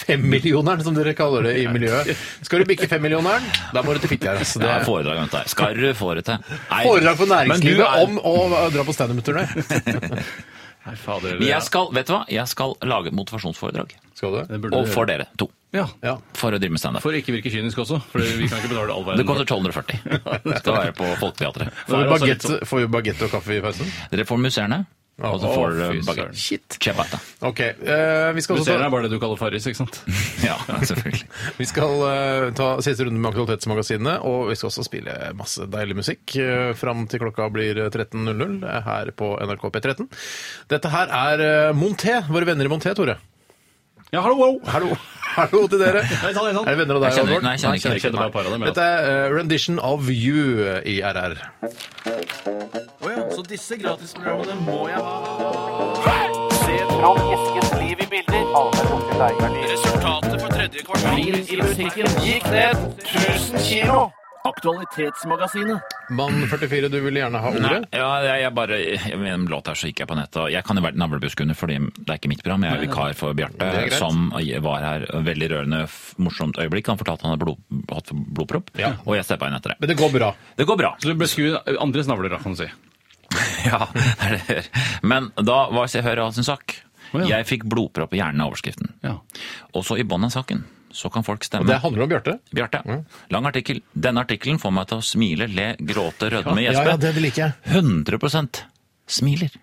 Speaker 7: Femmillioneren, som dere kaller det i miljøet. Skal du bikke femmillioneren, da må du til Fitjar. altså.
Speaker 3: Det
Speaker 7: Det
Speaker 3: er
Speaker 7: er
Speaker 3: foredrag rundt der. Skal du få det til? Nei.
Speaker 7: foredrag for næringslivet
Speaker 9: Men
Speaker 7: om å dra på standup-turné.
Speaker 9: Nei, fader,
Speaker 3: Men
Speaker 9: det,
Speaker 3: Jeg skal, vet du hva? Jeg skal lage et motivasjonsforedrag.
Speaker 7: Skal du?
Speaker 9: det burde
Speaker 3: Og
Speaker 9: du
Speaker 3: for
Speaker 9: gjøre.
Speaker 3: dere to.
Speaker 9: Ja.
Speaker 7: Ja.
Speaker 3: For å drive med standup.
Speaker 9: For å ikke virke kynisk også, for vi kan ikke betale all
Speaker 3: Det
Speaker 9: verden.
Speaker 3: koster 1240. Det skal være på Folketeatret.
Speaker 7: Får vi
Speaker 9: Det er også litt sånn-
Speaker 7: baguette- Får vi bagett og kaffe i pausen?
Speaker 3: Dere får museerne, og så
Speaker 7: Å,
Speaker 3: får dere
Speaker 9: fy søren.
Speaker 3: baguette. Shit.
Speaker 7: Ok, eh, vi skal også
Speaker 9: Museene
Speaker 7: ta
Speaker 9: er bare det du kaller farris, ikke sant?
Speaker 3: Ja, selvfølgelig.
Speaker 7: Vi skal eh, ta siste runde med Aktualitetsmagasinene, og vi skal også spille masse deilig musikk uh, fram til klokka blir eh, 13.00 her på NRK P13. Dette her er eh, Monté, våre venner i Monté, Tore.
Speaker 9: Ja, hallo, wow!
Speaker 7: Hallo. Hallo til dere.
Speaker 9: Nei, ta det, ta det.
Speaker 7: Er det venner av deg,
Speaker 3: Jeg kjenner-
Speaker 7: Oddvar?
Speaker 3: nei, jeg kjenner ikke-
Speaker 9: Jeg kjenner bare et par av dem.
Speaker 7: Dette er eh, rendition of you i RR.
Speaker 9: Så disse gratisprogrammene må jeg ha. Se fram Eskens liv i bilder. Resultatet på tredje kvartal. Min i butikken gikk ned 1000 kilo. Aktualitetsmagasinet.
Speaker 7: Mann 44, du ville gjerne ha
Speaker 3: Nei,
Speaker 7: ordet.
Speaker 3: ja, jeg, jeg bare, jeg mener, om låt her så gikk jeg på nettet. og Jeg kan jo være et navlebeskuende, fordi det er ikke mitt program. Jeg er vikar for
Speaker 7: er greit.
Speaker 3: Bjarte, som var her. Veldig rørende, f- morsomt øyeblikk. Han fortalte han hadde blod, hatt blodpropp, og jeg steppa inn etter det.
Speaker 7: Men det går bra.
Speaker 3: Det går bra.
Speaker 9: Du beskuer andres navler, da, kan du si.
Speaker 3: Ja, det er det. jeg gjør. Men da var Se Hør og sin sak.
Speaker 9: Å, ja.
Speaker 3: Jeg fikk blodpropp i hjernen av overskriften.
Speaker 9: Ja.
Speaker 3: Og så i bånn av saken. Så kan folk stemme.
Speaker 7: Det handler om Bjarte.
Speaker 3: Bjarte, lang artikkel. Denne artikkelen får meg til å smile, le, gråte, rødme,
Speaker 7: Ja, ja,
Speaker 3: gjespe.
Speaker 7: det liker jeg.
Speaker 3: 100 smiler.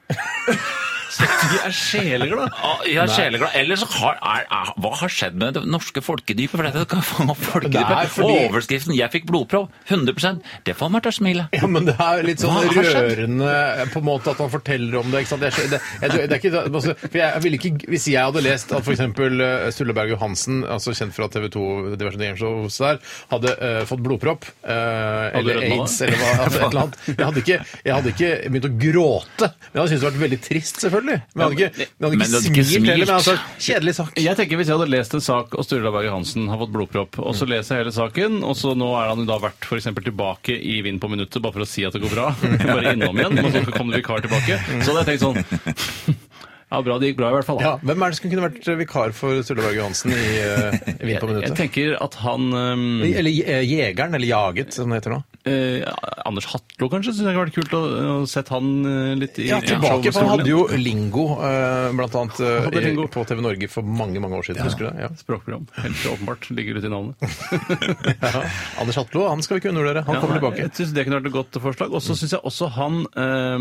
Speaker 9: De er sjeleglade.
Speaker 3: Ah, Jeg er sjeleglad. Eller så har, er, er, hva har skjedd med det norske folkedypet? For dette kan fange opp
Speaker 7: Det er
Speaker 3: folkedypet.
Speaker 7: fordi-
Speaker 3: Overskriften 'Jeg fikk blodprov'. 100 Det får meg til å smile.
Speaker 7: Ja, men det er litt sånn
Speaker 3: Hva har skjedd?
Speaker 7: rørende på en måte at han forteller om det. ikke sant? Det er, så- det, jeg, tror- det er ikke, altså, for jeg ville ikke, Hvis jeg hadde lest at f.eks. Sturleberg Johansen, altså kjent fra TV 2 diverse gameshows der, hadde eh, fått blodpropp eh, eller
Speaker 9: du rødma
Speaker 7: aids eller hva, altså, et eller annet jeg hadde, ikke, jeg hadde ikke begynt å gråte. Men jeg hadde syntes det hadde vært veldig trist, selvfølgelig. Men jeg hadde ikke, jeg hadde
Speaker 3: Men
Speaker 7: ikke,
Speaker 3: du hadde ikke
Speaker 7: smilt heller. Men jeg hadde
Speaker 3: smilt.
Speaker 7: sagt kjedelig sak.
Speaker 9: Jeg tenker Hvis jeg hadde lest en sak og Sturla Berge Hansen har fått blodpropp, og så leser jeg hele saken, og så nå er han jo da vært for eksempel tilbake i Vind på minuttet bare for å si at det går bra, bare innom igjen, og så kom det vikar tilbake, så hadde jeg tenkt sånn Ja, bra det gikk bra i hvert fall. da.
Speaker 7: Ja, Hvem er det som kunne vært eh, vikar for Sturleberg Johansen i uh, Vin på
Speaker 9: Jeg, jeg
Speaker 7: minuttet?
Speaker 9: tenker at han øhm,
Speaker 7: Eller eh, Jegeren, eller Jaget, som det heter nå.
Speaker 9: eh, Anders Hatlo, kanskje? Syns jeg hadde vært kult å, å sette han eh, litt i
Speaker 7: Ja, tilbake, for han
Speaker 9: showstolen.
Speaker 7: hadde jo Lingo eh, blant annet eh,
Speaker 9: Hadde
Speaker 7: i-
Speaker 9: Lingo.
Speaker 7: på TV Norge for mange mange år siden. husker du det? Ja.
Speaker 9: Språkprogram. Helt åpenbart. Ligger ute i navnet.
Speaker 7: Ja. Anders Hatlo han skal vi ikke undervurdere. Han kommer
Speaker 9: Ja, nei,
Speaker 7: tilbake.
Speaker 9: Jeg synes Det kunne vært et godt forslag. Og så syns jeg også han eh,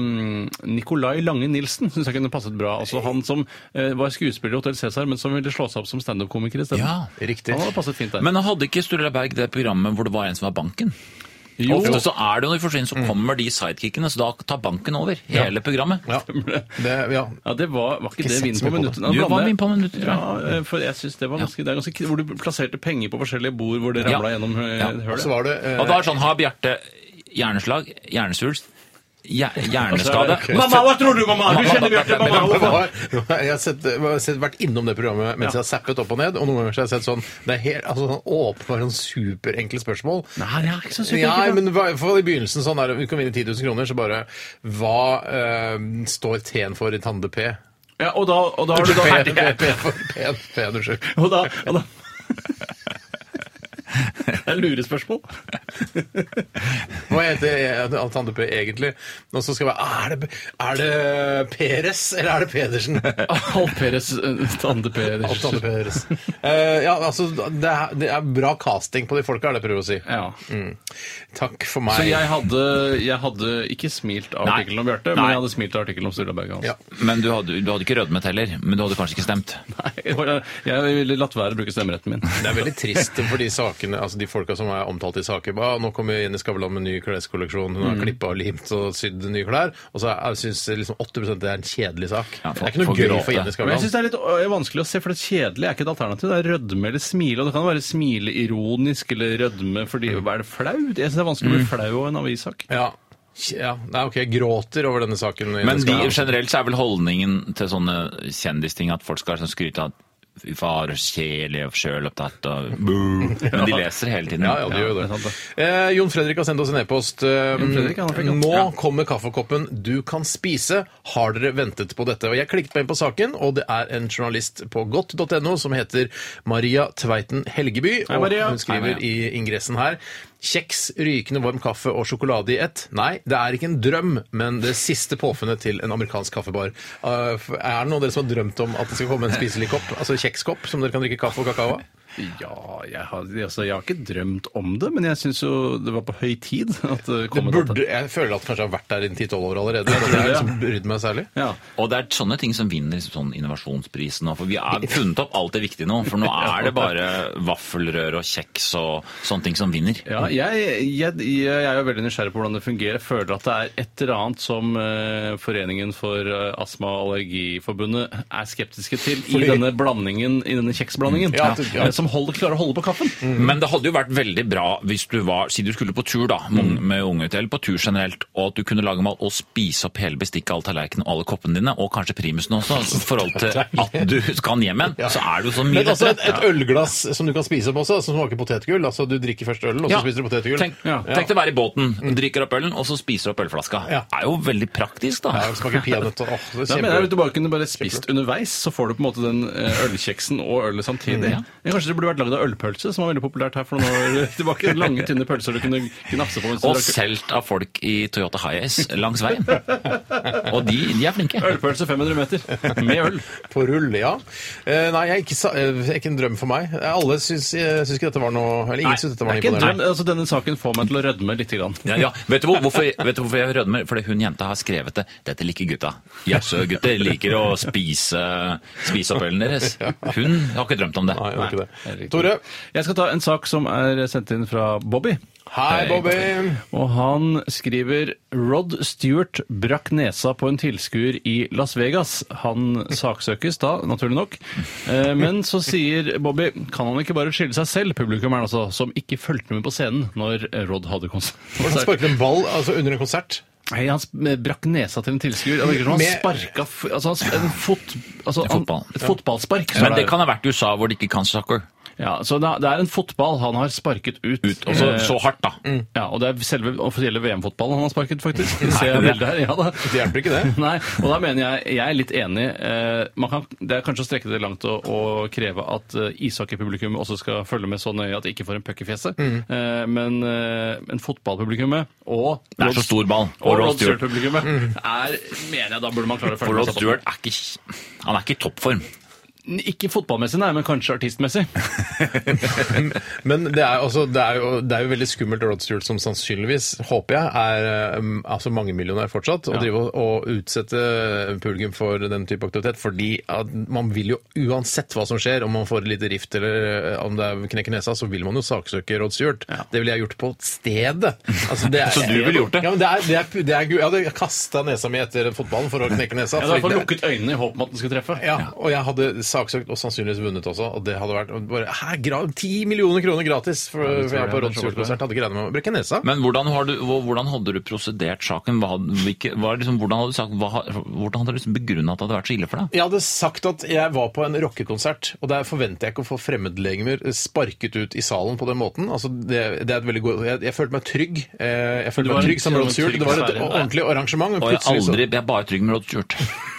Speaker 9: Nikolai Lange Nilsen synes jeg kunne passet bra. Altså Han som eh, var skuespiller i Hotell Cæsar, men som ville slå seg opp som standup-komiker isteden.
Speaker 3: Ja,
Speaker 7: riktig.
Speaker 9: Han hadde passet fint der.
Speaker 3: Men hadde ikke Sturla Berg det programmet hvor det var en som var banken?
Speaker 9: jo, Mm.
Speaker 3: Ofte så er det jo når de forsvinner, så kommer de sidekickene, så da tar banken over hele programmet.
Speaker 7: Ja. Det, ja.
Speaker 9: ja, det var, var ikke
Speaker 7: Ikke
Speaker 9: det
Speaker 7: sett
Speaker 9: Vinn
Speaker 7: så mye på
Speaker 9: på
Speaker 7: det.
Speaker 9: minuttet? Nå
Speaker 3: Du
Speaker 9: blander
Speaker 3: var
Speaker 9: jeg.
Speaker 3: Vinn på minuttet, tror jeg.
Speaker 9: Ja, eh, for jeg synes det var ganske, det er ganske Hvor du plasserte penger på forskjellige bord hvor det ramla
Speaker 3: Ja.
Speaker 9: gjennom eh,
Speaker 3: Ja.
Speaker 7: Og
Speaker 9: hølet.
Speaker 7: så var det eh,
Speaker 3: Og da er det sånn, har Bjarte hjerneslag, hjernesvulst, hjer- hjerneskade?
Speaker 9: Mamma, hva tror du, mamma? Du kjenner Bjarte, mamma!
Speaker 7: det
Speaker 9: hvorfor?
Speaker 7: var, jeg har, sett, jeg har sett, vært innom det programmet mens jeg har zappet opp og ned. Og noen ganger så har jeg sett sånn Det er helt, altså, sånn åpenbare, sånn superenkle spørsmål.
Speaker 9: Nei, det er ikke så superenkelt,
Speaker 7: Nei,
Speaker 9: da.
Speaker 7: men i hvert fall i begynnelsen sånn der, Du kan vinne 10 000 kroner, så bare Hva eh, står T-en for i Tande-P?
Speaker 9: Ja, og da, og da har du da
Speaker 7: P- P- P for P- P- Unnskyld.
Speaker 9: Og da, og da. Det er lurespørsmål.
Speaker 7: Hva heter Tande-P egentlig? Og så skal jeg bare "Ah, Er det, er det Peres, eller er det Pedersen?
Speaker 9: Alf Peres eh, Tande
Speaker 7: Alt Tande
Speaker 9: Peder.
Speaker 7: Peres. Eh, ja, altså, det er, det er bra casting på de folka, er det jeg prøver å si. Mm.
Speaker 9: Ja.
Speaker 7: Takk for
Speaker 9: Så
Speaker 7: meg.
Speaker 9: jeg hadde, jeg hadde ikke smilt av
Speaker 3: Nei.
Speaker 9: artikkelen om Bjarte, men
Speaker 3: Nei.
Speaker 9: jeg hadde smilt av artikkelen om Sturla Berge Hansen.
Speaker 7: Ja.
Speaker 3: Men du hadde, du hadde ikke rødmet heller, men du hadde kanskje ikke stemt?
Speaker 9: Nei, jeg var- Jeg ville latt være å bruke stemmeretten min.
Speaker 7: Det er veldig trist for de sakene, altså de folka som er omtalt i saker. Ba, nå kommer Jenny Skavlan med ny kleskolleksjon, hun
Speaker 9: Mm.
Speaker 7: har klippa og limt og sydd nye klær. Og så syns liksom 80 det er en kjedelig sak.
Speaker 3: Ja, for-
Speaker 7: det er ikke noe
Speaker 3: for
Speaker 7: gøy
Speaker 3: gråte.
Speaker 7: for Jenny
Speaker 9: Men jeg
Speaker 7: Skavlan.
Speaker 9: syns det er litt ø, vanskelig å se, for det kjedelige er ikke et alternativ. Det er rødme eller smile, og det kan jo være smile ironisk eller rødme fordi Hva er det flaut? Jeg syns det er vanskelig å bli flau av en avissak.
Speaker 7: Ja. ja. Nei, OK, jeg gråter over denne saken. Jenny
Speaker 3: Men de,
Speaker 7: Skavlan.
Speaker 3: generelt så er vel holdningen til sånne kjendisting at folk skal sånn skryte av Fy fader, kjedelig og sjølopptatt og Boo. Men de leser hele tiden.
Speaker 7: Ja, ja, det gjør jo
Speaker 9: det er
Speaker 7: det.
Speaker 9: sant,
Speaker 7: Eh, Jon Fredrik har sendt oss en e-post. Eh,
Speaker 9: Fredrik, han har fått-
Speaker 7: nå kommer kaffekoppen du kan spise. Har dere ventet på dette? Og Jeg klikket meg inn på saken, og det er en journalist på godt.no som heter Maria Tveiten Helgeby.
Speaker 9: Hei,
Speaker 7: Og
Speaker 9: Maria.
Speaker 7: hun
Speaker 9: Hei,
Speaker 7: skriver
Speaker 9: Maria.
Speaker 7: i ingressen her Kjeks, rykende varm kaffe og sjokolade i ett. Nei, det er ikke en drøm, men det siste påfunnet til en amerikansk kaffebar. Eh, f- er det noen av dere som har drømt om at det skal komme en spiselig kopp? Altså kjekskopp som dere kan drikke kaffe og kakao av?
Speaker 9: Ja, jeg har, altså, jeg har ikke drømt om det, men jeg syns jo det var på høy tid at
Speaker 7: Det
Speaker 9: det kom et
Speaker 7: burde, jeg føler at kanskje jeg har vært der innen 10-12 år allerede. Jeg tror
Speaker 9: tror
Speaker 7: jeg
Speaker 9: det,
Speaker 7: liksom
Speaker 9: ja.
Speaker 7: brydde meg særlig.
Speaker 9: Ja.
Speaker 3: Og det er sånne ting som vinner liksom sånn innovasjonsprisen nå. For vi har funnet opp alt det viktige nå. For nå er det bare vaffelrør og kjeks og sånne ting som vinner.
Speaker 9: Ja, jeg, jeg, jeg er jo veldig nysgjerrig på hvordan det fungerer. Jeg Føler at det er et eller annet som eh, Foreningen for eh, Astma- og Allergiforbundet er skeptiske til i denne blandingen, i denne kjeksblandingen,
Speaker 7: Ja, Mm. det- ja.
Speaker 9: eh, som holder, klarer å holde på kaffen.
Speaker 3: Men det hadde jo vært veldig bra hvis du var, si du skulle på tur da,
Speaker 7: Mm.
Speaker 3: med unge- med unge til, eller på tur generelt, og at du kunne lage mat og spise opp hele bestikket, all tallerkenen og alle koppene dine, og kanskje primusen også, altså i forhold til at du kan hjem igjen, så er det jo så mye
Speaker 7: Men altså et,
Speaker 3: lettere.
Speaker 7: et ølglass som du kan spise opp også, som smaker potetgull. Altså du drikker først ølen, og så
Speaker 3: Ja.
Speaker 7: spiser du potetgull. Mm.
Speaker 3: Tenk,
Speaker 9: Ja.
Speaker 3: tenk deg å være i båten, drikker opp ølen, og så spiser du opp ølflaska.
Speaker 7: Ja.
Speaker 3: Det er jo veldig praktisk da.
Speaker 7: Ja, det smaker peanøtt. og- Åh, det er
Speaker 9: Da mener jeg at
Speaker 7: kjempegodt.
Speaker 9: du bare kunne bare spist underveis, så får du på en måte den eh, ølkjeksen og ølet samtidig.
Speaker 7: Mm.
Speaker 3: Ja.
Speaker 9: Men Kanskje det burde vært lagd av ølpølse, som var veldig populært her for noen år tilbake. Lange, tynne pølser du kunne gnafse på. mens du
Speaker 3: Og
Speaker 9: drakk øl.
Speaker 3: solgt av folk i Toyota Hiace langs veien. Og de, de er flinke.
Speaker 9: Ølpølse 500 meter, med øl.
Speaker 7: På rull, ja. Eh, nei, jeg, er ikke, sa- eh, ikke en drøm for meg. Eh, Alle syns, eh, syns ikke dette var noe Eller ingen syns dette var noe
Speaker 9: Ikke en drøm.
Speaker 7: imponerende.
Speaker 9: Altså, denne saken får meg til å rødme litt. Grann.
Speaker 3: Ja, ja. Vet, du hvor, hvorfor, vet du hvorfor jeg rødmer? Fordi hun jenta har skrevet det. Dette liker gutta. Jaså, gutter liker å spise, spise opp ølen deres. Hun har ikke drømt om det.
Speaker 7: Nei, det var ikke det. Tore.
Speaker 9: Jeg skal ta en sak som er sendt inn fra Bobby.
Speaker 7: Hei, Bobby.
Speaker 9: Og han skriver Rod Stewart brakk nesa på en tilskuer i Las Vegas. Han saksøkes da, naturlig nok. Eh, Men så sier Bobby kan han ikke bare skille seg selv, publikummeren altså, som ikke fulgte med på scenen når Rod hadde konsert.
Speaker 7: Hvordan sparket en ball altså under en konsert?
Speaker 9: Nei, han sp- brakk nesa til en tilskuer. Det virker som han
Speaker 7: Med-
Speaker 9: sparka f- altså, han s- en fot, altså,
Speaker 3: En
Speaker 9: han-
Speaker 3: fotball.
Speaker 9: et fotballspark.
Speaker 3: Men det kan ha vært i USA hvor de ikke kan soccer.
Speaker 9: ja, så det er- det er en fotball han har sparket ut.
Speaker 3: Ut, og så,
Speaker 9: Eh,
Speaker 3: så hardt,
Speaker 7: Mm.
Speaker 3: da.
Speaker 9: Ja, og det er selve offisielle VM-fotballen han har sparket, faktisk. Det ser jeg
Speaker 3: det-
Speaker 9: bildet her, ja da.
Speaker 7: Det hjelper ikke, det.
Speaker 9: Nei, og da mener jeg jeg er litt enig. Eh, man kan, det er kanskje å strekke det langt å, å kreve at eh, ishockeypublikummet også skal følge med så nøye at de ikke får en puck i fjeset. Eh, men, eh, men fotballpublikummet og
Speaker 3: Det er så stor ball.
Speaker 9: Og
Speaker 3: Og Rod
Speaker 9: Rod
Speaker 3: Stewart.
Speaker 9: Stewart-publikummet er, mener jeg, da burde man klare å
Speaker 3: For
Speaker 9: følge
Speaker 3: Rod
Speaker 9: med. seg på.
Speaker 3: Stewart er ikke, han er ikke i toppform.
Speaker 9: Ikke fotballmessig, nei, men kanskje artistmessig.
Speaker 7: Men det er, altså, det, er jo, det er jo veldig skummelt Rod Stewart, som sannsynligvis, håper jeg, er um, altså mangemillionær fortsatt, å
Speaker 9: Ja.
Speaker 7: drive og, og utsette publikum for den type aktivitet. Fordi at man vil jo uansett hva som skjer, om man får et lite rift eller eh, om det er knekk i nesa, så vil man jo saksøke Rod Stewart. Det ville jeg gjort på stedet. Altså, det er,
Speaker 3: Så du ville gjort det?
Speaker 7: Ja, men det er, det er, det er, gu- jeg hadde kasta nesa mi etter fotballen for å knekke nesa.
Speaker 9: Jeg hadde i hvert fall
Speaker 7: fordi det-
Speaker 9: lukket øynene i håp om at den skulle treffe.
Speaker 7: ja, og jeg hadde saksøkt og sannsynligvis vunnet også. Og det hadde vært bare hæ, gra, 10 millioner kroner gratis for, for jeg på Rod Stewart-konsert hadde ikke regnet med å brekke nesa.
Speaker 3: Men hvordan, har du, hvor- hvordan hadde du prosedert saken? Hva, hadde- hvilke, hva, er liksom, hvordan hadde du, sagt, hva, har- hvordan hadde du liksom begrunnet at det hadde vært så ille for deg?
Speaker 7: Jeg hadde sagt at jeg var på en rockekonsert, og der forventer jeg ikke å få fremmedlegemer sparket ut i salen på den måten. Altså, det, det er et veldig godt, jeg, jeg følte meg trygg. Eh, Jeg
Speaker 9: Du
Speaker 7: følte
Speaker 9: var
Speaker 7: meg
Speaker 9: en-
Speaker 7: trygg som
Speaker 9: du var
Speaker 7: Rod
Speaker 9: en
Speaker 7: Stewart.
Speaker 9: trygg
Speaker 7: Det var et
Speaker 9: sfære.
Speaker 7: ordentlig arrangement. men
Speaker 3: Og jeg,
Speaker 7: plutselig så-
Speaker 3: aldri, jeg er bare trygg med Rod Stewart,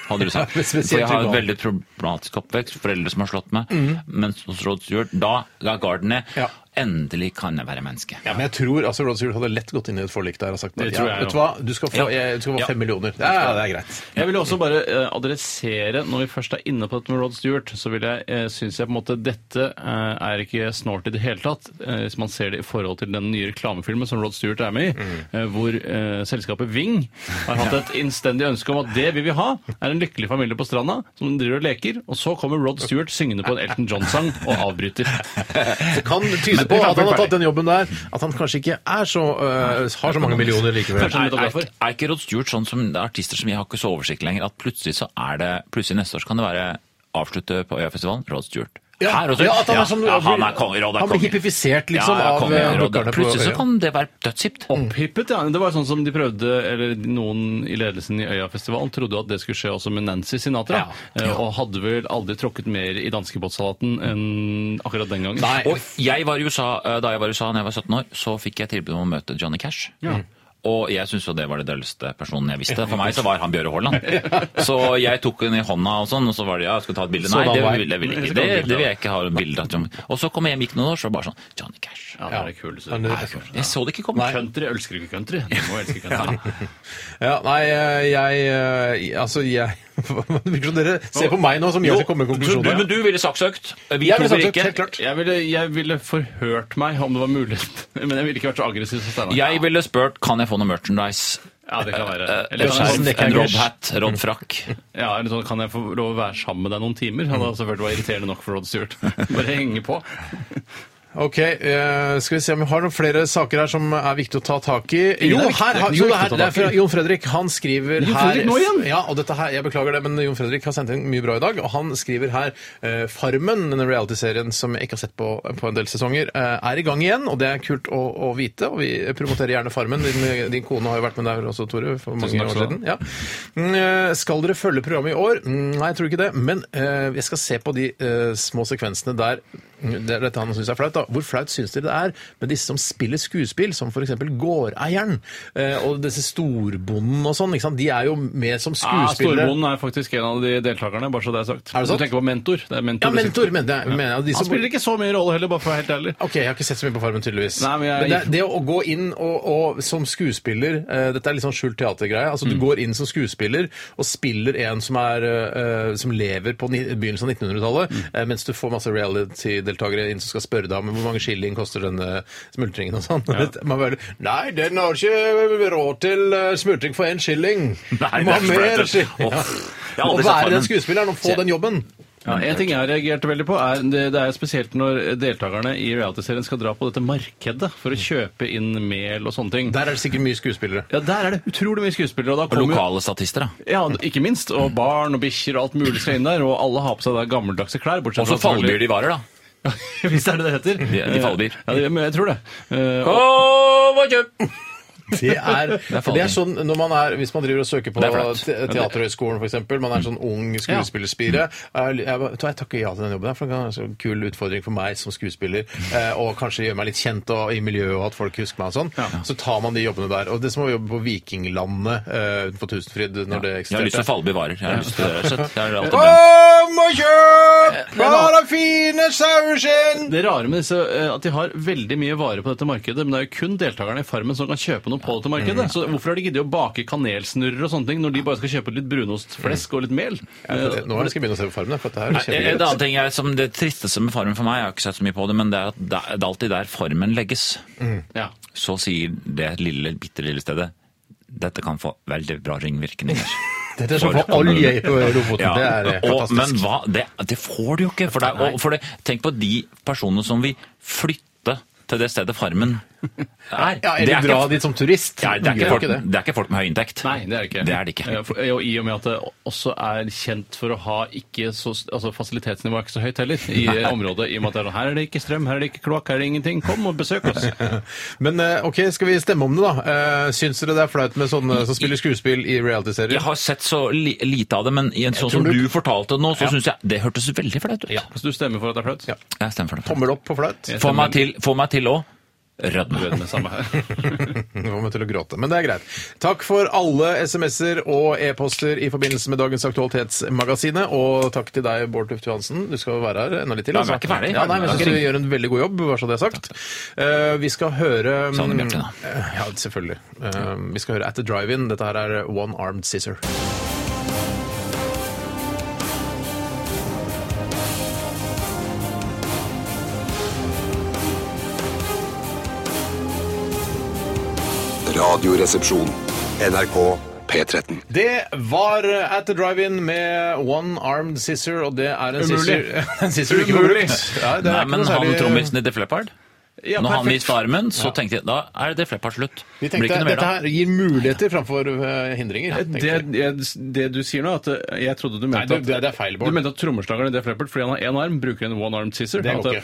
Speaker 3: hadde du sagt.
Speaker 7: Ja, men spesielt
Speaker 3: For jeg
Speaker 7: trygg
Speaker 3: har
Speaker 7: med
Speaker 3: en
Speaker 7: han.
Speaker 3: veldig problematisk oppvekst, foreldre som har slått meg. Mens hos Rod Stewart, da ga garden ned.
Speaker 7: Ja.
Speaker 3: Endelig kan jeg være menneske.
Speaker 7: Ja, men jeg tror altså, Rod Stewart hadde lett gått inn i et forlik der og sagt at
Speaker 9: Det
Speaker 7: ja,
Speaker 9: tror jeg
Speaker 7: vet du hva,
Speaker 9: også.
Speaker 7: du skal få,
Speaker 3: Ja.
Speaker 7: jeg, du skal få
Speaker 3: Ja.
Speaker 7: fem millioner. Ja, ja, det er greit.
Speaker 9: Jeg vil også bare eh, adressere, når vi først er inne på dette med Rod Stewart, så vil jeg, eh, synes jeg på en måte dette eh, er ikke snålt i det hele tatt, eh, hvis man ser det i forhold til den nye reklamefilmen som Rod Stewart er med i,
Speaker 3: Mm.
Speaker 9: eh, hvor eh, selskapet Ving har hatt et innstendig ønske om at det vi vil ha, er en lykkelig familie på stranda som driver og leker, og så kommer Rod Stewart syngende på en Elton John-sang og avbryter.
Speaker 7: Det kan tyde på at han har tatt den jobben der, at han kanskje ikke er så, øh, har så mange millioner likevel.
Speaker 9: Kanskje
Speaker 3: Er,
Speaker 9: nettopp
Speaker 3: er,
Speaker 9: derfor.
Speaker 3: er ikke Rod Stewart sånn som det er artister som jeg har ikke så oversikt lenger, at plutselig så er det, plutselig neste år så kan det være avslutte på Øyafestivalen, Rod Stewart.
Speaker 7: Ja,
Speaker 3: Her også.
Speaker 7: ja, at han er som-
Speaker 3: ja, han er konge, Rodd er
Speaker 7: han blir
Speaker 3: konge.
Speaker 7: hippifisert, liksom, av,
Speaker 3: konge,
Speaker 7: eh,
Speaker 3: Rodd.
Speaker 7: brukerne på
Speaker 3: Plutselig så
Speaker 7: øya.
Speaker 3: kan det være dødshipt.
Speaker 9: Opphippet, ja. Det var sånn som de prøvde, eller noen i ledelsen i Øyafestivalen trodde at det skulle skje også med Nancy Sinatra. Eh, Og hadde vel aldri tråkket mer i danskebåtsalaten enn akkurat den gangen.
Speaker 7: Nei.
Speaker 3: Og jeg var i USA, eh, da jeg var i USA da jeg var 17 år, så fikk jeg tilbud om å møte Johnny Cash. Mm. Og jeg syntes jo det var den dølleste personen jeg visste. For meg så var han Bjøre Haaland. Så jeg tok den i hånda og sånn, og så var det ja, jeg skal ta et bilde.
Speaker 7: Så
Speaker 3: Nei,
Speaker 7: da
Speaker 3: det
Speaker 7: var jeg-
Speaker 3: vil jeg, vil jeg ikke. Det, det vil jeg ikke ha et bilde av. Johnny. Og så kom jeg hjem gikk noen år, så var det bare sånn Johnny Cash.
Speaker 9: Ja, det er det kuleste.
Speaker 7: Han er-
Speaker 9: Nei, kult.
Speaker 3: Jeg så det ikke komme.
Speaker 9: Country, elsker du ikke country? Du må elske country.
Speaker 7: Ja, nei, eh, jeg eh, Altså, jeg Det virker som dere ser på meg nå som jeg skal komme med
Speaker 3: Du,
Speaker 7: konklusjoner.
Speaker 3: men du ville saksøkt. Eh, Vi
Speaker 7: Jeg
Speaker 3: to
Speaker 7: ville
Speaker 3: ville
Speaker 7: sagt det,
Speaker 3: ikke.
Speaker 7: helt klart.
Speaker 9: Jeg ville, jeg ville forhørt meg om det var mulig, men jeg ville ikke vært så aggressiv som Steinar.
Speaker 3: Jeg ville spurt kan jeg få noe merchandise.
Speaker 9: Ja, det kan være.
Speaker 3: Eh,
Speaker 9: Eller
Speaker 3: En
Speaker 9: sånn-
Speaker 3: skjerf,
Speaker 7: Neck
Speaker 3: en
Speaker 7: Haggers.
Speaker 3: Rob-hat, Rob-frakk.
Speaker 9: Ja, eller sånn, Kan jeg få lov å være sammen med deg noen timer? Han hadde selvfølgelig vært irriterende nok for Rod Stewart. Bare henge på.
Speaker 7: Ok, eh, skal vi se om vi har noen flere saker her som er viktig å ta tak i. Jo,
Speaker 9: Ingen er viktig-
Speaker 7: her, har-
Speaker 9: ingen
Speaker 7: jo,
Speaker 9: er
Speaker 7: det
Speaker 9: viktig å
Speaker 7: her,
Speaker 9: ta
Speaker 7: det er
Speaker 9: tak i.
Speaker 7: fra Jon Fredrik. Han skriver
Speaker 9: Jon
Speaker 7: her
Speaker 9: Fredrik nå igjen?
Speaker 7: Ja, og dette her, jeg beklager det, men Jon Fredrik har sendt inn mye bra i dag. Og han skriver her eh, Farmen, denne reality-serien som jeg ikke har sett på, på en del sesonger, eh, er i gang igjen. Og det er kult å, å vite, og vi promoterer gjerne Farmen. Din, din kone har jo vært med der også, Tore, for mange år
Speaker 9: takk skal du ha.
Speaker 7: siden. Ja. Mm, eh, Skal dere følge programmet i år? Mm, Nei, jeg tror ikke det. Men eh, jeg skal se på de eh, små sekvensene der Mm, det er dette han synes er flaut da. Hvor flaut syns dere det er med disse som spiller skuespill, som f.eks. gårdeieren eh, og disse storbonden og sånn? ikke sant? De er jo med som
Speaker 9: Ah,
Speaker 7: skuespillere.
Speaker 9: Storbonden er faktisk en av de deltakerne, bare så det er sagt.
Speaker 7: Er det sant?
Speaker 9: Du tenker på mentor. Det er mentor
Speaker 7: ja,
Speaker 9: du
Speaker 7: mentor,
Speaker 9: sitter-
Speaker 7: mener jeg. Mener jeg. De
Speaker 9: Han
Speaker 7: som,
Speaker 9: spiller ikke så mye rolle heller, bare for å være helt ærlig.
Speaker 7: Ok, Jeg har ikke sett så mye på Farmen, tydeligvis.
Speaker 9: Nei, men jeg-
Speaker 7: det, er- det å gå inn og, og som skuespiller eh, Dette er litt sånn skjult teatergreie. Altså, Du
Speaker 3: Mm.
Speaker 7: går inn som skuespiller og spiller en som, er, eh, som lever på ni, begynnelsen av 1900-tallet,
Speaker 3: Mm.
Speaker 7: eh, mens du får masse reality-deltakere inn som skal spørre deg om hvor mange shilling koster denne smultringen og sånn. Det- Man bare Nei, den har ikke råd til eh, smultring for én shilling!
Speaker 3: Nei,
Speaker 7: Du må ha
Speaker 3: det er
Speaker 7: mer
Speaker 3: flaut.
Speaker 7: shilling!
Speaker 3: Åh, jeg har
Speaker 7: Å
Speaker 3: aldri sett
Speaker 7: være
Speaker 3: Farmen.
Speaker 7: den skuespilleren og få den jobben!
Speaker 9: Ja, en ting jeg reagerte veldig på, er det, det er spesielt når deltakerne i realityserien skal dra på dette markedet for å kjøpe inn mel og sånne ting.
Speaker 7: Der er det sikkert mye skuespillere.
Speaker 9: Ja, der er det utrolig mye skuespillere. Og da
Speaker 3: Og
Speaker 9: kommer jo
Speaker 3: lokale statister, da.
Speaker 9: ja, ikke minst, og barn og bikkjer og alt mulig skal inn der, og alle har på seg da gammeldagse klær. bortsett
Speaker 3: Og så
Speaker 9: fra selvfølgelig-
Speaker 3: fallbyr de varer, da.
Speaker 9: Hvis det er det det heter.
Speaker 3: De- de fallbyr.
Speaker 9: Ja, det, men jeg tror det. Eh, og-
Speaker 7: Det er,
Speaker 3: er farlig.
Speaker 7: det er sånn når man er, Hvis man driver og søker på
Speaker 3: Det er flaut.
Speaker 7: te Teaterhøgskolen, f.eks. Man er sånn ung skuespillerspire. Jeg, jeg, vet du hva, jeg takker ja til den jobben, her, for det er en så kul utfordring for meg som skuespiller. eh, Og kanskje gjøre meg litt kjent og, i miljøet, og at folk husker meg og sånn. Så tar man de jobbene der. Og det er som å jobbe på Vikinglandet eh, utenfor Tusenfryd når det
Speaker 3: Jeg har lyst til å
Speaker 7: eksisterte.
Speaker 3: fallby varer. Jeg har lyst til det, rett og slett. Jeg har alltid drømt.
Speaker 7: Kom og
Speaker 3: Eh,
Speaker 7: kjøp parafine saueskinn!
Speaker 9: det rare med disse eh, at de har veldig mye varer på dette markedet, men det er jo kun deltakerne i Farmen som kan kjøpe noe på dette markedet.
Speaker 3: Mm.
Speaker 9: Så hvorfor har de giddet å bake kanelsnurrer og sånne ting når de bare skal kjøpe litt brunostflesk og litt mel?
Speaker 3: Mm.
Speaker 9: Eh,
Speaker 7: Nå skal jeg begynne å se på Farmen. For dette her er
Speaker 3: Nei, eh, en
Speaker 7: kjempegøy.
Speaker 3: annen ting er, som Det tristeste med Farmen for meg, jeg har ikke sett så mye på det, men det er at det er alltid der Farmen legges.
Speaker 9: Eh, ja.
Speaker 3: Så sier det lille, bitte lille stedet dette kan få veldig bra ringvirkninger.
Speaker 7: Dette er som å få olje i Lofoten.
Speaker 3: Ja,
Speaker 7: Det er eh,
Speaker 3: og,
Speaker 7: fantastisk.
Speaker 3: men hva, det, det får du jo ikke. For det, er- og, for det, tenk på de personene som vil flytte til det stedet Farmen er.
Speaker 7: Ja,
Speaker 3: Det
Speaker 7: eller
Speaker 3: er
Speaker 7: dra
Speaker 3: ikke-
Speaker 7: dit som turist.
Speaker 3: Ja, det, er ikke
Speaker 7: Gjør
Speaker 3: folk,
Speaker 7: ikke det.
Speaker 3: det er ikke folk med høy inntekt.
Speaker 9: Nei, det er det ikke.
Speaker 3: Det er det ikke.
Speaker 9: Eh, for- eh, Og I og med at det også er kjent for å ha ikke så altså Fasilitetsnivået er ikke så høyt heller i eh, området. i og med at det er sånn, Her er det ikke strøm, her er det ikke kloakk, her er det ingenting. Kom og besøk oss.
Speaker 7: Men eh, ok, skal vi stemme om det, da? Eh, Syns dere det er flaut med sånne som spiller skuespill i
Speaker 3: Jeg
Speaker 7: realityserier?
Speaker 3: har sett så li lite av det, men i en sånn som
Speaker 7: tror
Speaker 3: du,
Speaker 7: du-
Speaker 3: fortalte nå, så synes syns jeg det hørtes veldig flaut ut.
Speaker 9: Så du stemmer for at det er flaut?
Speaker 7: Ja.
Speaker 3: Jeg stemmer for det.
Speaker 7: Tommel opp på flaut.
Speaker 3: Få meg til, få meg til òg. Rødme.
Speaker 9: Rødme, samme her.
Speaker 7: Nå kommer jeg til å gråte, men det er greit. Takk for alle SMS-er og e-poster i forbindelse med dagens Aktualitetsmagasinet, og takk til deg, Bård Tufte Johansen. Du skal jo være her enda litt til. altså.
Speaker 3: Nei, vi er ikke ferdig.
Speaker 7: Ja, nei, men jeg
Speaker 3: Vi er
Speaker 7: synes
Speaker 3: ikke
Speaker 7: du gjør en veldig god jobb, bare så det er sagt. Eh, vi skal høre
Speaker 3: Sanne Sånn, Bjarte, da.
Speaker 7: Eh, Ja, selvfølgelig. Eh, vi skal høre At The Drive-In. Dette her er One Armed Scissor.
Speaker 1: Radioresepsjon. NRK P13.
Speaker 7: Det var eh, At The Drive-In med One Armed Scissor, og det er en
Speaker 9: Umulig.
Speaker 7: scissor, en scissor du ikke får
Speaker 9: Umulig.
Speaker 7: brukt. Nei, det er
Speaker 3: Nei,
Speaker 7: ikke
Speaker 3: men
Speaker 7: noe
Speaker 3: han
Speaker 7: særlig-
Speaker 3: trommisen i Def Leppard
Speaker 9: Ja,
Speaker 3: Når han
Speaker 9: perfekt.
Speaker 3: viste armen, så tenkte jeg da er det Fleppa slutt.
Speaker 7: Vi
Speaker 3: Blir
Speaker 7: tenkte
Speaker 3: ikke noe mer
Speaker 7: Dette
Speaker 3: da.
Speaker 7: her gir muligheter framfor eh, hindringer. tenkte
Speaker 9: Det,
Speaker 7: vi.
Speaker 9: jeg, det du sier nå, at eh, jeg trodde du mente
Speaker 7: du-
Speaker 9: at-
Speaker 7: det- det er feil, Bård.
Speaker 9: Du mente at trommeslageren i Def Leppard, fordi han har én arm, bruker en one-armed scissor.
Speaker 7: det
Speaker 9: At
Speaker 7: går ikke.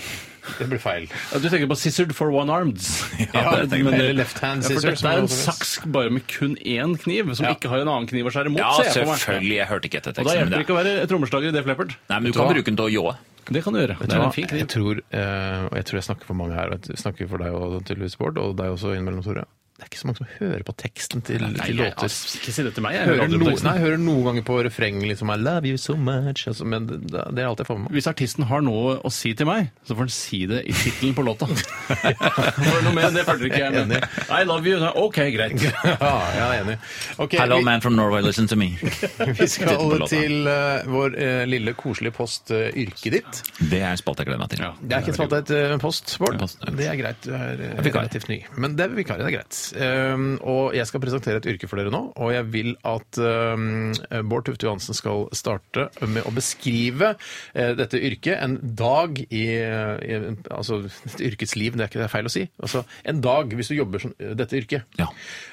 Speaker 7: Det blir feil.
Speaker 9: Ja, Du tenker på scissored for one-arms.
Speaker 7: Ja, det tenker jeg. Eller left hand scissor,
Speaker 9: Ja, for
Speaker 7: som det
Speaker 9: dette er
Speaker 7: også
Speaker 9: en
Speaker 7: finnes.
Speaker 9: saks bare med kun én kniv, som
Speaker 7: Ja. Liksom
Speaker 9: ikke har en annen kniv å skjære mot.
Speaker 3: Ja,
Speaker 9: ser jeg for meg.
Speaker 3: selvfølgelig. Jeg hørte ikke etter
Speaker 9: Og da
Speaker 3: teksten.
Speaker 9: hjelper det
Speaker 3: men
Speaker 9: ikke
Speaker 3: det-
Speaker 9: å være trommeslager i Def Leppard.
Speaker 3: Nei, men
Speaker 7: Vet du
Speaker 3: du kan
Speaker 7: hva?
Speaker 3: bruke den til å ljåe.
Speaker 9: Det kan du gjøre. Det
Speaker 7: Vet du
Speaker 9: er
Speaker 7: hva?
Speaker 9: en fin
Speaker 7: Jeg
Speaker 9: kniv.
Speaker 7: tror, eh, og jeg tror jeg snakker for mange her, og jeg snakker for deg og tydeligvis Bård, og deg også innimellom, Tore. Det er ikke så mange som hører på teksten til, til
Speaker 9: jeg-
Speaker 7: låter.
Speaker 9: ass, Ikke si det til meg. Jeg
Speaker 7: Hører,
Speaker 9: hører
Speaker 7: no,
Speaker 9: aldri på teksten.
Speaker 7: nei, hører noen ganger på refrenget liksom I love you so much, altså, men det, det er alt jeg får med meg.
Speaker 9: Hvis artisten har noe å si til meg, så får han si det i tittelen på låta. For noe mer enn det følger ikke jeg med. I love you. OK, greit.
Speaker 7: Ja, jeg er enig. Ok,
Speaker 3: Hello,
Speaker 7: vi,
Speaker 3: man from Norway, listen to me.
Speaker 7: vi
Speaker 3: Tittel på
Speaker 7: skal
Speaker 3: låta.
Speaker 7: til eh, vår eh, lille koselige post eh, yrket ditt.
Speaker 3: Det er en spalte jeg gleder meg til.
Speaker 7: Det er ikke spalt et eh, post, Bård.
Speaker 3: Post, ja.
Speaker 7: Det er greit. Du er eh,
Speaker 3: vikar.
Speaker 7: relativt ny. Men det er vikar, det er greit. Um, og jeg skal presentere et yrke for dere nå, og jeg vil at um, Bård Tufte Johansen skal starte med å beskrive eh, dette yrket en dag i, i Altså et yrkets liv, det er ikke det er feil å si. Altså en dag hvis du jobber som dette yrket.
Speaker 3: Ja.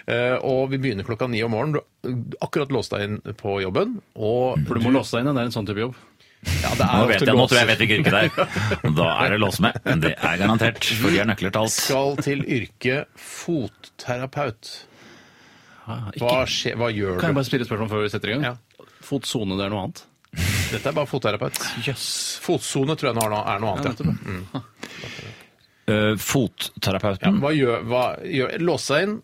Speaker 7: Eh, og vi begynner klokka ni om morgenen. Du har akkurat låst deg inn på jobben, og
Speaker 9: Mm. For du må låse deg inn. Det er en sånn type jobb.
Speaker 7: Ja, det er
Speaker 3: Nå,
Speaker 7: ofte
Speaker 3: vet jeg, nå
Speaker 7: låst.
Speaker 3: tror jeg jeg vet hvilket yrke det er. Da er det lås med. Men det er garantert, for de har nøkler til alt.
Speaker 7: skal til yrket fotterapeut.
Speaker 9: Ah, ikke-
Speaker 7: Hva, skje, hva gjør
Speaker 9: Kan jeg
Speaker 7: du?
Speaker 9: bare stille et spørsmål før vi setter i gang?
Speaker 7: Ja.
Speaker 9: Fotsone, det er noe annet?
Speaker 7: Dette er bare fotterapeut. Fotsone tror jeg nå er noe- er noe annet. Ja.
Speaker 3: Eh, Fotterapeuten
Speaker 7: Hva gjør, hva gjør Låse seg inn.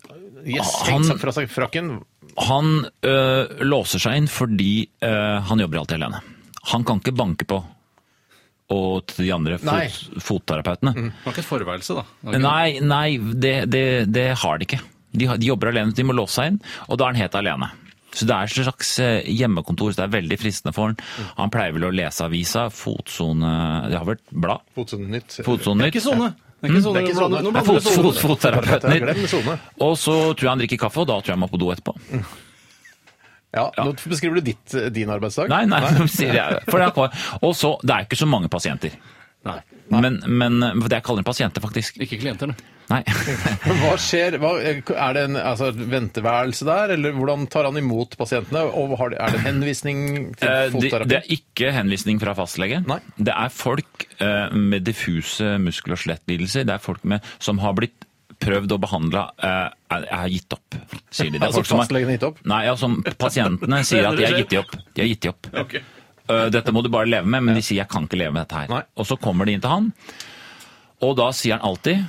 Speaker 7: Yes,
Speaker 3: Ah,
Speaker 7: henge
Speaker 3: han-
Speaker 7: seg fra seg frakken.
Speaker 3: Han øh, låser seg inn fordi øh, han jobber alltid alene. Han kan ikke banke på og til de andre
Speaker 7: Nei.
Speaker 3: fot, fotterapeutene.
Speaker 9: Det var ikke et forværelse, da. Det var ikke-
Speaker 3: Nei, nei det, det, det har de ikke. De, har, de jobber alene, de må låse seg inn, og da er han helt alene. Så det er et slags eh, hjemmekontor, så det er veldig fristende for
Speaker 9: Mm.
Speaker 3: han. Han pleier vel å lese avisa, fotsone Det har vært blad?
Speaker 7: Fotsone nytt.
Speaker 3: Fotsone
Speaker 9: Det er
Speaker 3: nytt. Mm,
Speaker 9: ikke sone. Det er ikke sone.
Speaker 7: Det er ikke
Speaker 9: Nå blander-
Speaker 7: sone.
Speaker 9: nå
Speaker 3: Nei,
Speaker 9: blander
Speaker 3: fot,
Speaker 9: du sone.
Speaker 3: fot, fotterapeuten
Speaker 7: Ja, glem sone.
Speaker 3: Og så tror jeg han drikker kaffe, og da tror jeg han må på do etterpå.
Speaker 7: Ja, nå beskriver du ditt, eh, din arbeidsdag.
Speaker 3: Nei, nei, sier jeg. For det er, og så, det er ikke så mange pasienter.
Speaker 9: Nei.
Speaker 3: Men, men for det jeg kaller dem pasienter, faktisk.
Speaker 9: Ikke klienter, nei.
Speaker 3: Nei.
Speaker 7: Hva skjer? Hva, er det en altså, et venteværelse der, eller hvordan tar han imot pasientene? Og har det, er det en henvisning til
Speaker 3: Eh, Det,
Speaker 7: fotterapeut?
Speaker 3: det er ikke henvisning fra fastlege.
Speaker 7: Nei.
Speaker 3: Det er folk eh, med diffuse muskel- og skjelettlidelser. Det er folk med, som har blitt prøvd og behandla har gitt opp, sier de. Det er
Speaker 7: Altså,
Speaker 3: folk som har-
Speaker 7: fastlegene har gitt opp?
Speaker 3: Nei, ja, som pasientene sier at de har gitt de opp. De har gitt de opp. Eh, Dette må du bare leve med, men de sier jeg kan ikke leve med dette her.
Speaker 7: Nei.
Speaker 3: Og så kommer de inn til han, og da sier han alltid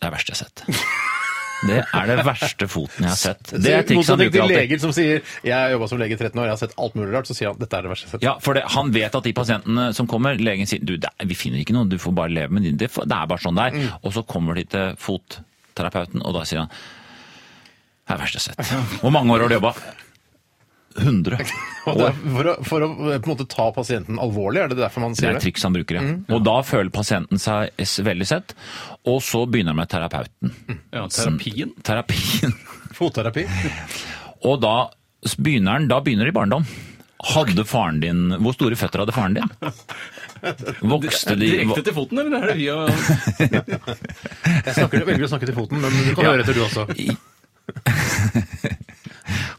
Speaker 3: Det er det verste jeg har sett. Det er det verste foten jeg har sett. Det er triks han
Speaker 7: Motsatt
Speaker 3: bruker
Speaker 7: til
Speaker 3: alltid.
Speaker 7: leger som sier 'jeg har jobba som lege i 13 år, jeg har sett alt mulig rart', så sier han 'dette er det verste jeg har sett'.
Speaker 3: Ja, for det, Han vet at de pasientene som kommer, legen sier du, det, er- vi finner ikke noe, du får bare leve med din. Det, får- det er bare sånn det er. Og så kommer de til fotterapeuten, og da sier han det er verst jeg har sett. Hvor mange år har du jobba? 100.
Speaker 7: Og det er for, å, for å eh, på en måte ta pasienten alvorlig, er det derfor man
Speaker 3: Det
Speaker 7: sier
Speaker 3: er et
Speaker 7: det?
Speaker 3: triks han bruker, ja. Og da føler pasienten seg s- veldig sett. Og så begynner han med terapeuten.
Speaker 9: Ja, terapien.
Speaker 3: Terapien.
Speaker 7: Fotterapi.
Speaker 3: Og da s- begynner han, da begynner det i barndom. Hadde faren din, Hvor store føtter hadde faren din? Vokste de
Speaker 9: Direkte til foten, eller er det via Nei,
Speaker 7: Jeg snakker, velger å snakke til foten, men du kan høre etter du også.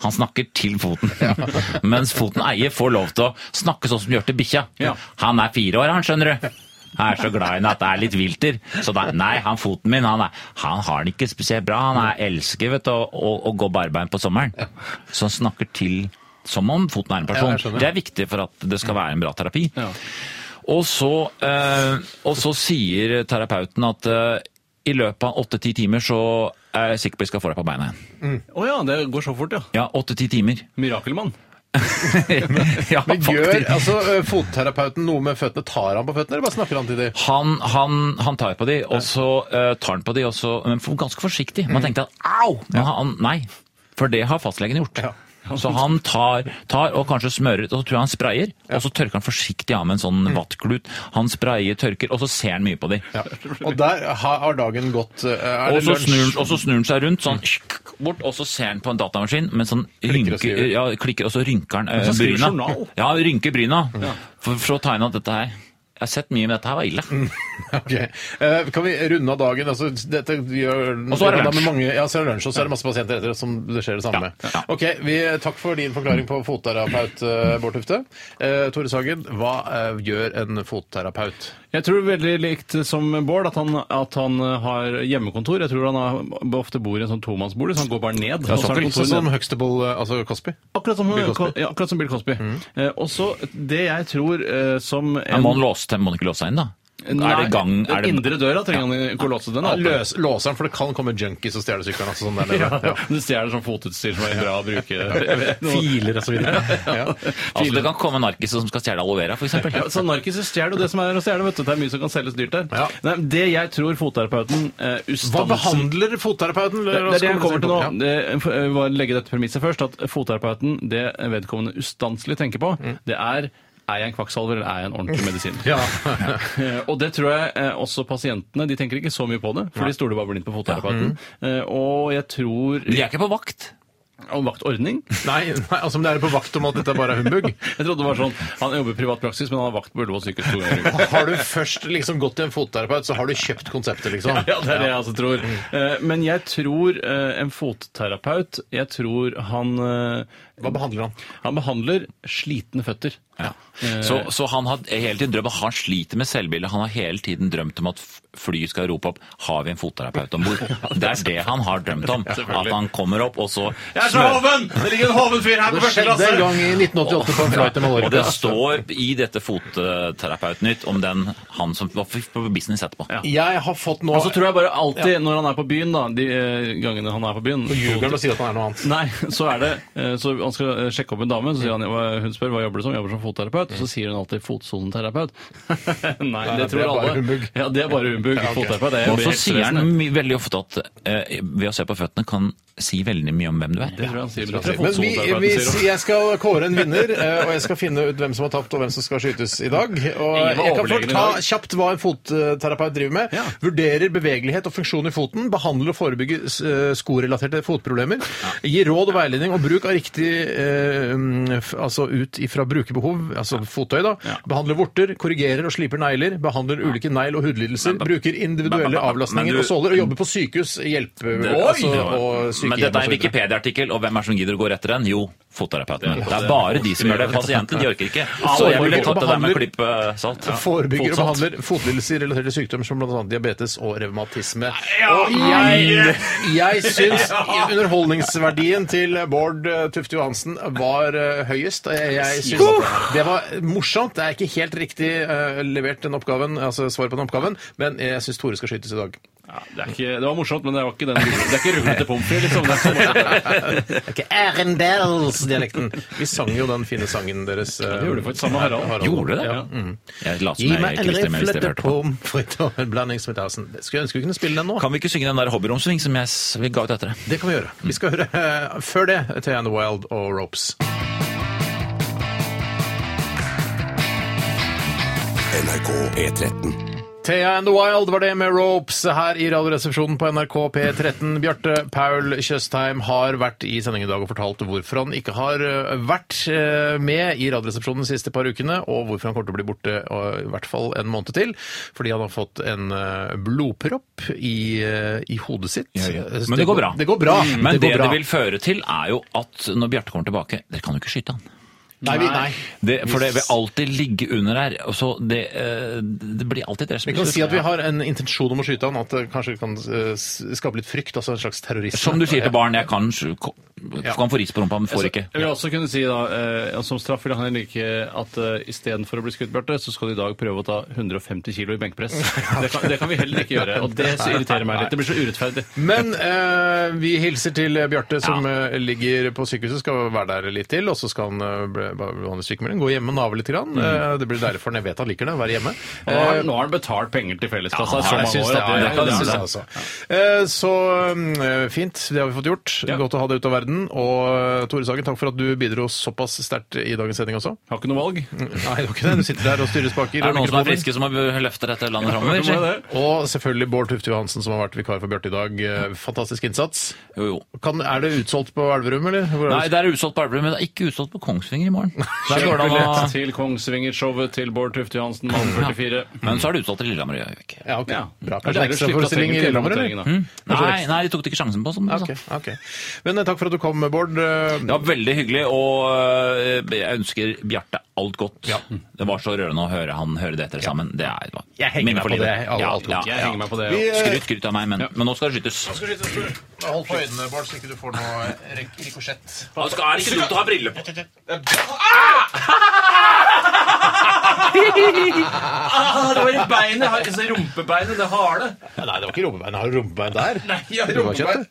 Speaker 3: Han snakker til foten. Mens foten eier får lov til å snakke sånn som de gjør til bikkja.
Speaker 9: Ja.
Speaker 3: Han er fire år, han, skjønner du. Jeg er så glad i henne at det er litt vilter. Så da, nei, han foten min, han, er, han har det ikke spesielt bra. Han er elsker vet du, å, å, å gå barbeint på sommeren. Så han snakker til som om foten er en person.
Speaker 7: Ja, jeg skjønner.
Speaker 3: det er viktig for at det skal være en bra terapi.
Speaker 9: Ja.
Speaker 3: Og, så, eh, og så sier terapeuten at eh, i løpet av åtte-ti timer så er jeg sikker på at jeg skal få deg på beina igjen.
Speaker 9: Å ja, det går så fort, ja.
Speaker 3: Ja, åtte-ti timer.
Speaker 9: Mirakelmann.
Speaker 3: ja,
Speaker 7: Men gjør
Speaker 3: faktisk.
Speaker 7: altså ø, fotterapeuten noe med føttene? Tar han på føttene, eller bare snakker han til dem?
Speaker 3: Han, han, han tar på de, og så eh, tar han på de, og så, men for- ganske forsiktig.
Speaker 7: Mm.
Speaker 3: Man tenkte at au! Men han, nei, for det har fastlegen gjort.
Speaker 7: Ja.
Speaker 3: Så han tar, tar og kanskje smører, og så tror jeg han sprayer, og så tørker han forsiktig av med en sånn vattklut. Han sprayer, tørker, og så ser han mye på de.
Speaker 7: Mm. Ja. Og der har har dagen gått. ø, Er
Speaker 3: Og
Speaker 7: det
Speaker 3: så, snur, han-
Speaker 7: lunsj? Mm.
Speaker 3: og så snur han seg rundt sånn skikk, bort, og så ser han på en datamaskin mens han
Speaker 7: Klikker og
Speaker 3: rynker,
Speaker 7: skriver.
Speaker 3: ja, klikker, og så rynker han eh,
Speaker 9: han skriver
Speaker 3: bryna.
Speaker 9: journal.
Speaker 3: Ja, rynker bryna. For, for å ta inn at dette her Jeg har sett mye, men dette her var ille.
Speaker 7: Ok. Eh, kan vi runde av dagen? Altså, dette, vi gjør,
Speaker 3: Og så er det
Speaker 7: vi gjør
Speaker 3: lunsj.
Speaker 7: Med mange, ja, så er det lunsj, og så er det masse pasienter etter som det skjer det samme
Speaker 3: Ja,
Speaker 7: med.
Speaker 3: ja.
Speaker 7: Ok, vi, Takk for din forklaring på fotterapeut, eh, Bård Tufte. Eh, Tore Sagen, hva eh, gjør en fotterapeut?
Speaker 9: Jeg tror veldig likt som Bård at han, at han eh, har hjemmekontor. Jeg tror han har, ofte bor i en sånn tomannsbolig, så han går bare ned. og så har han
Speaker 7: Sånn
Speaker 9: kontoret ned.
Speaker 7: som Huxtable, eh, altså Cosby?
Speaker 9: Akkurat som
Speaker 7: Bill
Speaker 9: Bill
Speaker 7: Cosby.
Speaker 9: Cosby. Ja, akkurat som Bill Cosby. Eh, og så det jeg tror eh, som en,
Speaker 3: Ja, må han låse til, må han ikke låse seg inn, da? er det gang
Speaker 9: Nei,
Speaker 3: er det...
Speaker 9: Den indre døra trenger han ikke å låse den.
Speaker 7: Ja,
Speaker 9: er åpen.
Speaker 7: løs, låser den, for det kan komme junkies og stjele sykkelen. Altså, sånn der nede. Ja.
Speaker 9: Ja, Du stjeler sånn fotutstyr som er bra å bruke.
Speaker 7: Filer og så videre. Ja.
Speaker 3: Altså, det kan komme narkiser som skal stjele aloe vera, f.eks.
Speaker 9: Ja, sånn så Narkiser stjeler jo det som er å stjele. vet du. Det er mye som kan selges dyrt der.
Speaker 7: Ja.
Speaker 9: Nei, det jeg tror fotterapeuten eh,
Speaker 7: Hva
Speaker 9: Ustansen
Speaker 7: behandler fotterapeuten?
Speaker 9: det, det er det jeg
Speaker 7: Kommer
Speaker 9: kommer til nå.
Speaker 7: Ja.
Speaker 9: Det, eh, jeg må legge dette premisset først, at fotterapeuten, det vedkommende ustanselig tenker på, det er er jeg en kvakksalver, eller er jeg en ordentlig
Speaker 7: Mm.
Speaker 9: medisiner?
Speaker 7: Ja.
Speaker 9: Eh, Og det tror jeg eh, også pasientene. De tenker ikke så mye på det, for de stoler bare blindt på fotterapeuten.
Speaker 7: Mm.
Speaker 9: Eh, Og jeg tror
Speaker 3: De er ikke på vakt.
Speaker 9: Om vaktordning?
Speaker 7: Nei, nei, altså men det er på vakt om at dette bare er humbug.
Speaker 9: Jeg trodde det var sånn Han jobber i privat praksis, men han har vakt på Ullevål sykehus to ganger i uka.
Speaker 7: Har du først liksom gått til en fotterapeut, så har du kjøpt konseptet, liksom.
Speaker 9: Ja, det er det jeg altså tror. Eh, Men jeg tror eh, en fotterapeut Jeg tror han eh,
Speaker 7: Hva behandler han?
Speaker 9: Han behandler slitne føtter.
Speaker 3: Så, så han har hele tiden drømt, han sliter med selvbildet. Han har hele tiden drømt om at f- flyet skal rope opp 'Har vi en fotterapeut om bord?' Det er det han har drømt om. At han kommer opp, og så smører-
Speaker 9: hoven! Det ligger en hoven fyr her
Speaker 7: Det skjedde en gang i 1988 på en flight til
Speaker 3: Og det
Speaker 7: Mallorca.
Speaker 3: står i dette Fotterapeutnytt om den han som var f- på business etterpå.
Speaker 9: Ja.
Speaker 7: Jeg har fått nå
Speaker 9: Og så tror jeg bare alltid når han er på byen, da, de eh, gangene han er på byen
Speaker 7: Ljuger han og sier at han er noe annet.
Speaker 9: Nei, så er det eh, Så han skal eh, sjekke opp en dame, så sier han hva- Hun spør hva jobber du som? Jeg jobber som fotterapeut. Og så sier hun alltid fotsoneterapeut. Nei, det
Speaker 7: det er
Speaker 9: tror
Speaker 7: bare
Speaker 9: alle.
Speaker 7: humbug.
Speaker 9: Ja, det er bare humbug.
Speaker 7: Ja, ok.
Speaker 9: Fotterapeut er
Speaker 3: Og
Speaker 9: jobber i
Speaker 3: så sier han
Speaker 9: helsevesenet.
Speaker 3: my- veldig ofte at eh, ved å se på føttene kan si veldig mye om hvem du
Speaker 9: Det
Speaker 3: er.
Speaker 9: tror jeg han sier.
Speaker 7: Men vi, vi, sier- jeg skal kåre en vinner, eh, og jeg skal finne ut hvem som har tapt og hvem som skal skytes i dag. Og
Speaker 9: Ingen var
Speaker 7: jeg kan
Speaker 9: overlegen i
Speaker 7: forta
Speaker 9: dag.
Speaker 7: kjapt hva en fotterapeut driver med.
Speaker 9: Ja.
Speaker 7: Vurderer bevegelighet og funksjon i foten, behandler og forebygger eh, skorelaterte fotproblemer. Gir råd og veiledning om bruk av riktig eh, mm, f- altså ut ifra brukerbehov, altså fottøy, da. Behandler vorter, korrigerer og sliper negler. Behandler ulike negl- og hudlidelser. Bruker
Speaker 3: men- men-
Speaker 7: individuelle
Speaker 3: men
Speaker 7: avlastninger
Speaker 3: du-
Speaker 7: og såler, og jobber på sykehus, hjelpe
Speaker 3: Oi!
Speaker 7: altså, og
Speaker 3: Men dette er en
Speaker 7: sykehjem osv.
Speaker 3: Wikipedia-artikkel, og hvem er det som gidder å gå etter den? Jo, fotterapeutene. Det er bare de som gjør det. Pasientene de orker ikke. Så jeg ville tatt det der med en klype salt.
Speaker 7: Ja, Forebygger og
Speaker 3: Fotsalt.
Speaker 7: behandler fotlidelser relatert til sykdom som bl.a. diabetes og revmatisme.
Speaker 9: Ja,
Speaker 7: og jeg, jeg syns underholdningsverdien til Bård eh, Tufte Johansen var eh, høyest. Jeg, jeg syns det var morsomt. Det er ikke helt riktig eh, levert den oppgaven, altså svaret på den oppgaven, men jeg syns Tore skal skytes i dag.
Speaker 9: Ja, det, er ikke, det var morsomt, men det, var ikke den, det er ikke ruglete pomfri, liksom. Det er ikke morsomt.
Speaker 7: Ikke Arendals-dialekten. Vi sang jo den fine sangen deres. eh,
Speaker 9: Det gjorde faktisk samme Harald.
Speaker 3: Gjorde det?
Speaker 9: Ja.
Speaker 3: Jeg la
Speaker 7: Mm. Gi
Speaker 3: som
Speaker 7: meg
Speaker 3: jeg
Speaker 7: en
Speaker 3: Kristin Melstad
Speaker 7: riflete
Speaker 3: hørte på.
Speaker 7: pom fritt og en blanding som et asen. Skulle ønske vi kunne spille den nå.
Speaker 3: Kan vi ikke synge den der hobbyromsving som jeg s- vi ga ut etter det?
Speaker 7: Det kan vi gjøre. Vi skal høre eh, før det Tay and the Wild og Ropes.
Speaker 1: NRK P13.
Speaker 7: Thea and the Wild var det med Ropes her i Radioresepsjonen på NRK P13. Bjarte Paul Tjøstheim har vært i sending i dag og fortalt hvorfor han ikke har eh, vært eh, med i Radioresepsjonen de siste par ukene, og hvorfor han kommer til å bli borte eh, i hvert fall en måned til. Fordi han har fått en eh, blodpropp i, eh, i hodet sitt. Eh,
Speaker 3: Men det går bra. Mm.
Speaker 7: Det går bra.
Speaker 3: Men det
Speaker 7: går bra.
Speaker 3: det vil føre til, er jo at når Bjarte kommer tilbake Dere kan jo ikke skyte han.
Speaker 7: Nei, vi, nei.
Speaker 3: Det, for det vil alltid ligge under her. og Så det, eh, det blir alltid dere som
Speaker 7: Vi
Speaker 3: blir
Speaker 7: kan si at
Speaker 3: skutt.
Speaker 7: vi har en intensjon om å skyte han, at det kanskje kan eh, skape litt frykt, altså en slags terrorisme.
Speaker 3: Som du sier til barn, jeg kan, sj- ko- kan få ris på rumpa, men
Speaker 7: Altså,
Speaker 3: får ikke.
Speaker 9: Jeg vil også kunne si da, eh, Som straff vil han like at eh, istedenfor å bli skutt, Bjarte, så skal du i dag prøve å ta 150 kilo i benkpress. Det kan, det kan vi heller ikke gjøre. og Det så irriterer meg litt. Det blir så urettferdig.
Speaker 7: Men eh, vi hilser til Bjarte, som eh, ligger på sykehuset, skal være der litt til. Og så skal han eh, ble- bare behandle sykemelding, gå hjemme og nave litt. Grann.
Speaker 3: Mm.
Speaker 7: Eh, det blir deilig for han. Jeg vet han liker det, å være hjemme.
Speaker 9: Nå har, nå har han betalt penger til felleskassa i så
Speaker 7: jeg
Speaker 9: mange
Speaker 7: syns
Speaker 9: år.
Speaker 7: det,
Speaker 9: at
Speaker 7: er-
Speaker 9: det-
Speaker 7: det syns jeg også. Eh, Så mm, eh, fint, det har vi fått gjort. Godt å ha det ut av verden. verden. Og Tore Sagen, takk for at du bidro såpass sterkt i dagens sending også.
Speaker 9: Har ikke noe valg.
Speaker 7: Nei, det var ikke det. Du sitter der og styrer spaker.
Speaker 3: Er det
Speaker 7: og
Speaker 3: noen som er
Speaker 7: mikrofoner.
Speaker 3: friske som har løftet dette landet
Speaker 9: Det må jo
Speaker 3: framover?
Speaker 9: det.
Speaker 7: Og selvfølgelig Bård Tufte Johansen, som har vært vikar for Bjarte i dag. Eh, Fantastisk innsats.
Speaker 3: Jo, jo.
Speaker 7: Kan, er det utsolgt på Elverum, eller? Hvor er
Speaker 3: Nei, det er utsolgt på Elverum, men det er ikke utsolgt på Kongsvinger i morgen. Der går det an å...
Speaker 9: Billett til Kongsvingershowet til Bård Tufte Johansen, mann 44.
Speaker 3: Men så er det utsolgt i Lillehammer og Gjøvik.
Speaker 7: Ja, ok.
Speaker 9: Ja.
Speaker 7: Bra.
Speaker 9: Det
Speaker 7: Kanskje
Speaker 9: er jo
Speaker 7: ekstra
Speaker 9: slik
Speaker 7: forestilling i Hm?
Speaker 9: plassering til
Speaker 7: Lillehammer,
Speaker 9: plasseringen,
Speaker 7: eller?
Speaker 9: da.
Speaker 3: Nei, nei, de tok det ikke sjansen på, som du
Speaker 7: Ja, Ok,
Speaker 3: sa.
Speaker 7: ok. Men eh, takk for at du kom, Bård. Eh,
Speaker 3: Det var veldig hyggelig, og eh, jeg ønsker Bjarte alt godt. Det var så rørende å høre han høre det etter sammen. Det er, jeg
Speaker 7: henger meg på det. Alt- alt
Speaker 3: Ja,
Speaker 7: godt.
Speaker 9: Jeg
Speaker 3: ja,
Speaker 9: henger meg
Speaker 3: ja.
Speaker 9: på det.
Speaker 7: Vi,
Speaker 9: ja.
Speaker 7: eh,
Speaker 3: Skryt, skryt av meg, men, men nå skal det skytes.
Speaker 7: Skal skyte, Tore. Hold på øynene, Bård, så ikke du får noe eh, rik- rikosjett.
Speaker 3: Det er ikke dumt å ha briller på.
Speaker 9: det var i beinet, altså rumpebeinet, det harde.
Speaker 7: Nei, det var ikke rumpebein. Har du rumpebein der? Nei,
Speaker 9: jeg har rumpebein.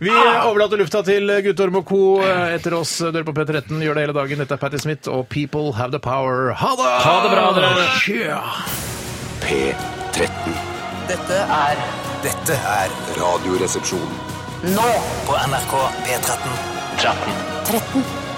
Speaker 7: Vi eh, overlater lufta til Guttorm og co. eh, etter oss. Dør på P13, gjør det hele dagen. Dette er Patti Smith og People Have The Power. Ha det! Ha det bra, dere!
Speaker 1: P13.
Speaker 4: Dette er
Speaker 1: Dette er
Speaker 6: Radioresepsjon.
Speaker 4: nå på NRK P13.
Speaker 2: 13.